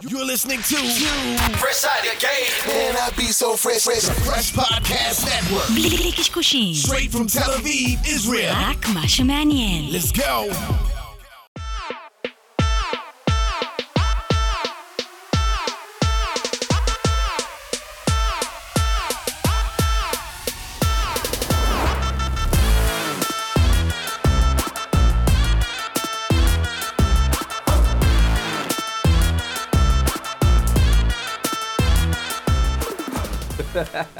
You're listening to Fresh Out the Gate. Man, I be so fresh, fresh, Fresh Podcast Network. בלי בלי קשקושים, Straight from Tel Aviv, Israel. רק מה שמעניין. Let's go.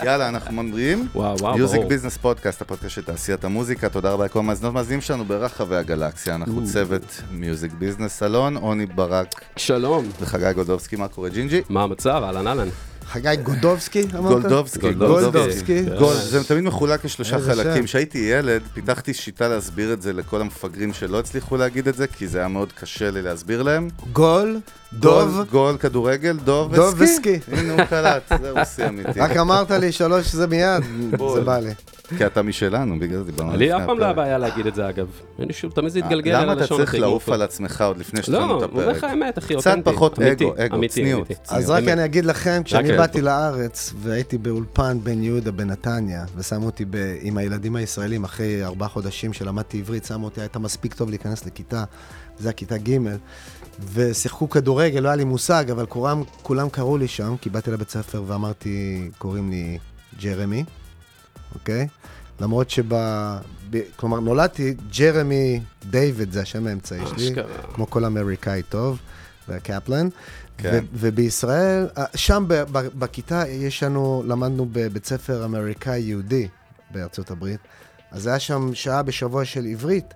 יאללה, אנחנו ממריאים. וואו, וואו, מיוזיק ברור. ביזנס פודקאסט, הפודקאסט של תעשיית המוזיקה, תודה רבה לכל המאזינות מאזינים שלנו ברחבי הגלקסיה. אנחנו Mm. צוות מיוזיק ביזנס סלון, עוני ברק שלום. וחגי גולדובסקי, מה קורה ג'ינג'י? מה המצב? אהלן אהלן. חגי גודובסקי אמרת? גולדובסקי, גולדובסקי. גול- זה תמיד מחולק לשלושה איזה חלקים. שם. כשהייתי ילד, פיתחתי שיטה להסביר את זה לכל המפגרים שלא הצליחו להגיד את זה, כי זה היה מאוד קשה לי להסביר להם. גול, גול- דוב, גול כדורגל, דוב דוב וסקי. וסקי. הנה הוא קלט, זהו, הוא סיים איתי. רק אמרת לי שלוש זה מיד, בול. זה בא לי. כי אתה משלנו, בגלל זה דיברנו לי לפני אף פעם לא היה הפרק. בעיה להגיד את זה אגב. אין לי שום, תמיד זה התגלגל על אה, למה הלשון אתה צריך הכי לעוף גרופה. על עצמך עוד לפני לא, שתנו את הפרק? אומר לך האמת, אחי, קצת אותנטי. פחות אמיתי, אגו, אגו, אמיתי, צניעות. אמיתי. צניעות. אז רק באמת. אני אגיד לכם, כשאני אוקיי. באתי לארץ והייתי באולפן בן יהודה בנתניה, ושמו אותי ב- עם הילדים הישראלים אחרי ארבעה חודשים שלמדתי עברית, שמו אותי, הייתה מספיק טוב להיכנס לכיתה, זה היה כיתה ג', ושיחקו כדורגל, לא היה לי מושג, אבל כולם, כולם קראו לי שם, כי באתי לבית ספר ואמרתי, קוראים לי ג'רמי, אוקיי? למרות שב... ב... כלומר, נולדתי, ג'רמי דיוויד זה השם האמצעי שלי, אשכרה. כמו כל אמריקאי טוב, והקפלן. כן. ו- ובישראל, אה, שם ב- ב- בכיתה יש לנו, למדנו בבית ספר אמריקאי יהודי בארצות הברית, אז היה שם שעה בשבוע של עברית,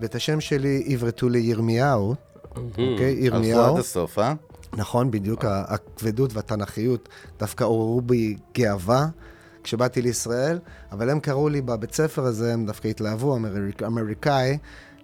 ואת השם שלי עברתו לירמיהו, אוקיי? הלכו ירמיהו. עד הסוף, אה? נכון, בדיוק ה- הכבדות והתנ"כיות דווקא עוררו בי גאווה כשבאתי לישראל, אבל הם קראו לי בבית ספר הזה, הם דווקא התלהבו, אמריק- אמריקאי,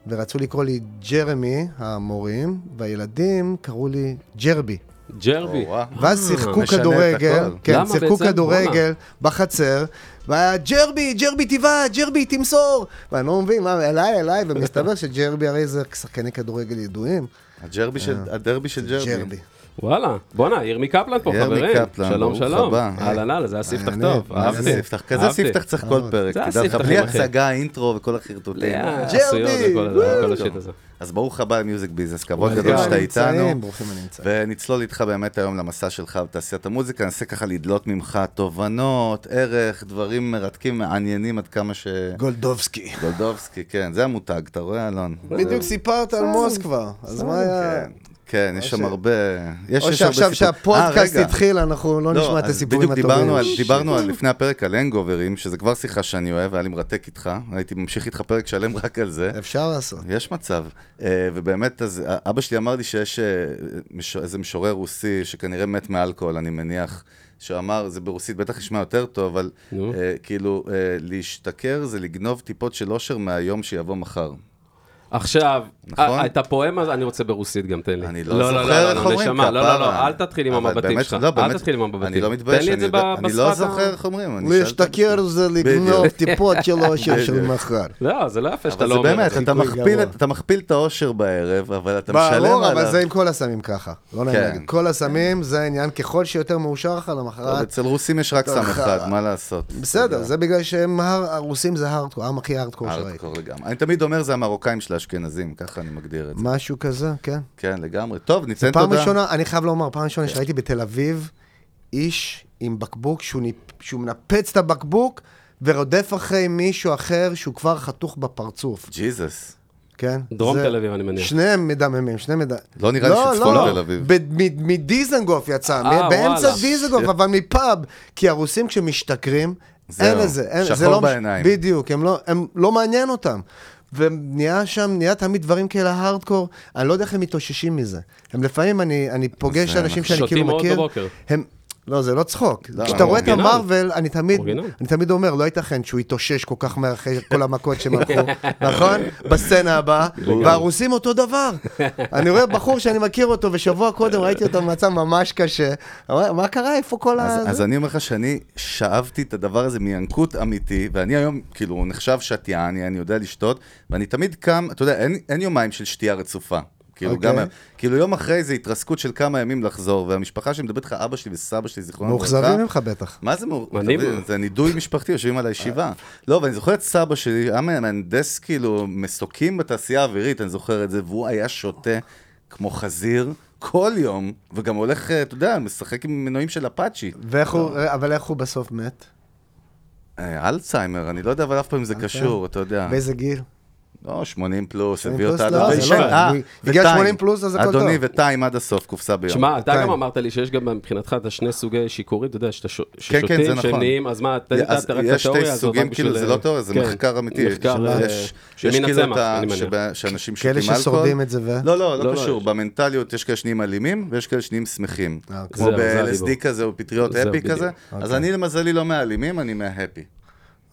ורצו לקרוא לי ג'רמי, המורים, והילדים קראו לי ג'רבי. ג'רבי. או, אה. ואז שיחקו משנה את כדורגל, הכל. כן, למה שיחקו בעצם? כדורגל וואלה. בחצר, והיה ג'רבי, ג'רבי טבעה, ג'רבי תמסור. ואני לא מבין, מה, אליי, אליי, ומסתבר שג'רבי הרי זה שחקני כדורגל ידועים. הג'רבי של, הדרבי של ג'רבי. אה. ג'רבי. וואלה. בואנה, ירמי קפלן פה, ירמי חברים. קפלן, שלום, ברוך שלום. הבא. אהלן אהלן, זה היה ספתח מעניין. טוב. מה זה אהבתי. ספתח? כזה אהבתי. ספתח צריך אה, כל פרק, זה תדע לך, הספתח, בלי אחי. הצגה, אינטרו וכל החרטוטים. אה, ג'רבי! עשויות וכל הזה, וואו. כל השיט הזה. אז ברוך הבא למיוזיק ביזנס, כבוד ברוכים גדול שאתה הנמצאים, איתנו. ברוכים הנמצאים. ונצלול איתך באמת היום למסע שלך בתעשיית המוזיקה, ננסה ככה לדלות ממך תובנות, ערך, דברים מרתקים, מעניינים עד כמה ש... גולדובסקי. גולדובסקי, כן, זה המותג, אתה רואה, אלון? בדיוק סיפרת על מוסקבה, אז מה היה... כן, כן, יש שם ש- הרבה... יש- או יש הרבה שעכשיו סיפורים. שהפודקאסט אה, רגע. התחיל, אנחנו לא נשמע את אז הסיפורים בדיוק הטובים. דיברנו על, דיברנו על לפני הפרק על הנגוברים, שזה כבר שיחה שאני אוהב, היה לי מרתק איתך, הייתי ממשיך איתך פרק שלם רק על זה. אפשר לעשות. יש מצב, אה, ובאמת, אז אה, אבא שלי אמר לי שיש אה, מש- איזה משורר רוסי שכנראה מת מאלכוהול, אני מניח, שאמר, זה ברוסית בטח נשמע יותר טוב, אבל נו. אה, כאילו, אה, להשתכר זה לגנוב טיפות של אושר מהיום שיבוא מחר. עכשיו, נכון? אה, את הפואמה, הזאת- אני רוצה ברוסית גם, תן לי. אני לא זוכר לא, איך אומרים נשמה, לא, לא, לא, כפרה. אל תתחיל עם אבל המבטים באמת- שלך. לא, באמת, אל תתחיל עם המבטים. אני לא מתבייש, תן לי את זה אני יודע- ב- אני לא בשפת ה- זוכר איך אומרים. אני שאלתי- להשתכר זה לגנוב בדיוק. טיפות של אושר של בדיוק. מחר. לא, זה לא יפה שאתה אבל לא זה אומר את באמת, זה. אתה חיקוי מכפיל, גרוע. את- אתה מכפיל את האושר בערב, אבל אתה משלם עליו. ברור, אבל זה עם כל הסמים ככה. לא נעים כן. להגיד. כל הסמים זה העניין, ככל שיותר מאושר לך אבל למחרת. אצל רוסים יש רק סם טוב, אחד, חרא. מה לעשות? בסדר, זה בגלל שהם הר- הרוסים זה הארדקור, העם הכי הארדקור שראיתי. הארדקור לגמרי. אני תמיד אומר זה המרוקאים של האשכנזים, ככה אני מגדיר את זה. משהו כזה, כן. כן, לגמרי. טוב, ניתן תודה. פעם ראשונה, אני חייב לומר, פעם ראשונה שראיתי בתל אביב איש עם בקבוק, שהוא, ניפ- שהוא מנפץ את הבקבוק ורודף אחרי מישהו אחר שהוא כבר חתוך בפרצוף, ג'יזוס. כן? דרום זה- תל אביב, אני מניח. שניהם מדממים, שניהם מדממים. לא נראה לי שצפון תל אביב. מדיזנגוף יצא, אה, מ- באמצע וואלה. דיזנגוף, אבל מפאב, כי הרוסים כשמשתכרים, זהו, אין לזה, אין- זה שחור לא מש- בעיניים. בדיוק, הם לא- הם לא מעניין אותם. ונהיה שם, נהיה תמיד דברים כאלה הארדקור, אני לא יודע איך הם מתאוששים מזה. הם לפעמים, אני אני פוגש זה אנשים נכון. שאני כאילו שותים מאוד מכיר, בבוקר. הם... לא, זה לא צחוק. לא, כשאתה רואה את אורגינל. המרוויל, אני תמיד, אורגינל. אני תמיד אומר, לא ייתכן שהוא יתאושש כל כך מהר אחרי כל המכות שהם הלכו, נכון? בסצנה הבאה, והרוסים אותו דבר. אני רואה בחור שאני מכיר אותו, ושבוע קודם ראיתי אותו במצב ממש קשה. אמר, מה קרה? איפה כל ה... אז, אז אני אומר לך שאני שאבתי את הדבר הזה מינקות אמיתי, ואני היום, כאילו, נחשב שתיין, אני יודע לשתות, ואני תמיד קם, אתה יודע, אין, אין יומיים של שתייה רצופה. כאילו, אוקיי. גם, כאילו יום אחרי זה התרסקות של כמה ימים לחזור, והמשפחה שמדברת לך, אבא שלי וסבא שלי, זיכרונם לברכה, מאוכזבים ממך בטח. מה זה אני- מאוכזבים? זה נידוי משפחתי, יושבים על הישיבה. לא, ואני זוכר את סבא שלי, היה מהנדס כאילו מסוקים בתעשייה האווירית, אני זוכר את זה, והוא היה שותה כמו חזיר כל יום, וגם הולך, אה, אתה יודע, משחק עם מנועים של אפאצ'י. ואיך הוא, לא. אבל איך הוא בסוף מת? אה, אלצהיימר, אני לא יודע, אבל אף פעם זה קשור, אתה יודע. באיזה גיל? לא, 80 פלוס, 80 הביא אותה פלוס, עד לא, לבית זה שם. לא. אה, אני- בגלל וטיים. 80 פלוס, אז הכל טוב. אדוני וטיים עד הסוף, קופסה ביום. שמע, אתה בינתיים. גם אמרת לי שיש גם מבחינתך את השני סוגי שיכורים, אתה יודע, שאתה ש- כן, זה ששותים, נכון. שנהיים, אז מה, אתה אז נתת רק את יש שתי התיאוריה הזאת, רק סוגים, כאילו, בשביל- זה לא תיאוריה, זה כן. מחקר אמיתי. מחקר אה, יש- יש שמין כאילו הצמח, את ה... אני מניח. שבה- שאנשים שותים כאלה אלכוהול. ששורדים את זה ו- לא, לא, לא, לא לא, קשור. יש. במנטליות יש כאלה שנהיים אלימים, ויש כאלה שנהיים שמחים. אוקיי. כמו זהו, זה הדיבור. ב-LSD כזה, או פטריות זהו, אפי בדיוק. כזה. אז אני למזלי לא מהאלימים, אני מההפי.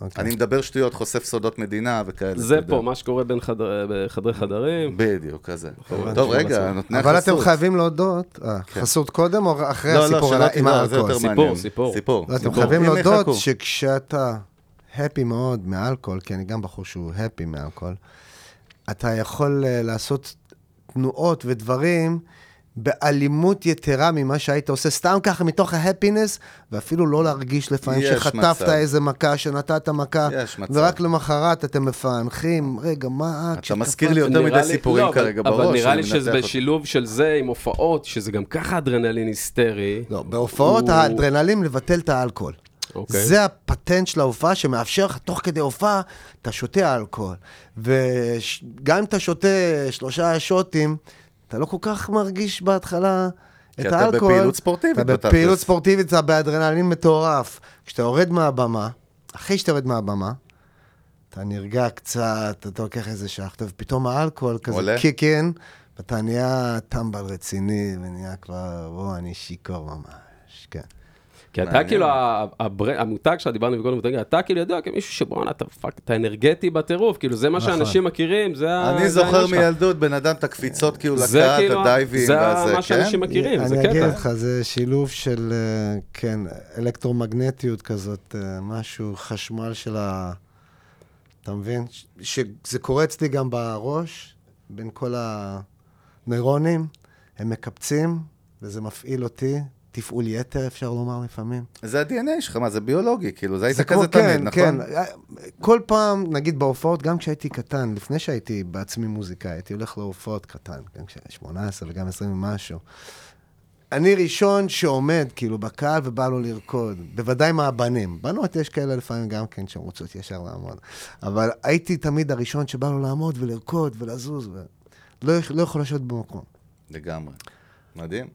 אוקיי. אני מדבר שטויות, חושף סודות מדינה וכאלה. אתה זה יודע. פה, מה שקורה בין חדר- בחדרי חדרים. בדיוק, כזה. טוב, רגע, נותני החסות. אבל אתם חייבים להודות, אה, חסות קודם או אחרי כן. לא, לא, הסיפור שאלה עם טובה, זה האלכוהול? יותר סיפור, מעניין. סיפור. סיפור. לא, אתם סיפור. חייבים הנה, להודות חכו. שכשאתה הפי מאוד מאלכוהול, כי אני גם בחור שהוא הפי מאלכוהול, אתה יכול אה, לעשות תנועות ודברים באלימות יתרה ממה שהיית עושה סתם ככה מתוך ההפינס, ואפילו לא להרגיש לפעמים יש שחטפת מצב. איזה מכה, שנתת מכה, יש מצב. ורק למחרת אתם מפענחים, רגע, מה את אתה מזכיר לי יותר נראה מדי לי- סיפורים לא, אבל- כרגע בראש. אבל נראה אני לי מנתח שזה אותם. בשילוב של זה עם הופעות, שזה גם ככה אדרנלין היסטרי. אוקיי. לא, בהופעות הוא- האדרנלין לבטל את האלכוהול. אוקיי. זה הפטנט של ההופעה שמאפשר לך, תוך כדי הופעה, אתה שותה אלכוהול. וגם אם אתה שותה שלושה שוטים, אתה לא כל כך מרגיש בהתחלה את אתה האלכוהול. בפעילות ספורטיבית, אתה בתכלס. בפעילות ספורטיבית, אתה באדרנלין מטורף. כשאתה יורד מהבמה, אחרי שאתה יורד מהבמה, אתה נרגע קצת, אתה לוקח איזה שחטה, ופתאום האלכוהול כזה עולה? קיק אין, ואתה נהיה טמבל רציני, ונהיה כבר, בוא, אני שיכור ממש, כן. כי אתה מעניין. כאילו, ה- הבר- המותג שלך, דיברנו מקודם, מותג, אתה כאילו ידוע כמישהו שבואנה, אתה פאק, אתה אנרגטי בטירוף, כאילו זה מה נכון. שאנשים מכירים, זה ה- אני אה, זה לא זוכר העניין שלך. מילדות, בן אדם את הקפיצות כאילו זה לקהל, את כאילו, הדייבים זה והזה, מה כן? שאנשים מכירים, זה אני אגיד קטע. לך, זה שילוב של, אה, כן, אלקטרומגנטיות כזאת, אה, משהו, חשמל של ה... אתה מבין? ש- שזה קורה אצלי גם בראש, בין כל הנוירונים, הם מקבצים, וזה מפעיל אותי, תפעול יתר, אפשר לומר לפעמים. זה ה-DNA שלך, מה, זה ביולוגי, כאילו, זה היית זה כזה כמו, תמיד, כן, כן. נכון? כל פעם, נגיד בהופעות, גם כשהייתי קטן, לפני שהייתי בעצמי מוזיקאי, הייתי הולך להופעות קטן, גם כשהייתי 18 וגם 20 ומשהו. אני ראשון שעומד, כאילו, בקהל ובא לו לרקוד. בוודאי מהבנים. בנות יש כאלה לפעמים גם כן שרוצות ישר לעמוד. אבל הייתי תמיד הראשון שבא לו לעמוד ולרקוד ולזוז, ולא יכ- לא יכול לשבת במקום. לגמרי. מדהים.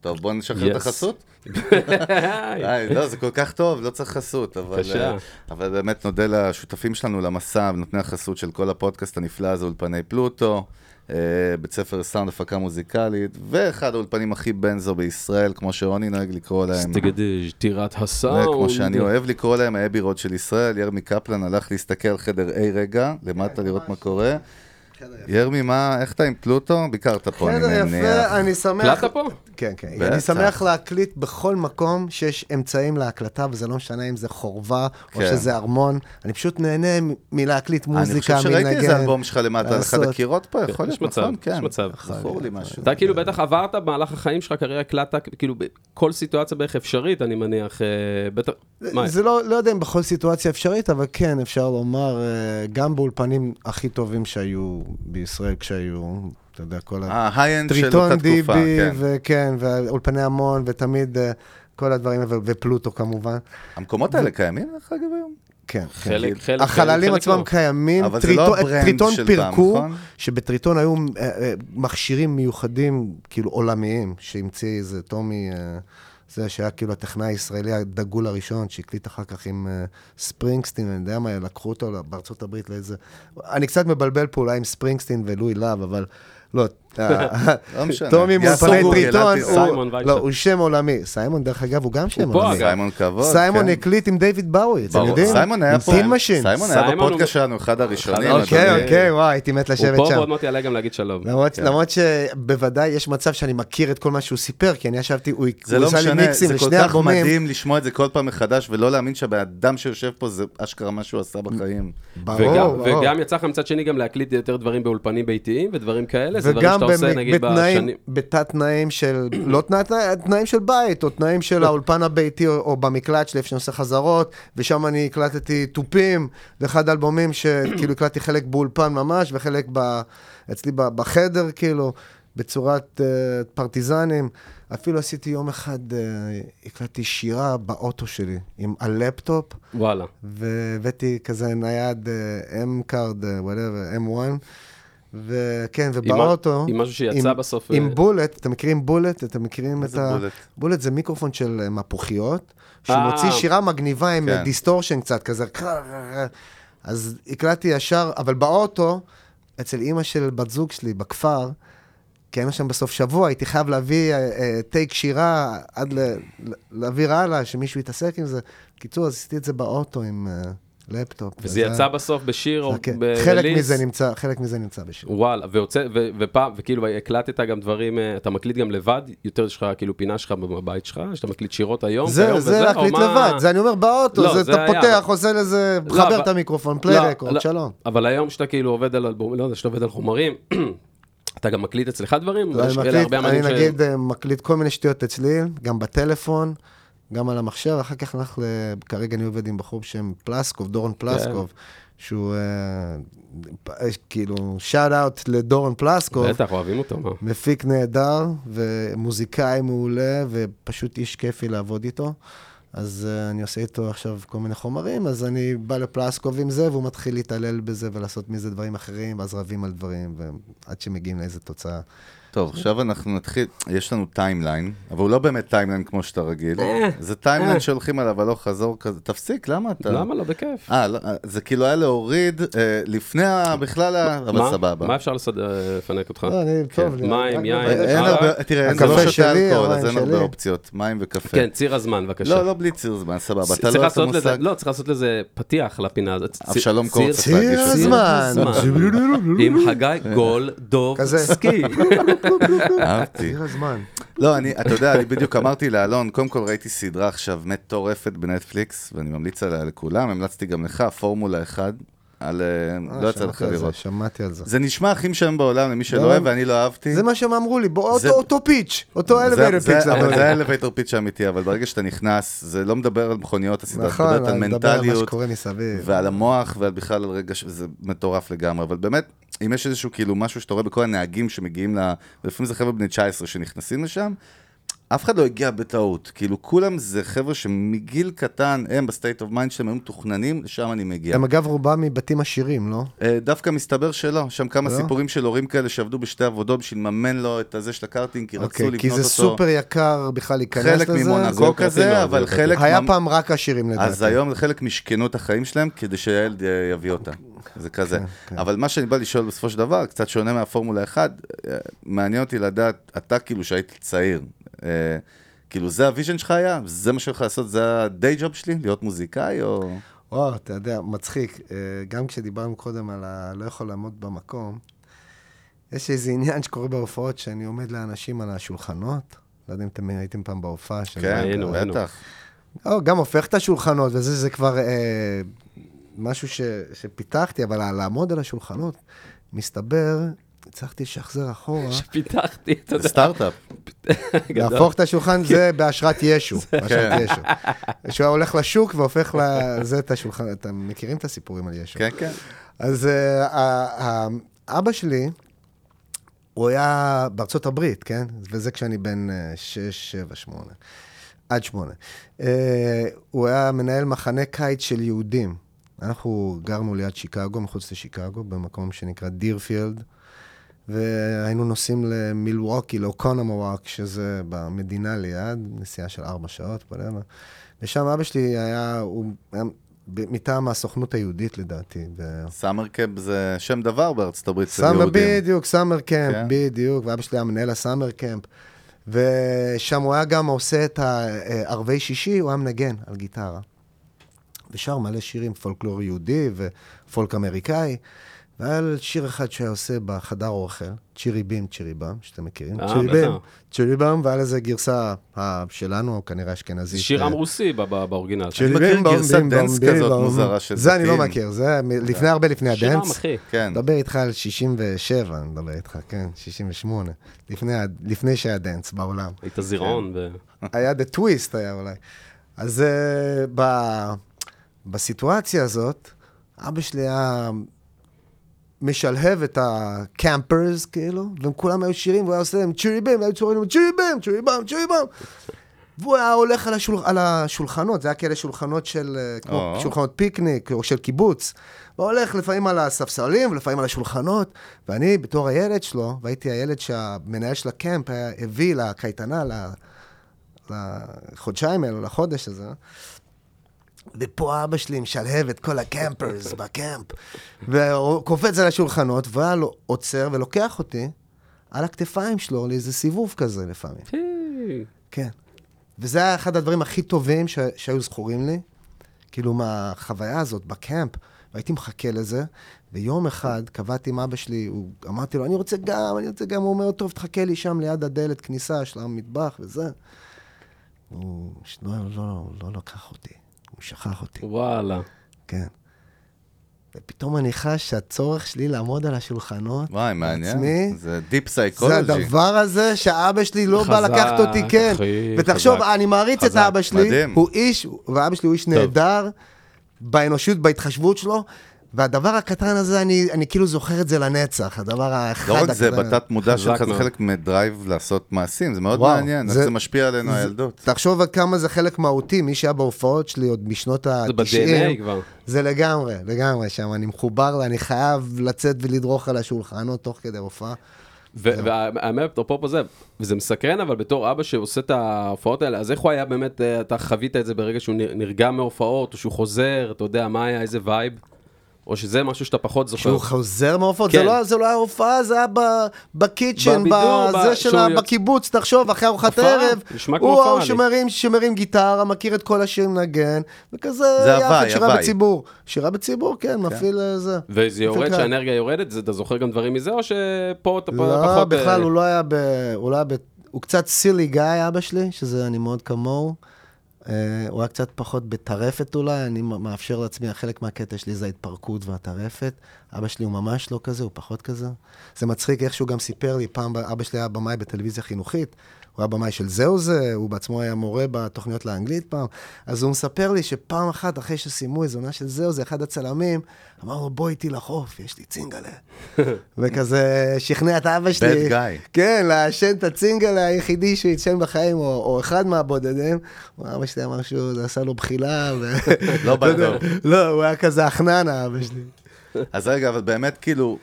טוב, בוא נשחרר את Yes. החסות. אה, לא, זה כל כך טוב, לא צריך חסות, אבל, בבקשה. אה, אבל באמת נודה לשותפים שלנו למסע, נותני החסות של כל הפודקאסט הנפלא הזה, אולפני פלוטו, אה, בית ספר סאונד הפקה מוזיקלית, ואחד האולפנים הכי בנזו בישראל, כמו שרוני נוהג לקרוא להם. סטגדיש, טירת הסאונד. וכמו שאני אוהב לקרוא להם, האבי רוד של ישראל, ירמי קפלן הלך להסתכל על חדר A רגע, למטה לראות מה קורה. ירמי, מה, איך אתה עם פלוטו? ביקרת פה, אני חדר מניח. יפה, אני שמח. הקלטת פה? כן, כן. בטח. אני שמח להקליט בכל מקום שיש אמצעים להקלטה, וזה לא משנה אם זה חורבה או כן. שזה ארמון. אני פשוט נהנה מ- מלהקליט אני מוזיקה, חושב מנגן. שראיתי איזה אלבום שלך למטה על אחד לעשות. הקירות פה, יכול יש להיות, מצב, נכון? יש כן. מצב. זכור לי משהו. אתה כאילו בטח עברת במהלך החיים שלך קריירה קלטה, כאילו בכל סיטואציה בערך אפשרית, אני מניח, אה, בטח, מה, זה לא, לא יודע אם בכל סיטואציה אפשרית, אבל כן, אפשר לומר, אה, גם באולפנים הכי טובים שהיו בישראל כשהיו, אתה יודע, כל ה... ההיי-אנד אה, של אותה טריטון תקופה, דיבי, כן. וכן, ואולפני המון, ותמיד אה, כל הדברים, האלה, ו- ופלוטו כמובן. המקומות האלה קיימים, דרך אגב, היום? כן. חלק, חלק, החללים חלק עצמם לא. קיימים, אבל זה טריטון, לא הברנד טריטון של פעם, פירקו, נכון? שבטריטון היו אה, אה, מכשירים מיוחדים, כאילו עולמיים, שהמציא איזה טומי, אה, זה שהיה כאילו הטכנאי הישראלי הדגול הראשון, שהקליט אחר כך עם אה, ספרינגסטין, אני יודע מה, לקחו אותו ל- בארצות הברית לאיזה... אני קצת מבלבל פה אולי עם ספרינגסטין ולואי להב, אבל לא. אה, לא משנה. טומי יעשו מאולפני גוגל, טריטון, אל תדאג. הוא- סיימון וייסר. לא, הוא שם עולמי. סיימון, דרך אגב, הוא גם שם פה, עולמי. אגב. סיימון כבוד, סיימון כן. הקליט עם דיוויד באווי, אתם ברור. יודעים? סיימון היה עם פה, טין משין. סיימון היה לא סיימון הוא- בפודקאסט שלנו, אחד הראשונים. אוקיי, אדוני. אוקיי, וואי, הייתי מת הוא לשבת פה שם. ועוד מעט יעלה גם להגיד שלום. למרות, כן. למרות שבוודאי יש מצב שאני מכיר את כל מה שהוא סיפר, כי אני ישבתי, הוא זה הוא לא עשה לי משנה, מיקסים זה כל לשני כך אלבומים. מדהים לשמוע את זה כל פעם מחדש, ולא להאמין שהבן אדם שיושב פה זה אשכרה מה שהוא עשה בחיים. ברור, וגם, ברור. וגם יצא לך מצד שני גם להקליט יותר דברים באולפנים ביתיים ודברים כאלה, זה דברים שאתה עושה, במ- נגיד, בתנאים, בשנים... בתת תנאים של, לא תנא- תנא- תנאים של בית, או תנאים של האולפן הביתי, או, או במקלט שלי, איפה שאני עושה חזרות, ושם אני הקלטתי תופים, זה אחד האלבומים שכאילו הקלטתי חלק באולפן ממש, וחלק ב, אצלי ב, בחדר, כאילו, בצורת uh, פרטיזנים. אפילו עשיתי יום אחד, uh, הקלטתי שירה באוטו שלי, עם הלפטופ. וואלה. והבאתי כזה נייד אה, M-Card, whatever, M1, וכן, ובאוטו... עם משהו שיצא עם- בסוף, אה, עם בולט, אתם מכירים בולט? אתם מכירים את זה ה... בולט? בולט זה מיקרופון של אה, מפוחיות, אה. שמוציא שירה מגניבה עם כן. אה, דיסטורשן קצת, כזה... אז הקלטתי ישר, אבל באוטו, אצל אימא של בת זוג שלי בכפר, כי היינו שם בסוף שבוע, הייתי חייב להביא אה, אה, טייק שירה עד ל- ל- להעביר הלאה, שמישהו יתעסק עם זה. בקיצור, אז עשיתי את זה באוטו עם אה, לפטופ. וזה יצא בסוף בשיר או כן. בריליס. חלק מזה נמצא, חלק מזה נמצא בשיר. וואלה, והוצא, ו, ופעם, וכאילו הקלטת גם דברים, אה, אתה מקליט גם לבד, יותר יש לך כאילו פינה שלך בבית שלך, שאתה מקליט שירות אוקיי, היום, זה, כיום זה וזה, או להקליט מה? לבד, זה אני אומר באוטו, לא, זה, זה אתה היה, פותח, אבל- עושה לזה, לא, חבר אבל- את המיקרופון, פליי לא, רקורד, לא, שלום. אבל היום שאתה כאילו עובד על אלבום, לא יודע, שאתה עובד על חומרים, אתה גם מקליט אצלך דברים? ואני יש כאלה מקליט, הרבה לא, אני אמנים ש- נגיד אה, מקליט כל מיני שטויות אצלי, גם בטלפון, גם על המחשב, אחר כך אנחנו, ל- כרגע אני עובד עם בחור בשם פלסקוב, דורון כן. פלסקוב, שהוא אה, פ- כאילו, שאט אאוט לדורון פלסקוב. בטח, אוהבים אותו, מה? מפיק נהדר, ומוזיקאי מעולה, ופשוט איש כיפי לעבוד איתו. אז uh, אני עושה איתו עכשיו כל מיני חומרים, אז אני בא לפלסקוב עם זה, והוא מתחיל להתעלל בזה ולעשות מזה דברים אחרים, ואז רבים על דברים, ועד שמגיעים לאיזה תוצאה. טוב, עכשיו אנחנו נתחיל, יש לנו טיימליין, אבל הוא לא באמת טיימליין כמו שאתה רגיל. זה אה. טיימליין שהולכים עליו הלוך חזור כזה, תפסיק, למה אתה... למה לא? בכיף. אה, לא, אה, זה כאילו היה להוריד אה, לפני ה- בכלל, ה- אבל מה? סבבה. מה אפשר לסדר- אה, לפנק אותך? לא, אני, טוב, לי, מים, רק- יין, אין אין אה, הרבה, תראה, אין- זה הקפה לא שלי, שותה אלכוהול, אז המים אין הרבה שלי. אופציות, מים וקפה. כן, ציר הזמן, בבקשה. לא, לא בלי ציר זמן, סבבה. אתה צריך לא לעשות עושה לזה- מושג. לא, צריך לעשות לזה פתיח לפינה הזאת. ציר- אבשלום קור ציר- צריך ציר להגיש את זה. הזמן. עם חגי גולדובסקי. אה, אהבתי. ציר הזמן. לא, אני, אתה יודע, אני בדיוק אמרתי לאלון, קודם כל ראיתי סדרה עכשיו מטורפת בנטפליקס, ואני ממליץ עליה לכולם, המלצתי גם לך, פורמולה 1, על... אה, לא יצא לך שמעתי על זה, לראות. שמעתי על זה. זה נשמע הכי משעמם בעולם למי שלא לא. אוהב, ואני לא אהבתי. זה מה שהם אמרו לי, בוא, זה- אותו, אותו פיץ', אותו זה- אלווייטר זה- פיץ'. אבל זה האלווייטר פיץ' האמיתי, אבל ברגע שאתה נכנס, זה לא מדבר על מכוניות הסדרה, זה נכון, מדברת על אני מדבר על מה מנטליות, שקורה מסביב. ועל המוח, ועל בכלל על רגע שזה מטורף לגמרי, אבל באמת, אם יש איזשהו כאילו משהו שאתה רואה בכל הנהגים שמגיעים ל... ולפעמים זה חבר'ה בני 19 שנכנסים לשם, אף אחד לא הגיע בטעות, כאילו כולם זה חבר'ה שמגיל קטן, הם בסטייט אוף מיינד שלהם היו מתוכננים, לשם אני מגיע. הם אגב רובם מבתים עשירים, לא? אה, דווקא מסתבר שלא, שם כמה לא? סיפורים של הורים כאלה שעבדו בשתי עבודות בשביל לממן לו את הזה של הקארטינג, כי רצו אוקיי, לבנות אותו. כי זה סופר יקר בכלל להיכנס לזה. אוקיי. חלק זה ממונקו יותר כזה, טוב, אבל זה יותר חלק... היה ממ- פעם רק עשירים לדעתי. אז היום חלק משכנו את החיים שלהם כדי שהילד אה, יביא אותה, אוקיי, זה כזה. כן, אבל מה שאני בא לשאול בסופו של דבר, קצת שונה מהפורמולה 1, אה, מעניין אותי לדעת, אתה כאילו שהיית צעיר, אה, כאילו זה הוויז'ן שלך היה? זה מה שהולך לעשות? זה הדיי ג'וב שלי? להיות מוזיקאי או... וואו, אתה יודע, מצחיק. אה, גם כשדיברנו קודם על ה... לא יכול לעמוד במקום, יש איזה עניין שקורה בהופעות שאני עומד לאנשים על השולחנות. לא יודע אם אתם הייתם פעם בהופעה של... כן, היינו, היינו. בטח. או, גם הופך את השולחנות, וזה זה כבר אה, משהו ש, שפיתחתי, אבל לעמוד על השולחנות, מסתבר, הצלחתי לשחזר אחורה. פיתחתי את זה זה. סטארט-אפ. גדול. להפוך את השולחן זה בהשראת ישו, בהשראת כן. ישו. שהוא היה הולך לשוק והופך לזה את השולחן, אתם מכירים את הסיפורים על ישו. כן, כן. אז אה, ה- ה- אבא שלי, הוא היה בארצות הברית, כן? וזה כשאני בן אה, 6, 7, 8, עד 8. הוא היה מנהל מחנה קיץ של יהודים. אנחנו גרנו ליד שיקגו, מחוץ לשיקגו, במקום שנקרא דירפילד, והיינו נוסעים למילווקי, לאוקונומוואק, שזה במדינה ליד, נסיעה של ארבע שעות, whatever. ושם אבא שלי היה, הוא היה ב- מטעם הסוכנות היהודית לדעתי, ו- סאמר קאב זה שם דבר בארצות הברית של סאמר, יהודים. בדיוק, סאמר קמפ, כן. בדיוק, ואבא שלי היה מנהל הסאמר קמפ. ושם הוא היה גם עושה את הערבי שישי, הוא היה מנגן על גיטרה. ושר מלא שירים, פולקלור יהודי ופולק אמריקאי. והיה שיר אחד שהיה עושה בחדר אוכל, צ'ירי בים, צ'ירי בם, שאתם מכירים. אה, צ'ירי בטח. בים, צ'ירי בם, והיה לזה גרסה ה- שלנו, כנראה זה אשכנזית. שיר אה, עם רוסי ב- ב- באוריגינל. אני מכיר גרסת דנס כזאת מוזרה של זה אני לא זיתים. מכיר, זה מ- לפני הרבה לפני שיר עם, הדנס. אחי. כן. מדבר איתך על 67, אני מדבר איתך, כן, 68. לפני ה- לפני שהיה דנס בעולם. היית כן. זירעון. ו- היה דה טוויסט היה אולי. אז אה, ב... בסיטואציה הזאת, אבא שלי היה משלהב את הקמפרס, כאילו, והם כולם היו שירים, והוא היה עושה להם צ'ירי בים, והיו צוררים לו צ'ירי בים, צ'ירי בים, צ'ירי בים. והוא היה הולך על, השול... על השולחנות, זה היה כאלה שולחנות של, אה, כמו או. שולחנות פיקניק או של קיבוץ. והוא הולך לפעמים על הספסלים ולפעמים על השולחנות, ואני בתור הילד שלו, והייתי הילד שהמנהל של הקמפ היה, הביא לקייטנה, ל... לחודשיים האלו, לחודש הזה. ופה אבא שלי משלהב את כל הקמפרס בקמפ, וקופץ על השולחנות, והיה לו עוצר ולוקח אותי על הכתפיים שלו לאיזה סיבוב כזה לפעמים. כן. וזה היה אחד הדברים הכי טובים ש... שהיו זכורים לי, כאילו מהחוויה הזאת בקמפ, והייתי מחכה לזה, ויום אחד קבעתי עם אבא שלי, הוא... אמרתי לו, אני רוצה גם, אני רוצה גם, הוא אומר, טוב, תחכה לי שם ליד הדלת כניסה של המטבח וזה. הוא לא, לא, לא, לא לקח אותי, הוא שכח אותי. וואלה. כן. ופתאום אני חש שהצורך שלי לעמוד על השולחנות, וואי, מעניין. בעצמי, זה דיפ זה סייקולוגי. הדבר הזה שאבא שלי לא בא חזק, לקחת אותי, כן. אחי, ותחשוב, חזק. אני מעריץ את חזק, אבא שלי, מדהים. הוא איש, ואבא שלי הוא איש נהדר, באנושות, בהתחשבות שלו, והדבר הקטן הזה, אני אני כאילו זוכר את זה לנצח, הדבר האחד לא הקטן. רק זה, בתת מודע חזק שלך זה מאוד. חלק מדרייב לעשות מעשים, זה מאוד וואו, מעניין, איך זה- זה משפיע עלינו, זה- הילדות. תחשוב על כמה זה חלק מהותי, מי שהיה בהופעות שלי עוד משנות ה-90. זה ב-DNA כבר. זה לגמרי, לגמרי שם, אני מחובר, לה, אני חייב לצאת ולדרוך על השולחנות תוך כדי הופעה. כן. והאמת, אפרופו זה, וזה מסקרן, אבל בתור אבא שעושה את ההופעות האלה, אז איך הוא היה באמת, אה, אתה חווית את זה ברגע שהוא נר- נרגע מהופעות, או שהוא חוזר, אתה יודע, מה היה, איזה וייב? או שזה משהו שאתה פחות זוכר. שהוא חוזר מההופעות, כן. זה, לא, זה לא היה הופעה, זה היה ב, בקיצ'ן, בבידור, בזה ב- של שהוא ה... יוצא- בקיבוץ, תחשוב, אחרי ארוחת הופעה, ערב, נשמע כמו הוא הופעה ההוא לי. שמרים, שמרים גיטרה, מכיר את כל השיר מנגן, וכזה זה יחד הוואי, שירה הוואי. בציבור. שירה בציבור, כן, מפעיל אה, זה. וזה מפעיל יורד, קהל. שהאנרגיה יורדת, זה- אתה זוכר גם דברים מזה, או שפה אתה פ- פחות... לא, אה, בכלל, הוא לא היה ב... הוא לא היה ב... הוא קצת סילי גיא, אבא שלי, שזה אני מאוד כמוהו. אה, הוא היה קצת פחות בטרפת אולי, אני מ- מאפשר לעצמי, חלק מהקטע שלי זה ההתפרקות והטרפת. אבא שלי הוא ממש לא כזה, הוא פחות כזה. זה מצחיק איך שהוא גם סיפר לי, פעם אבא שלי היה במאי בטלוויזיה חינוכית, הוא היה במאי של זהו זה, הוא בעצמו היה מורה בתוכניות לאנגלית פעם. אז הוא מספר לי שפעם אחת, אחרי שסיימו איזו עונה של זהו זה, אחד הצלמים, אמר לו, בוא איתי לחוף, יש לי צינגלה. וכזה שכנע את אבא שלי. guy. כן, לעשן את הצינגל היחידי שהוא עישן בחיים, או, או אחד מהבודדים. אבא שלי אמר שהוא זה עשה לו בחילה, ו... לא בא טוב. לא, הוא היה כזה אחנן, אבא שלי. אז רגע, אבל באמת, כאילו,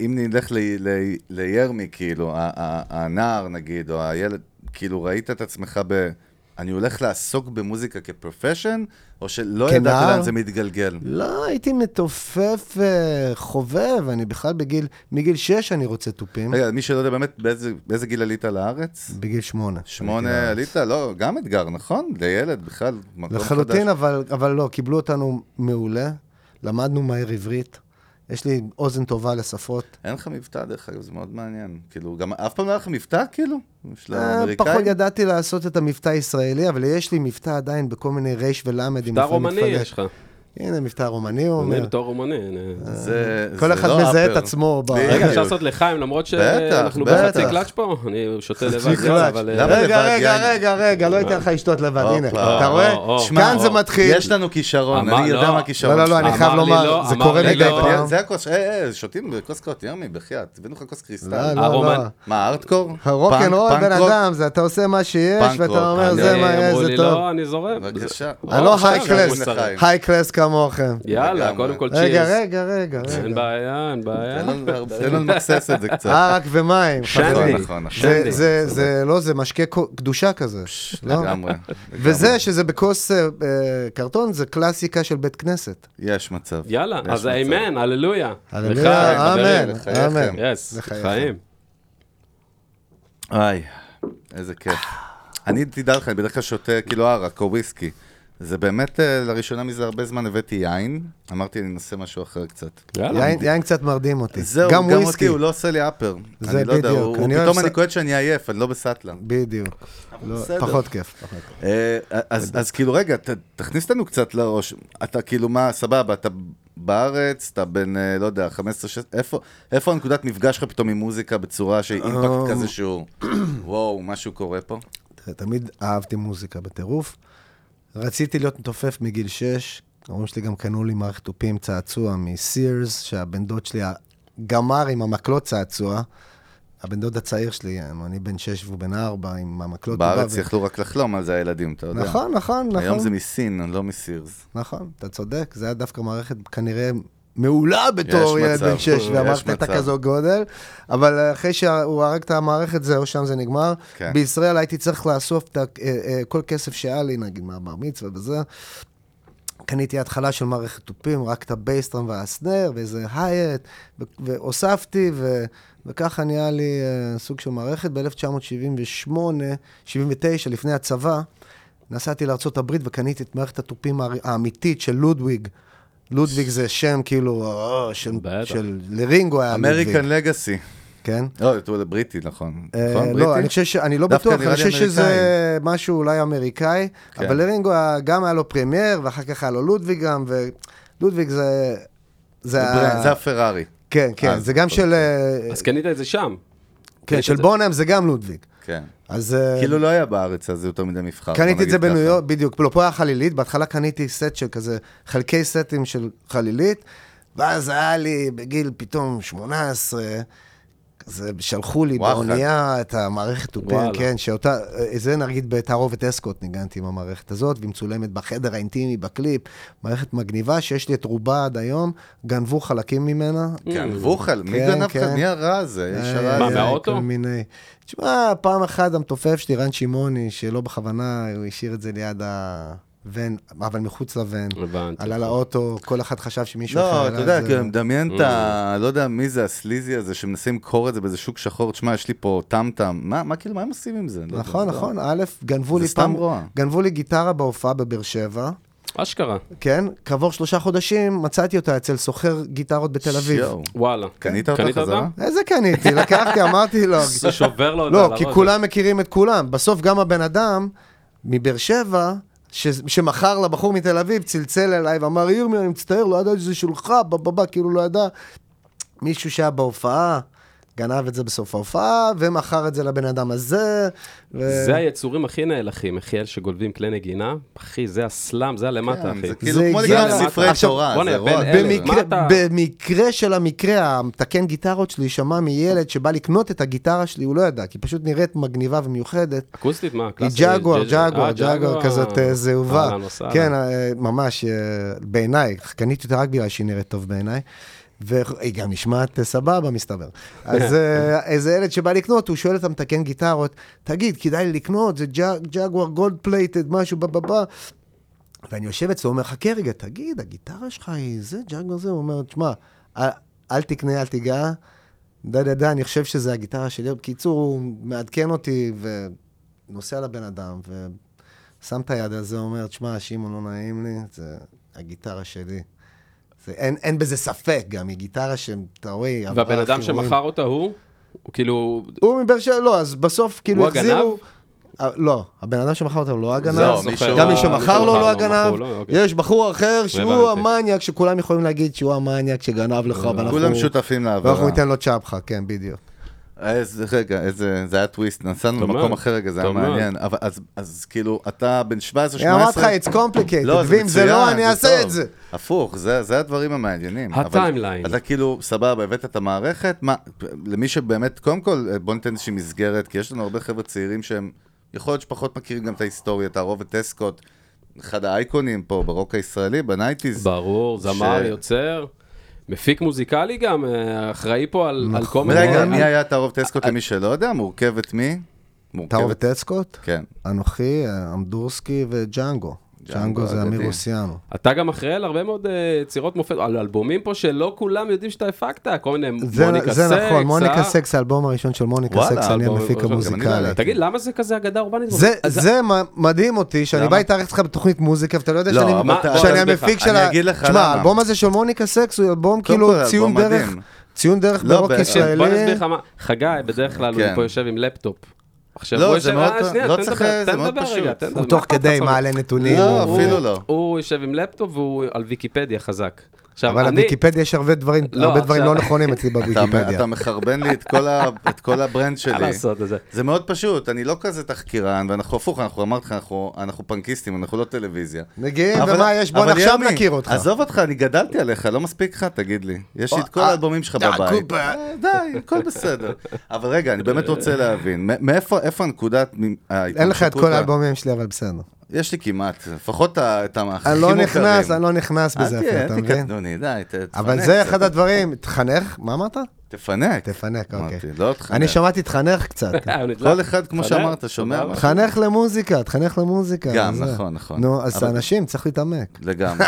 אם נלך ל- ל- לירמי, כאילו, ה- ה- הנער, נגיד, או הילד, כאילו, ראית את עצמך ב... אני הולך לעסוק במוזיקה כפרופשן, או שלא ידעת כנער? לאן זה מתגלגל? לא, הייתי מתופף אה, חובב, אני בכלל בגיל, מגיל שש אני רוצה תופים. רגע, מי שלא יודע באמת, באיזה- באיזה גיל עלית לארץ? בגיל שמונה. שמונה עלית? לא, גם אתגר, נכון? לילד בכלל, מקום חדש. לחלוטין, אבל, אבל לא, קיבלו אותנו מעולה, למדנו מהר עברית, יש לי אוזן טובה לשפות. אין לך מבטא, דרך אגב, זה מאוד מעניין. כאילו, גם אף פעם לא היה לך מבטא, כאילו? של אה, האמריקאים? פחות ידעתי לעשות את המבטא הישראלי, אבל יש לי מבטא עדיין בכל מיני רייש ולמד. מבטא רומני יש לך. הנה, מבטא רומני, הוא אני אומר. בתור רומני. אני- אה, זה זה כל אחד לא מזהה את אפר. עצמו. ב- רגע, בדיוק. אפשר לעשות לחיים, למרות בטח, שאנחנו בטח. בחצי קלאץ' פה? אני שותה לבד. חצי יאללה, קלאץ'. אבל, אה, למה לבד רגע, רגע, יין? רגע, רגע, לא אתן לך לשתות לבד, הופה. הנה. או, אתה רואה? או, או. כאן או. זה מתחיל. יש לנו כישרון, אמר- אני יודע לא. מה הכישרון לא, לא, אני שלך. חייב אמר לי לומר, לא, זה אמר קורה לי מדי לא. פעם. זה הכוס, אה, אה, שותים בכוס קרות, ירמי, בחייאת, הבאנו לך כוס לא, קריסטל. לא, הרומן. לא. מה, ארטקור? פאנק, הרוקנרול פאנק בן רוק? אדם, זה אתה עושה מה שיש, פאנק רוק. ואתה אומר, אני- זה מה יש, אמרו זה לי טוב. לא, אני זורם. בבקשה. אה, זה- אני או, לא עכשיו היי זה קלאס. מוסריים. היי קלאס כמוכם. יאללה, לגמרי. קודם כל צ'ירס. רגע, רגע, רגע, אין רגע. בעיה, אין בעיה. תן לנו- תן לנו למקסס את זה קצת. ערק אה, ומים, חברים. שנדי. נכון, נכון. זה, שנדי. זה, זה, לא, זה משקה קו- קדושה כזה. לא? לגמרי. וזה שזה בכוס אה, אה, קרטון, זה קלאסיקה של בית כנסת. יש מצב. יאללה, יש אז מצב. אמן, הללויה. הללויה, לחיים, חברים. אמן, לחייכם. אמן. יס, לחייכם. חיים. איי, איזה כיף. אני, תדע לך, אני בדרך כלל שותה כאילו ערק אה, או וויסקי. זה באמת, אה, לראשונה מזה הרבה זמן הבאתי יין, אמרתי, אני אנסה משהו אחר קצת. יאללה. יין- יין קצת מרדים אותי. זהו, גם גם וויסקי. אותי, הוא לא עושה לי אפר. זה אני לא יודע, בדיוק, הוא- אני הוא- אוהב פתאום ס- אני קולט שאני עייף, אני לא בסאטלה. בדיוק. לא, בסדר. פחות כיף. פחות. אה, אז אז כאילו, רגע, ת- תכניס אותנו קצת לראש. אתה כאילו, מה, סבבה, אתה בארץ, אתה בן, אה, לא יודע, 15, 16, איפה- איפה הנקודת מפגש שלך פתאום עם מוזיקה בצורה שהיא אימפקט כזה שהוא, וואו, משהו קורה פה? תראה, תמיד אהבתי מוזיקה בטירוף. רציתי להיות מתופף מגיל 6. ההורים שלי גם קנו לי מערכת תופים צעצוע מסירס, שהבן דוד שלי גמר עם המקלות צעצוע. הבן דוד הצעיר שלי, אני בן 6 והוא בן 4, עם המקלות. הוא בא בארץ ו- יכלו רק לחלום על זה הילדים, אתה יודע. נכון, נכון, נכון. היום זה מסין, לא מסירס. נכון, אתה צודק, זה היה דווקא מערכת כנראה מעולה בתור יש ילד מצב, בן שש, יש ואמרת את מצב. הכזו גודל, אבל אחרי שהוא הרג את המערכת זהו, שם זה נגמר. כן. בישראל הייתי צריך לאסוף את ה- אה, אה, כל כסף שהיה לי, נגיד מהבר מצווה וזה. קניתי התחלה של מערכת תופים, רק את הבייסטרם והסנר ואיזה הייט, ו- והוספתי, ו- וככה נהיה לי אה, סוג של מערכת. ב-1978, 79, לפני הצבא, נסעתי לארה"ב וקניתי את מערכת התופים הר- האמיתית של לודוויג. לודוויג זה שם כאילו, אה, של, בטח. של לרינגו היה לודוויג. אמריקן לגאסי. כן? לא, זה בריטי, נכון. אה, נכון, לא, בריטי? אני חושב ש... אני לא דווקא בטוח, נראה אני לי חושב שזה משהו אולי אמריקאי, כן. אבל לרינגו היה- גם היה לו פרמייר, ואחר כך היה לו לודוויג גם, ולודוויג זה... זה ה- זה הפרארי. כן, כן, אה, זה גם של... אה, אז קנית את זה שם. כן, קנית של את זה. בונאם זה גם לודוויג. כן. אז... אה, כאילו לא היה בארץ אז יותר מדי מבחר. בוא קניתי את נגיד זה בניו ככה. יורק, בדיוק, לא, פה היה חלילית, בהתחלה קניתי סט של כזה, חלקי סטים של חלילית, ואז היה לי בגיל פתאום 18, כזה שלחו לי וואחד. באונייה את המערכת תופים, וואלה. כן, שאותה, אה, זה נגיד בתערובת אסקוט ניגנתי עם המערכת הזאת, והיא מצולמת בחדר האינטימי, בקליפ, מערכת מגניבה שיש לי את רובה עד היום, גנבו חלקים ממנה, כן, ווחל, מי כן, גנב לך? כן. מי הרע הזה? איש הרע מה, הזה. מהאוטו? כל מיני. תשמע, פעם אחת המתופף שלי, רן שמעוני, שלא בכוונה, הוא השאיר את זה ליד הוון, אבל מחוץ לוון. הבנתי. עלה לאוטו, כל אחד חשב שמישהו לא, אחר אתה עלה יודע, זה. כאילו, מדמיין את Mm. ה... לא יודע מי זה הסליזי הזה שמנסים למכור את זה באיזה שוק שחור, תשמע, יש לי פה טמטם. מה, מה כאילו, מה הם עושים עם זה? לא נכון, יודע. נכון, א', גנבו זה לי סתם פעם, רוע. גנבו לי גיטרה בהופעה בבאר שבע, אשכרה. כן? כעבור שלושה חודשים מצאתי אותה אצל סוחר גיטרות בתל אביב. יואו. וואלה. קנית אותה חזרה? איזה קניתי? לקחתי, אמרתי לו. זה שובר לו את לא, הראש. כי כולם מכירים את כולם. בסוף גם הבן אדם מבאר שבע, ש- שמכר לבחור מתל אביב, צלצל אליי ואמר, ירמי, אני מצטער, לא ידעתי שזה שלך, בבבא, כאילו לא ידע. מישהו שהיה בהופעה, גנב את זה בסוף ההופעה, ומכר את זה לבן אדם הזה. ו- זה היצורים הכי נאלחים, יחיאל, שגונבים כלי נגינה. אחי, זה הסלאם, זה הלמטה, כן, אחי. זה כאילו זה כמו הגיע לגמרי למטה. ספרי עכשיו, תורה, בוא'נה, זה בן רוע. אלף. טרף. מה במקרה, אתה- במקרה של המקרה, המתקן גיטרות שלי שמע מילד שבא לקנות את הגיטרה שלי, הוא לא ידע, כי פשוט נראית מגניבה ומיוחדת. אקוסטית, מה? היא קלאסית? ג'גואר, ג'ג'ר. ג'גואר, אה, ג'גואר כזאת אה, זהובה. אהלן וסהלן. כן, אה, ממש, אה, בעיניי, קניתי אותה רק בגלל שהיא נראית טוב בעיניי. והיא גם נשמעת אה, סבבה, מסתבר. אז אה, איזה ילד שבא לקנות, הוא שואל את המתקן גיטרות, תגיד, כדאי לי לקנות? זה ג'ג- ג'גואר גולד פלייטד, משהו בבבא. ואני יושב אצלו, הוא אומר, חכה רגע, תגיד, הגיטרה שלך היא זה, ג'אגו זה? הוא אומר, תשמע, אל, אל תקנה, אל תיגע, דה דה דה, אני חושב שזה הגיטרה שלי. בקיצור, הוא מעדכן אותי ונוסע לבן אדם, ושם את היד על זה, אומר, תשמע, שמעון, לא נעים לי, זה הגיטרה שלי. זה, אין, אין בזה ספק גם, היא גיטרה שאתה רואה, היא עברה והבן אדם חיבורים. שמכר אותה הוא, הוא כאילו... הוא מבאר שבע, לא, אז בסוף כאילו הוא הגנב? החזירו... אה, לא, הבן אדם שמכר אותו לא הגנב, זהו, גם מישהו- גם מי מישהו שמכר לו לא הגנב, מכרו לו, אוקיי. יש בחור אחר שהוא הבנתי. המניאק, שכולם יכולים להגיד שהוא המניאק שגנב לך, ואנחנו- כולם אה. שותפים ואנחנו לעבירה. ניתן לו צ'פחה, כן, בדיוק. איזה, רגע, איזה, זה היה טוויסט, נסענו טוב למקום מאוד. אחר רגע, זה היה טוב מאוד. מעניין. אבל אז- אז כאילו, אתה בן 17, אני 18... אמרתי לך, it's complicated, לא, ואם זה לא, מצוין, אני אעשה טוב. את זה. הפוך, זה, זה הדברים המעניינים. הטיימליין. אבל אתה כאילו, סבבה, הבאת את המערכת, מה, למי שבאמת, קודם כל, בוא ניתן איזושהי מסגרת, כי יש לנו הרבה חבר'ה צעירים שהם, יכול להיות שפחות מכירים גם את ההיסטוריה, תערובת אסקוט, אחד האייקונים פה ברוק הישראלי, בנייטיז. ברור, זמר, ש- יוצר. מפיק מוזיקלי גם, אה, אחראי פה על נכון. על כל מיני... רגע, על- מי היה תערובת אה, אסקוט למי שלא יודע? מורכבת מי? אתה אוהב את אסקוט? כן. אנוכי, אה, אמדורסקי וג'אנגו. ג'אנגו זה אמיר אגדי. אוסיאנו. אתה גם אחראי על הרבה מאוד אה, יצירות מופת, על אלבומים פה שלא כולם יודעים שאתה הפקת, כל מיני זה, מוניקה זה סקס. נכון, מוניקה אה? סקס, האלבום הראשון של מוניקה וואלה, סקס, אני אלבום המפיק ראשון, גם אני לא המוזיקלי. ידעתי. תגיד, למה זה כזה אגדה אורבנית? זה, אז- זה מ- מדהים אותי, שאני למה? בא להתארח איתך בתוכנית מוזיקה, ואתה לא יודע לא, שאני, אבל אתה- שאני אני המפיק אגיד של לך- ה... אני אגיד לך תשמע, למה. האלבום הזה של מוניקה סקס הוא אלבום קודם כל, כאילו אלבום ציון דרך, מדהים. ציון דרך לא, ברוק ב- ישראלי. בוא נסביר לך מה, חגי בדרך כלל הוא כן. פה יושב עם לפטופ. עכשיו לא, הוא זה יושב, מאוד אה, פ- שנייה, לא תן צריך, לדבר, זה תן מאוד לדבר פשוט. רגע, תן לדבר. הוא מה תוך אכפת כדי לך? מעלה נתונים. לא, הוא- אפילו לא. הוא יושב עם לפטופ והוא על ויקיפדיה חזק. עכשיו, אבל אני- בוויקיפדיה יש הרבה דברים, לא, הרבה דברים עכשיו- לא נכונים אצלי אתה- בוויקיפדיה. אתה מחרבן לי את כל ה- את כל הברנד מה שלי. לעשות את זה? זה מאוד פשוט, אני לא כזה תחקירן, ואנחנו הפוך, אנחנו אמרתי לך, אנחנו- אנחנו פנקיסטים, אנחנו לא טלוויזיה. מגיעים, אבל- ומה יש? בוא אבל עכשיו יוני, נכיר אותך. עזוב אותך, אני גדלתי עליך, לא מספיק לך, תגיד לי. יש לי את כל אה, האלבומים שלך די, בבית. קופה. אה, די, הכל בסדר. אבל רגע, אני באמת רוצה להבין, מ- מאיפה איפה הנקודת... מ- אין לך את ההתממשקות כל ה- האלבומים שלי, אבל בסדר. יש לי כמעט, לפחות ה- את המ- הכי אני מוכרים. לא נכנס, אני לא נכנס בזה אפילו, אתה אל מבין? תהיה, תקדוני, די, ת- תפנק. אבל זה קצת. אחד הדברים, תחנך, מה אמרת? תפנק. תפנק, אוקיי. אמרתי, לא תחנך. אני שמעתי תחנך קצת. אה, הוא נדלק. כל אחד, כמו תחנך, שאמרת, שומע תודה משהו. תחנך למוזיקה, תחנך למוזיקה. גם, זה. נכון, נכון. נו, אז אבל- אנשים, צריך להתעמק. לגמרי.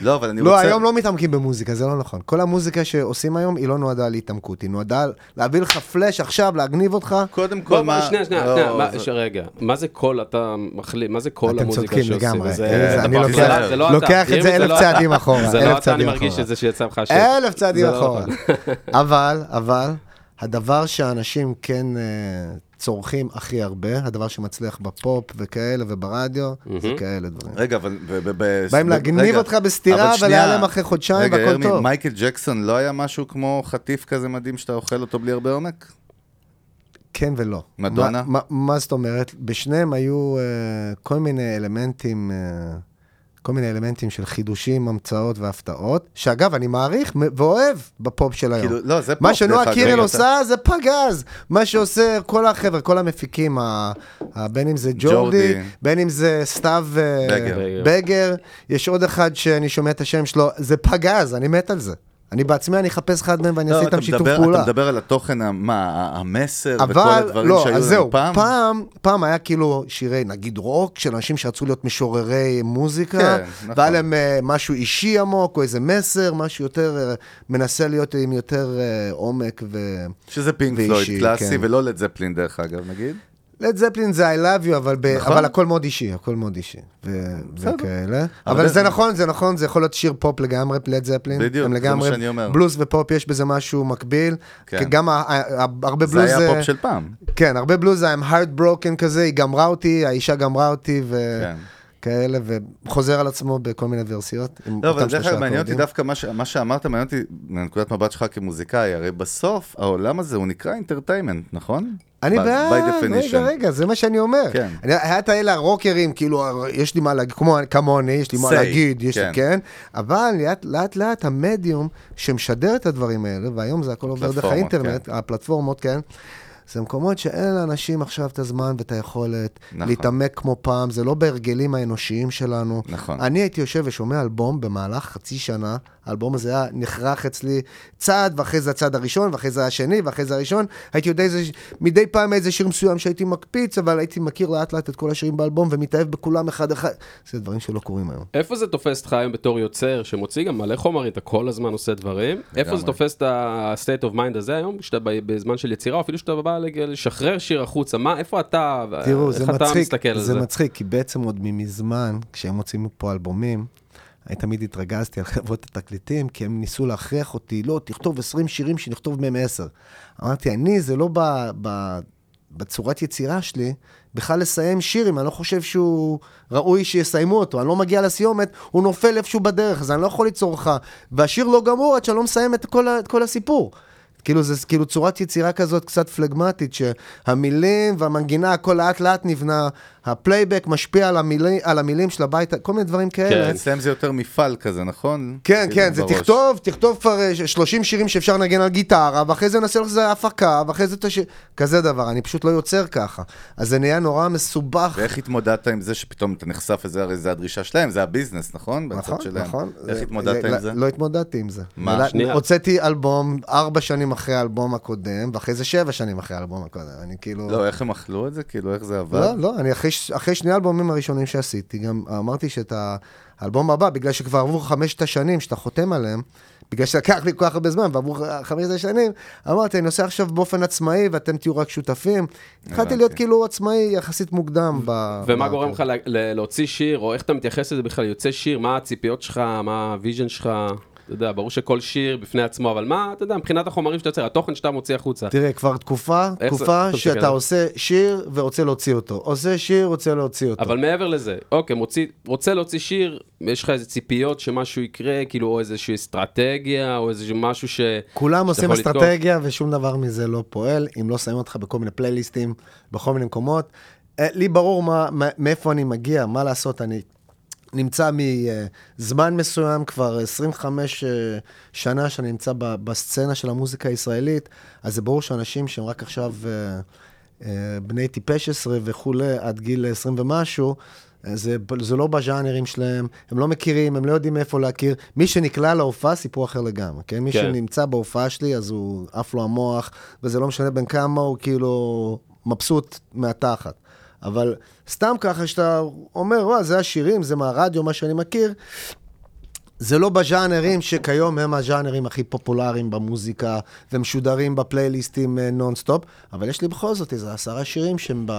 לא, אבל אני רוצה... לא, היום לא מתעמקים במוזיקה, זה לא נכון. כל המוזיקה שעושים היום, היא לא נועדה להתעמקות, היא נועדה להביא לך פלאש עכשיו, להגניב אותך. קודם כל, בוא, מה... בוא, שנייה, לא, שנייה, שנייה, מה- זה- שרגע, מה זה כל, אתה מחליט, מה זה כל אתם המוזיקה צודקים שעושים? לגמרי. זה- אה, זה אני דבר לוקח- חדש, זה לא אתה. לוקח את אם זה אלף לא צעדים אתה. אחורה, זה אלף לא אתה, אני צעדים מרגיש אחורה. את זה שיצא לך השם. אלף צעדים זה לא אחורה. נכון. אבל, אבל, הדבר שאנשים כן אה, צורכים הכי הרבה, הדבר שמצליח בפופ וכאלה וברדיו, זה כאלה דברים. רגע, אבל... ב- ב- ב- באים ב- להגניב רגע, אותך בסטירה אבל שנייה, ולהיעלם אחרי חודשיים רגע, והכל ירמי, טוב. מייקל ג'קסון לא היה משהו כמו חטיף כזה מדהים שאתה אוכל אותו בלי הרבה עומק? כן ולא. מדונה? מה, מה, מה זאת אומרת? בשניהם היו אה, כל מיני אלמנטים, אה, כל מיני אלמנטים של חידושים, המצאות והפתעות, שאגב, אני מעריך מ- ואוהב בפופ של היום. כאילו, לא, זה פופ, מה דרך שנועה אגב. קירל רגע, עושה זה פגז. מה שעושה כל החבר'ה, כל המפיקים, ה- ה- בין אם זה ג'ורדי, ג'ורדי. בין אם זה סתיו אה, בגר. בגר, יש עוד אחד שאני שומע את השם שלו, זה פגז, אני מת על זה. אני בעצמי, אני אחפש אחד מהם ואני לא, אעשה אתה איתם שיתוף מדבר- פעולה. אתה מדבר על התוכן, ה- מה, ה- המסר וכל אבל הדברים לא, שהיו אז לנו זהו, פעם? פעם? פעם, פעם היה כאילו שירי נגיד רוק של אנשים שרצו להיות משוררי מוזיקה, כן, כן, נכון. והיה להם אה, משהו אישי עמוק או איזה מסר, משהו יותר, אה, מנסה להיות עם יותר אה, עומק ו... שזה פינק ואישי, פלויד קלאסי, כן. ולא לד זפלין דרך אגב, נגיד. לד זפלין זה I love you, אבל, ב... נכון. אבל הכל מאוד אישי, הכל מאוד אישי, ו... וכאלה. אבל, אבל- זה נכון, זה נכון, זה יכול להיות שיר פופ לגמרי, לד זפלין. בדיוק, הם זה מה לגמרי שאני אומר. בלוז ופופ, יש בזה משהו מקביל. כן. כן. כי גם ה... ה... ה... הרבה זה בלוז... היה אה, הפופ של פעם. כן, הרבה בלוז I'm heartbroken כזה, היא גמרה אותי, האישה גמרה אותי כן. וכאלה, וחוזר על עצמו בכל מיני ורסיות. עם לא, אבל דרך אותם שלושה אגב, מעניין אותי אקורדים. דווקא מה ש- מה שאמרת, מעניין אותי מנקודת מבט שלך כמוזיקאי, הרי בסוף העולם הזה הוא נקרא אינטרטיימנט, נכון? אני By- by בעד, definition. רגע, רגע, זה מה שאני אומר. כן. אני- היה את האלה הרוקרים, כאילו, יש לי מה להגיד, כמו- כמוני, יש לי מה Say, להגיד, יש לי, כן. כן, אבל לאט- לאט לאט המדיום שמשדר את הדברים האלה, והיום זה הכל עובר דרך פלטפורמות, האינטרנט, כן. הפלטפורמות, כן. זה מקומות שאין לאנשים עכשיו את הזמן ואת היכולת נכון. להתעמק כמו פעם, זה לא בהרגלים האנושיים שלנו. נכון. אני הייתי יושב ושומע אלבום במהלך חצי שנה, האלבום הזה היה נחרך אצלי צעד, ואחרי זה הצעד הראשון, ואחרי זה השני, ואחרי זה הראשון. הייתי יודע איזה, מדי פעם איזה שיר מסוים שהייתי מקפיץ, אבל הייתי מכיר לאט לאט את כל השירים באלבום, ומתאהב בכולם אחד אחד. זה דברים שלא קורים היום. איפה זה תופס אותך היום בתור יוצר שמוציא גם מלא חומרים, אתה כל הזמן עושה דברים? איפה זה תופס את ה-state of mind הזה היום, כשאתה ב- בזמן של יצירה, או אפילו שאתה בא לג- לשחרר שיר החוצה, מה, איפה אתה, תראו, איך זה אתה מצחיק, מסתכל על זה זה? מצחיק, כי בעצם עוד ממזמן, כשהם מוצאים פה אלבומים, אני תמיד התרגזתי על חברות התקליטים, כי הם ניסו להכריח אותי, לא, תכתוב 20 שירים שנכתוב מהם 10. אמרתי, אני, זה לא ב, ב, בצורת יצירה שלי, בכלל לסיים שיר, אם אני לא חושב שהוא ראוי שיסיימו אותו, אני לא מגיע לסיומת, הוא נופל איפשהו בדרך, אז אני לא יכול ליצור לך, והשיר לא גמור עד שאני לא מסיים את כל, ה- את כל הסיפור. כאילו זה כאילו צורת יצירה כזאת קצת פלגמטית, שהמילים והמנגינה, הכל לאט לאט נבנה, הפלייבק משפיע על, המילי, על המילים של הבית, כל מיני דברים כאלה. כן. אצלם זה יותר מפעל כזה, נכון? כן, כאילו כן, זה בראש. תכתוב, תכתוב כבר אה, ש- 30 שירים שאפשר לנגן על גיטרה, ואחרי זה נעשה לך איזה הפקה, ואחרי זה תש... כזה דבר, אני פשוט לא יוצר ככה. אז זה נהיה נורא מסובך. ואיך התמודדת עם זה שפתאום אתה נחשף לזה, הרי זה הדרישה שלהם, זה הביזנס, נכון? בצד נכון, שלהם. נכון. איך זה- התמודדת לא- עם זה? לא התמודדתי עם זה. מה? אלא- שנייה. הוצאתי אלבום ארבע שנים אחרי האלבום הקודם, ואחרי זה שבע שנים אחרי האלבום הקודם. אני כאילו... לא, איך הם לא, אכלו את זה? כאילו, איך זה עבד? לא, לא, אני אחרי ש- אחרי שני האלבומים הראשונים שעשיתי, גם אמרתי שאת האלבום הבא, בגלל שכבר עברו חמשת השנים שאתה חותם עליהם, בגלל שלקח לי כל כך הרבה זמן, ועברו ח- חמשת השנים, אמרתי, אני עושה עכשיו באופן עצמאי, ואתם תהיו רק שותפים. התחלתי להיות כאילו עצמאי יחסית מוקדם. ב- ומה ב- גורם לך ל- ל- להוציא שיר, או איך אתה מתייחס לזה בכלל, יוצא שיר, מה הציפיות שלך, מה הוויז'ן שלך, אתה יודע, ברור שכל שיר בפני עצמו, אבל מה, אתה יודע, מבחינת החומרים שאתה יוצר, התוכן שאתה מוציא החוצה. תראה, כבר תקופה, איך זה- תקופה טוב, שאתה תסתכל. עושה שיר ורוצה להוציא אותו. עושה שיר, רוצה להוציא אותו. אבל מעבר לזה, אוקיי, מוציא, רוצה להוציא שיר, יש לך איזה ציפיות שמשהו יקרה, כאילו, או איזושהי אסטרטגיה, או איזשהו משהו ש... כולם שאתה עושים יכול לתקוף. אסטרטגיה ושום דבר מזה לא פועל, אם לא שמים אותך בכל מיני פלייליסטים, בכל מיני מקומות. אה, לי ברור מה, מה- מאיפה אני מגיע, מה לעשות, אני נמצא מזמן מסוים, כבר 25 אה, שנה שאני נמצא ב- בסצנה של המוזיקה הישראלית, אז זה ברור שאנשים שהם רק עכשיו אה, אה, בני טיפש עשרה וכולי, עד גיל 20 ומשהו, אה, זה, זה לא בז'אנרים שלהם, הם לא מכירים, הם לא יודעים מאיפה להכיר. מי שנקלע להופעה, סיפור אחר לגמרי, כן? מי כן. שנמצא... נמצא בהופעה שלי, אז הוא עף לו המוח, וזה לא משנה בין כמה, הוא כאילו מבסוט מהתחת. אבל סתם ככה שאתה אומר, וואה, זה השירים, זה מהרדיו, מה שאני מכיר, זה לא בז'אנרים שכיום הם הז'אנרים הכי פופולריים במוזיקה, ומשודרים בפלייליסטים אה, נונסטופ, אבל יש לי בכל זאת איזה עשרה שירים שהם ב...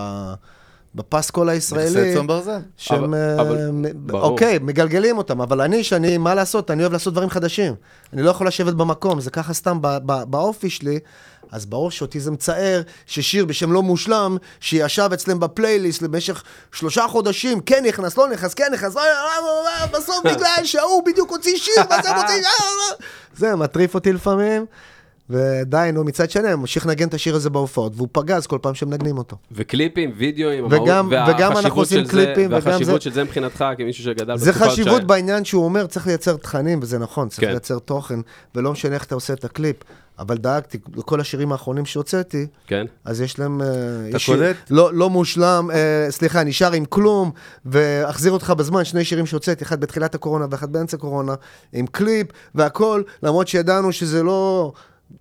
בפסקול הישראלי, נכסי צאן ברזל. שהם, אבל- אה, אבל- מ- ברור. אוקיי, מגלגלים אותם, אבל אני, שאני, מה לעשות, אני אוהב לעשות דברים חדשים. אני לא יכול לשבת במקום, זה ככה סתם ב- ב- באופי שלי, אז ברור שאותי זה מצער ששיר בשם לא מושלם, שישב אצלם בפלייליסט למשך שלושה חודשים, כן נכנס, לא נכנס, כן נכנס, אה, אה, אה, אה, בסוף בגלל שההוא בדיוק הוציא שיר, מה זה מוציא, אה, אה, אה. זה מטריף אותי לפעמים. ודי, נו, מצד שני, הוא ממשיך לנגן את השיר הזה בהופעות, והוא פגז כל פעם שמנגנים אותו. וקליפים, וידאוים, וגם- המהות, וגם אנחנו והחשיבות עושים של זה- קליפים, וגם והחשיבות זה- של זה מבחינתך, כמישהו שגדל זה בתקופה חשיבות ש- בעניין שהוא אומר, צריך לייצר תכנים, וזה נכון, צריך כן. לייצר תוכן, ולא משנה איך אתה עושה את הקליפ, אבל דאגתי, לכל השירים האחרונים שהוצאתי, כן. אז יש להם... אתה קולט? לא, לא מושלם, אה, סליחה, נשאר עם כלום, ואחזיר אותך בזמן, שני שירים שהוצאתי, אחד בתחילת הקורונה ואחד באמצע הקורונה, עם קליפ והכל, למרות שידענו שזה לא...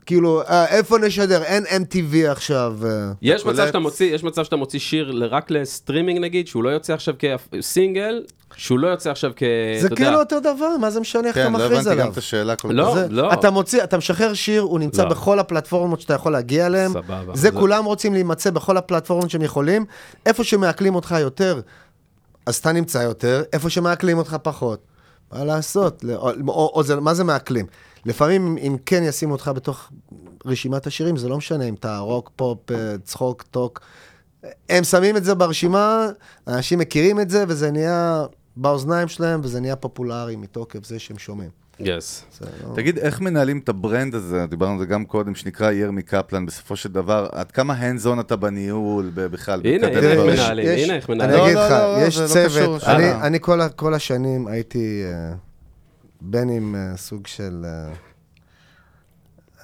כאילו, אה, איפה נשדר? אין MTV עכשיו. אה. יש קולט? מצב, שאתה מוציא, יש מצב שאתה מוציא שיר ל- רק לסטרימינג נגיד, שהוא לא יוצא עכשיו כסינגל, שהוא לא יוצא עכשיו כ... זה אתה יודע, כאילו אותו דבר, מה זה משנה איך אתה כן, לא מכריז עליו? הבנתי גם את השאלה כל לא, כך. זה, לא. אתה מוציא, אתה משחרר שיר, הוא נמצא לא. בכל הפלטפורמות שאתה יכול להגיע אליהן. סבבה. זה, זה- כולם רוצים להימצא בכל הפלטפורמות שהם יכולים. איפה שמעכלים אותך יותר, אז אתה נמצא יותר, איפה שמעכלים אותך פחות. מה לעשות? לא- או, או, או זה, מה זה מעכלים? לפעמים אם- אם כן ישימו אותך בתוך רשימת השירים, זה לא משנה אם אתה רוק, פופ, אה, צחוק, טוק. הם שמים את זה ברשימה, אנשים מכירים את זה, וזה נהיה באוזניים שלהם, וזה נהיה פופולרי מתוקף זה שהם שומעים. Yes. זה לא... תגיד, איך מנהלים את הברנד הזה, דיברנו על זה גם קודם, שנקרא ירמי קפלן, בסופו של דבר, עד כמה hands on אתה בניהול ב- בכלל? הנה, בקדם הנה, איך דברים? יש- כן, מנהלים, יש- הנה איך מנהלים. אני לא, אגיד לא, לך, לא, יש זה לא צוות, קשור, אני- שאלה. אני כל ה- כל השנים הייתי אה, בין עם אה, סוג של... אה,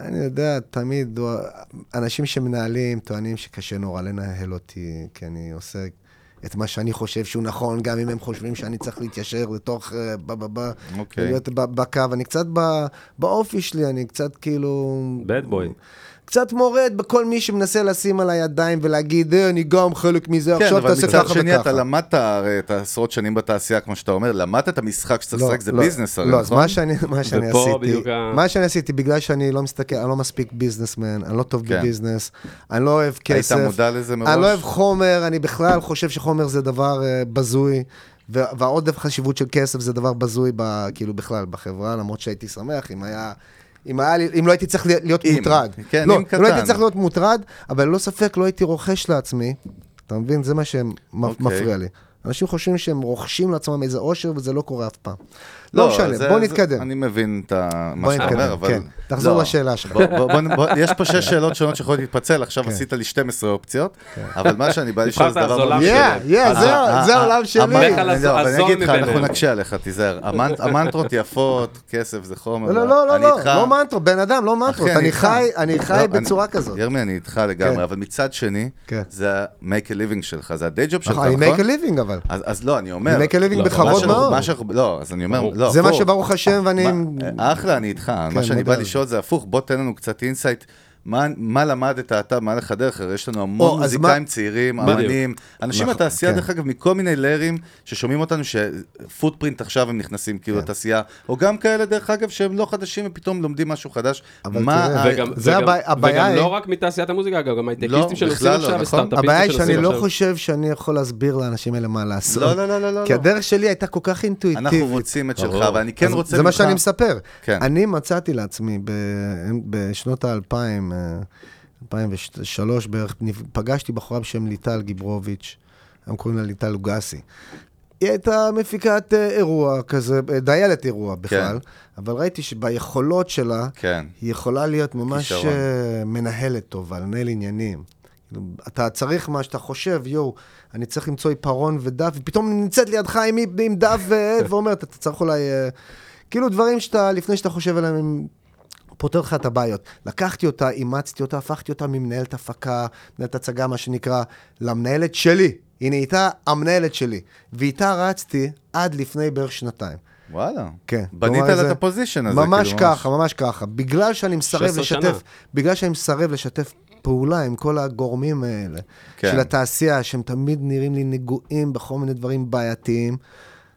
אני יודע, תמיד אה, אנשים שמנהלים טוענים שקשה נורא לנהל אותי, כי אני עושה את מה שאני חושב שהוא נכון, גם אם הם חושבים שאני צריך להתיישר לתוך... אה, ב- ב- ב- אוקיי. להיות ב- בקו. אני קצת ב- באופי שלי, אני קצת כאילו... bad boy. קצת מורד בכל מי שמנסה לשים עליי ידיים ולהגיד, "אה, אני גם חלק מזה, כן, עכשיו אבל תעשה ככה וככה. מצד שני, אתה למדת הרי את העשרות שנים בתעשייה, כמו שאתה אומר, למדת את המשחק שצריך לא, לשחק, זה לא, ביזנס הרי, לא, אז נכון? מה שאני, מה שאני ופה עשיתי, בדיוק ה- מה שאני עשיתי, בגלל שאני לא מסתכל, אני לא מספיק ביזנסמן, אני לא טוב כן. בביזנס, אני לא אוהב היית כסף. מודע לזה מראש? אני לא אוהב חומר, אני בכלל חושב שחומר זה דבר אה, בזוי, ו- והעודף חשיבות של כסף זה דבר בזוי, ב- כאילו בכלל, בחברה, למרות שהייתי שמח אם היה... אם, היה לי, אם לא הייתי צריך להיות אם. מוטרד. כן, לא, אם קטן. לא הייתי צריך להיות מוטרד, אבל ללא ספק לא הייתי רוכש לעצמי. אתה מבין? זה מה אוקיי. שמפריע לי. אנשים חושבים שהם רוכשים לעצמם איזה אושר, וזה לא קורה אף פעם. לא זה- משנה, בוא זה- נתקדם. אני מבין את ה- מה בוא שאתה נתקדם, אומר, אבל... כן. תחזור לא. לשאלה שלך. כן. בוא- בוא- בוא- בוא- יש פה שש שאלות שונות שיכולות להתפצל, עכשיו עשית לי 12 אופציות, אבל מה שאני בא לשאול זה נבחרת דבר... הזולה מאוד שלך. פשוט. יא, יא, אז כן. זה- ה- זה ה- העולם שלי. המנ- בדרך כלל אני לא, אבל אני הזול אגיד לך, מביניהם. אנחנו נקשה עליך, תיזהר. המנ- המנטרות יפות, כסף זה חומר. לא, לא, לא, אני לא, איתך. לא מנטרות, בן אדם, לא אחי, מנטרות. אני איתך. חי, אני חי לא, בצורה אני- כזאת. ירמי, אני איתך לגמרי, כן. אבל מצד שני, כן. זה ה-make a living שלך, זה ה-day job שלך, נכון, אני נכון? make a living אבל. אז, אז לא, אני אומר... אני make a living לא, בכבוד מה שאנחנו- מאוד. מה שאנחנו- לא, אז אני אומר, ברור. לא, זה מה הפוך. אה, שברוך השם ואני... נכון? מה- אחלה, אני איתך. מה שאני כן, מודה בא על זה. לשאול זה הפוך, בוא תן לנו קצת אינסייט. מה, מה למדת אתה במהלך הדרך? הרי יש לנו המון או, אז מוזיקאים מה- צעירים, בדיוק. אמנים, אנשים נכון, מהתעשייה, כן. דרך אגב, מכל מיני ליירים ששומעים אותנו, שפוטפרינט עכשיו הם נכנסים כאילו כן. לתעשייה, או גם כאלה, דרך אגב, שהם לא חדשים ופתאום לומדים משהו חדש. אבל מה... תראה, ה- וגם, אה, זה וגם, הבעיה- הבעיה וגם היא- לא רק מתעשיית המוזיקה, אגב, גם לא, הייטקיסטים שנוסעים בכלל לא, עכשיו, נכון. וסטארט-אפיסטים הבעיה היא שאני שנוסעים לא עכשיו. חושב שאני יכול להסביר לאנשים האלה מה לעשות. לא, לא, לא, לא, לא. כי לא. הדרך שלי הייתה כל כך אינטואיטיבית. אנחנו רוצים את שלך, ברור. ואני כן אז רוצה זה מה שאני מספר. כן. אני מצאתי לעצמי ב... בשנות האלפיים, אה, 2003 בערך, נפ- פגשתי בחורה בשם ליטל גיברוביץ', היום קוראים לה ליטל לוגסי. היא הייתה מפיקת אה, אירוע כזה, אה, דיילת אירוע בכלל, אבל ראיתי שביכולות שלה, כן. היא יכולה להיות ממש כישרון. אה, מנהלת טובה, לנהל עניינים. כאילו, אתה צריך מה שאתה חושב, יואו, אני צריך למצוא עיפרון ודף, ופתאום היא נמצאת לידך עם, עם דף ועט ואומרת, אתה צריך אולי... אה, כאילו דברים שאתה, לפני שאתה חושב עליהם, הם פותר לך את הבעיות. לקחתי אותה, אימצתי אותה, הפכתי אותה ממנהלת הפקה, מנהלת הצגה, מה שנקרא, למנהלת שלי. היא נהייתה המנהלת שלי. ואיתה רצתי עד לפני בערך שנתיים. וואלה. כן. בנית כלומר, לה זה את הפוזיישן הזה. ממש כאילו, ככה, ממש ככה. בגלל שאני מסרב 16 שנה. לשתף, בגלל שאני מסרב לשתף פעולה עם כל הגורמים האלה, כן. של התעשייה, שהם תמיד נראים לי נגועים בכל מיני דברים בעייתיים.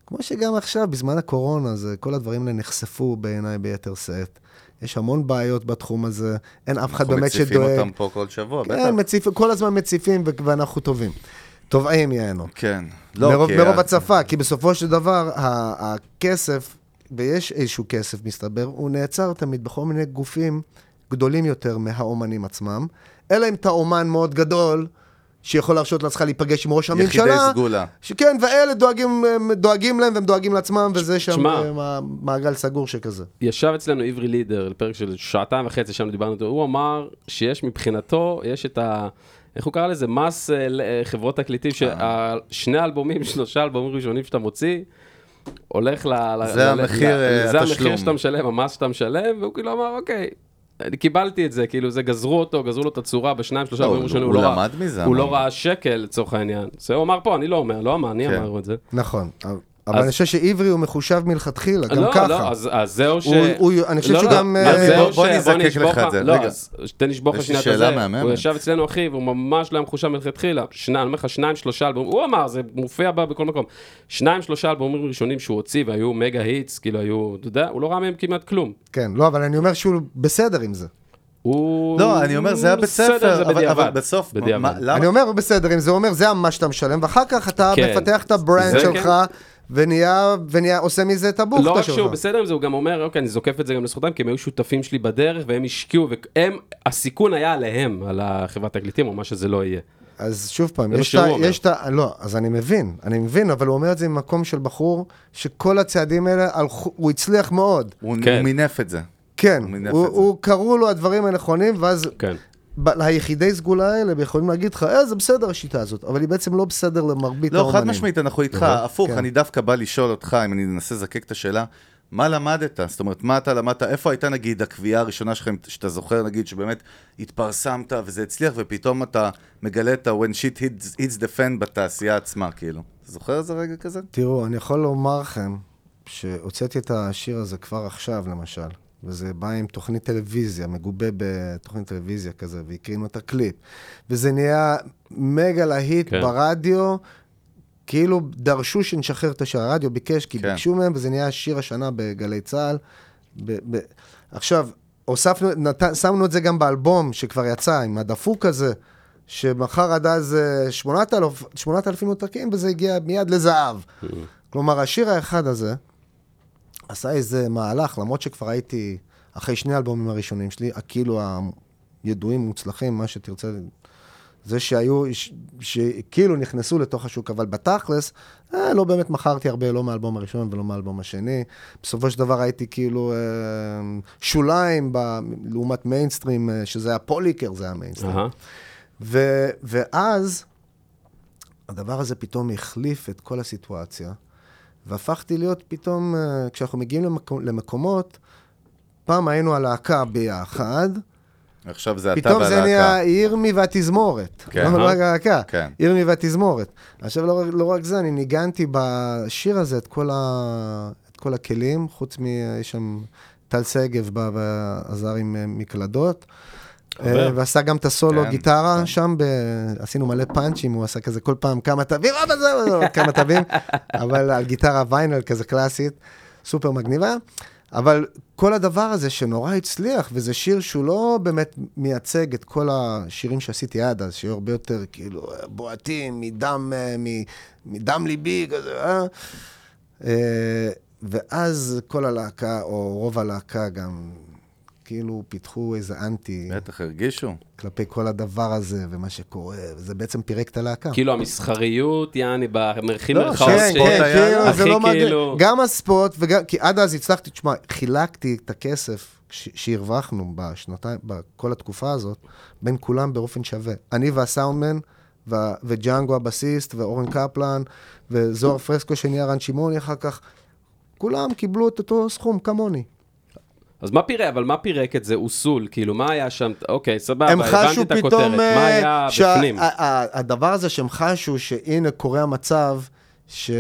כמו שגם עכשיו, בזמן הקורונה, זה, כל הדברים האלה נחשפו בעיניי ביתר שאת. יש המון בעיות בתחום הזה, אין אף אחד אנחנו באמת מציפים שדואג. אותם פה כל שבוע, בטח. כן, מציפ... כל הזמן מציפים ו- ואנחנו טובים. טובעים יענו. כן. לא, מרוב, כי מרוב ה- הצפה, כי בסופו של דבר, ה- הכסף, ויש איזשהו כסף, מסתבר, הוא נעצר תמיד בכל מיני גופים גדולים יותר מהאומנים עצמם, אלא אם אתה אומן מאוד גדול, שיכול להרשות לעצמך להיפגש עם ראש הממשלה. יחידי סגולה. שכן, ואלה דואגים, הם דואגים להם והם דואגים לעצמם, וזה שם תשמע. אה, מה- מעגל סגור שכזה. ישב אצלנו עברי לידר לפרק של שעתיים וחצי, שם דיברנו איתו, הוא אמר שיש מבחינתו, יש את ה... איך הוא קרא לזה? מס אה, ל- אה, חברות תקליטים, אה. ששני אלבומים, שלושה אלבומים ראשונים שאתה מוציא, הולך ל... ל- זה ל- המחיר, ל- אה, זה התשלום. המחיר שאתה משלם, המס שאתה משלם, והוא כאילו אמר, אוקיי. אני קיבלתי את זה, כאילו זה גזרו אותו, גזרו לו את הצורה בשניים, שלושה לא, אלבומים הוא- ראשונים, הוא לא ראה- למד מזה, הוא לא אמרנו. ראה שקל לצורך העניין. זה הוא אמר פה, אני לא אומר, לא אמר, אני כן. אמר את זה. נכון. אבל אני חושב שעברי הוא מחושב מלכתחילה, גם לא, ככה. לא, אז, אז זהו ש... הוא- הוא- אני חושב לא, לא, שגם, אז אה, זהו בוא- בוא ש- נזדקק נשבור לך את זה, לא, רגע. אז תן לשבור לך יש לי שנייה את שאלה הזה. מהממת. הוא ישב אצלנו, אחי, והוא ממש לא היה מחושב מלכתחילה. שניים, אני אומר לך, שניים, שלושה אלבומים. הוא אמר, זה מופיע בה בכל מקום. שניים, שלושה אלבומים ראשונים שהוא הוציא, והיו מגה היטס, כאילו היו, אתה יודע, הוא לא ראה מהם כמעט כלום. כן, לא, אבל אני אומר שהוא בסדר עם זה. הוא... לא, אני אומר, זה היה בית בסדר, ספר, זה אבל- בדיעבד. אבל בסוף, מה- בדיעבד. מה- למה? אני אומר, בסדר, אם זה אומר, זה מה שאתה משלם, ואחר כך אתה כן. מפתח את הברנד זה כן. שלך, ונהיה, ונהיה, עושה מזה את לא הבוכטה רק שלך. שהוא בסדר עם זה, הוא גם אומר, אוקיי, אני זוקף את זה גם לזכותם, כי הם היו שותפים שלי בדרך, והם השקיעו, והם, הסיכון היה עליהם, על החברת תקליטים, או מה שזה לא יהיה. אז שוב פעם, מה יש שהוא את ה- אומר. יש את ה... לא, אז אני מבין, אני מבין, אבל הוא אומר את זה ממקום של בחור, שכל הצעדים האלה, הלכו- הוא הצליח מאוד. הוא כן. הוא מינף את זה. כן, הוא מינף הוא- את זה. הוא קראו לו הדברים הנכונים, ואז כן. ב- היחידי סגולה האלה יכולים להגיד לך, אה, זה בסדר השיטה הזאת, אבל היא בעצם לא בסדר למרבית לא, האומנים. חד משמעית, אנחנו איתך, הפוך, כן. אני דווקא בא לשאול אותך, אם אני אנסה לזקק את השאלה, מה למדת? זאת אומרת, מה אתה למדת? איפה הייתה, נגיד, הקביעה הראשונה שלך, אם- שאתה זוכר, נגיד, שבאמת התפרסמת וזה הצליח, ופתאום אתה מגלה את ה-when shit hits- hits the fan בתעשייה עצמה, כאילו. אתה זוכר איזה רגע כזה? תראו, אני יכול לומר לכם שהוצאתי את השיר הזה כבר עכשיו, למשל, וזה בא עם תוכנית טלוויזיה, מגובה בתוכנית טלוויזיה כזה, והקרינו את הקליפ, וזה נהיה מגה להיט כן. כן. ברדיו. כאילו דרשו שנשחרר את השיר, הרדיו ביקש, כי כן. כן. ביקשו מהם, וזה נהיה שיר השנה בגלי צה"ל. ב- ב- עכשיו, הוספנו, נת... שמנו את זה גם באלבום שכבר יצא, עם הדפוק הזה, שמכר עד אז אה, 8,000 8,000 עותקים, וזה הגיע מיד לזהב. כלומר, השיר האחד הזה עשה איזה מהלך, למרות שכבר הייתי, אחרי שני האלבומים הראשונים שלי, הכאילו הידועים, מוצלחים, מה שתרצה, זה שהיו, ש- שכאילו נכנסו לתוך השוק, אבל בתכלס, אה, לא באמת מכרתי הרבה, לא מהאלבום הראשון ולא מהאלבום השני. בסופו של דבר הייתי כאילו אה, שוליים ב, לעומת מיינסטרים, אה, שזה היה פוליקר, זה היה מיינסטרים. אהה. ו, ואז הדבר הזה פתאום החליף את כל הסיטואציה, והפכתי להיות פתאום, אה, כשאנחנו מגיעים למקום, למקומות, פעם היינו הלהקה ביחד, עכשיו זה אתה פתאום זה והלהקה. נהיה ירמי והתזמורת. כן. כן. לא רק הלהקה, כן. ירמי והתזמורת. עכשיו, לא, רק- לא רק זה, אני ניגנתי בשיר הזה את כל, ה, את כל הכלים, חוץ מ... יש שם טל שגב בא ועזר עם אה, מקלדות. אה, ועשה גם את הסולו כן, גיטרה שם, ב... עשינו מלא פאנצ'ים, הוא עשה כזה כל פעם כמה תווים, אבא זהו, זהו, כמה תווים, אבל על גיטרה ויינל כזה קלאסית, סופר מגניבה. אבל כל הדבר הזה שנורא הצליח, וזה שיר שהוא לא באמת מייצג את כל השירים שעשיתי עד אז, שיהיו הרבה יותר כאילו אה, בועטים, מדם, אה, מ- מדם ליבי, כזה, אה? אה, ואז כל הלהקה, או רוב הלהקה גם, כאילו פיתחו איזה אנטי בטח הרגישו. כלפי כל הדבר הזה, ומה שקורה, וזה בעצם פירק את הלהקה. כאילו המסחריות, יעני, במרחים לא, מרכאות כן, כן, ש- הספורט כן, היה- כאילו, זה הכי לא מגניב. כאילו- גם הספורט, וגם, כי עד אז הצלחתי, תשמע, חילקתי את הכסף ש- שהרווחנו בשנתיים, בכל התקופה הזאת, בין כולם באופן שווה. אני והסאונדמן, וה- וג'אנגו הבסיסט, ואורן קפלן, וזוהר פרסקו שנהיה רן שמעוני אחר כך, כולם קיבלו את אותו סכום כמוני. אז מה פירק, אבל מה פירק את זה? אוסול, כאילו, מה היה שם? אוקיי, סבבה, הם הבנתי חשו את הכותרת, פתאום, אה, מה היה בפנים? שהדבר הזה שהם חשו, שהנה קורה המצב, ש...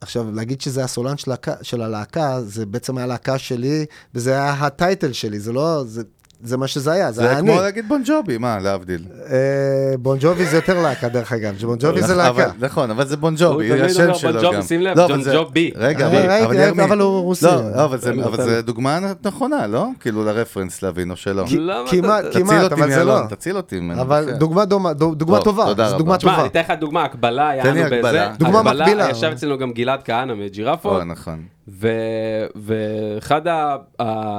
עכשיו, להגיד שזה הסולן של, הלהקה- של הלהקה, זה בעצם היה להקה שלי, וזה היה הטייטל שלי, זה לא... זה, זה מה שזה היה, זה, זה היה היה אני. כמו להגיד בון ג'ובי, מה, להבדיל. אה, בון ג'ובי זה יותר להקה, דרך אגב, בון ג'ובי זה אבל- להקה. נכון, אבל זה בון הוא תמיד ג'ובי, השם אומר בון שלו ג'ובי, גם. שים לב, לא, אבל ג'ון זה- ג'ובי. רגע, אה, אבל- ראיתי, אבל ראיתי, ירמי- אבל הוא רוסי. לא, אבל זה- אני אבל נותן זה דוגמה נכונה, לא? כאילו לרפרנס להבין, או שלא. למה אתה- כמעט, תציל כמעט, אותי אבל זה לא. מאלון, תציל אותי ממנו. אבל בסדר. דוגמה דומה, דו- דוגמה טוב, טובה, תודה זו רבה. דוגמה תשמע, טובה. אני אתן לך דוגמה, הקבלה, תן לי יענו בזה. הקבלה. דוגמה הקבלה, מקבילה. ישב אצלנו גם גלעד כהנא מג'ירפות, או, נכון. ו- ואחד ה-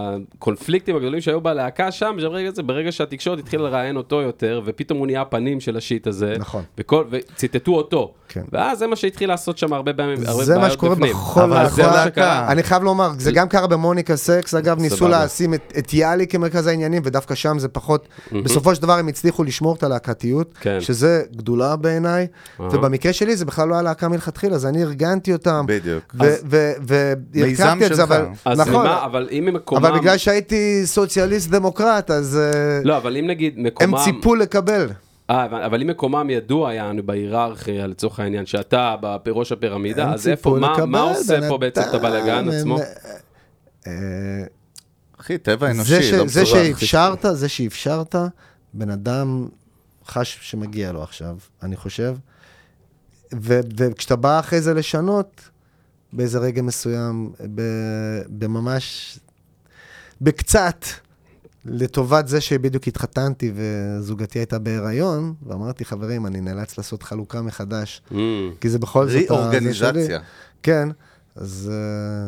הקונפליקטים הגדולים שהיו בלהקה שם, זה ברגע זה, ברגע שהתקשורת התחילה לראיין אותו יותר, ופתאום הוא נהיה הפנים של השיט הזה. נכון. וכל- וציטטו אותו. כן. ואז זה מה שהתחיל לעשות שם הרבה פעמים, הרבה בעיות בפנים. זה מה שקורה בכל אבל זה הלהקה. להקה. אני חייב לומר, זה גם קרה במוניקה סקס, אגב, ניסו סבבה. לשים את את יאלי כמרכז העניינים, ודווקא שם זה פחות, בסופו של דבר הם הצליחו לשמור את הלהקתיות, כן. שזה גדולה בעיניי, ובמקרה שלי זה בכלל לא היה להקה מלכתחילה, אז אני ארגנתי אותם. בדיוק. ו- ו- ו- מיזם והרכבתי את זה, שלך. אבל... אז נכון, מה, אבל אם מקומם... אבל בגלל שהייתי סוציאליסט דמוקרט, אז אה, לא, אבל אם נגיד הם מקומם... ציפו לקבל. אה, הבנ- אבל אם מקומם ידוע, יענו, בהיררכיה, לצורך העניין, שאתה בראש הפירמידה, הם אז איפה, ציפו מה- לקבל, מה עושה בן פה בעצם את אדם, הבלאגן הם- עצמו? אה, אחי, טבע זה, אנושי, ש, לא זה בצורה הכי- שאפשרת, זה שאפשרת, בן אדם חש שמגיע לו עכשיו, אני חושב. ו, וכשאתה בא אחרי זה לשנות, באיזה רגע מסוים, ב, בממש, בקצת, לטובת זה שבדיוק התחתנתי וזוגתי הייתה בהיריון, ואמרתי, חברים, אני נאלץ לעשות חלוקה מחדש, Mm. כי זה בכל זאת... ה- זה שלי." ריאורגניזציה. כן, אז אה,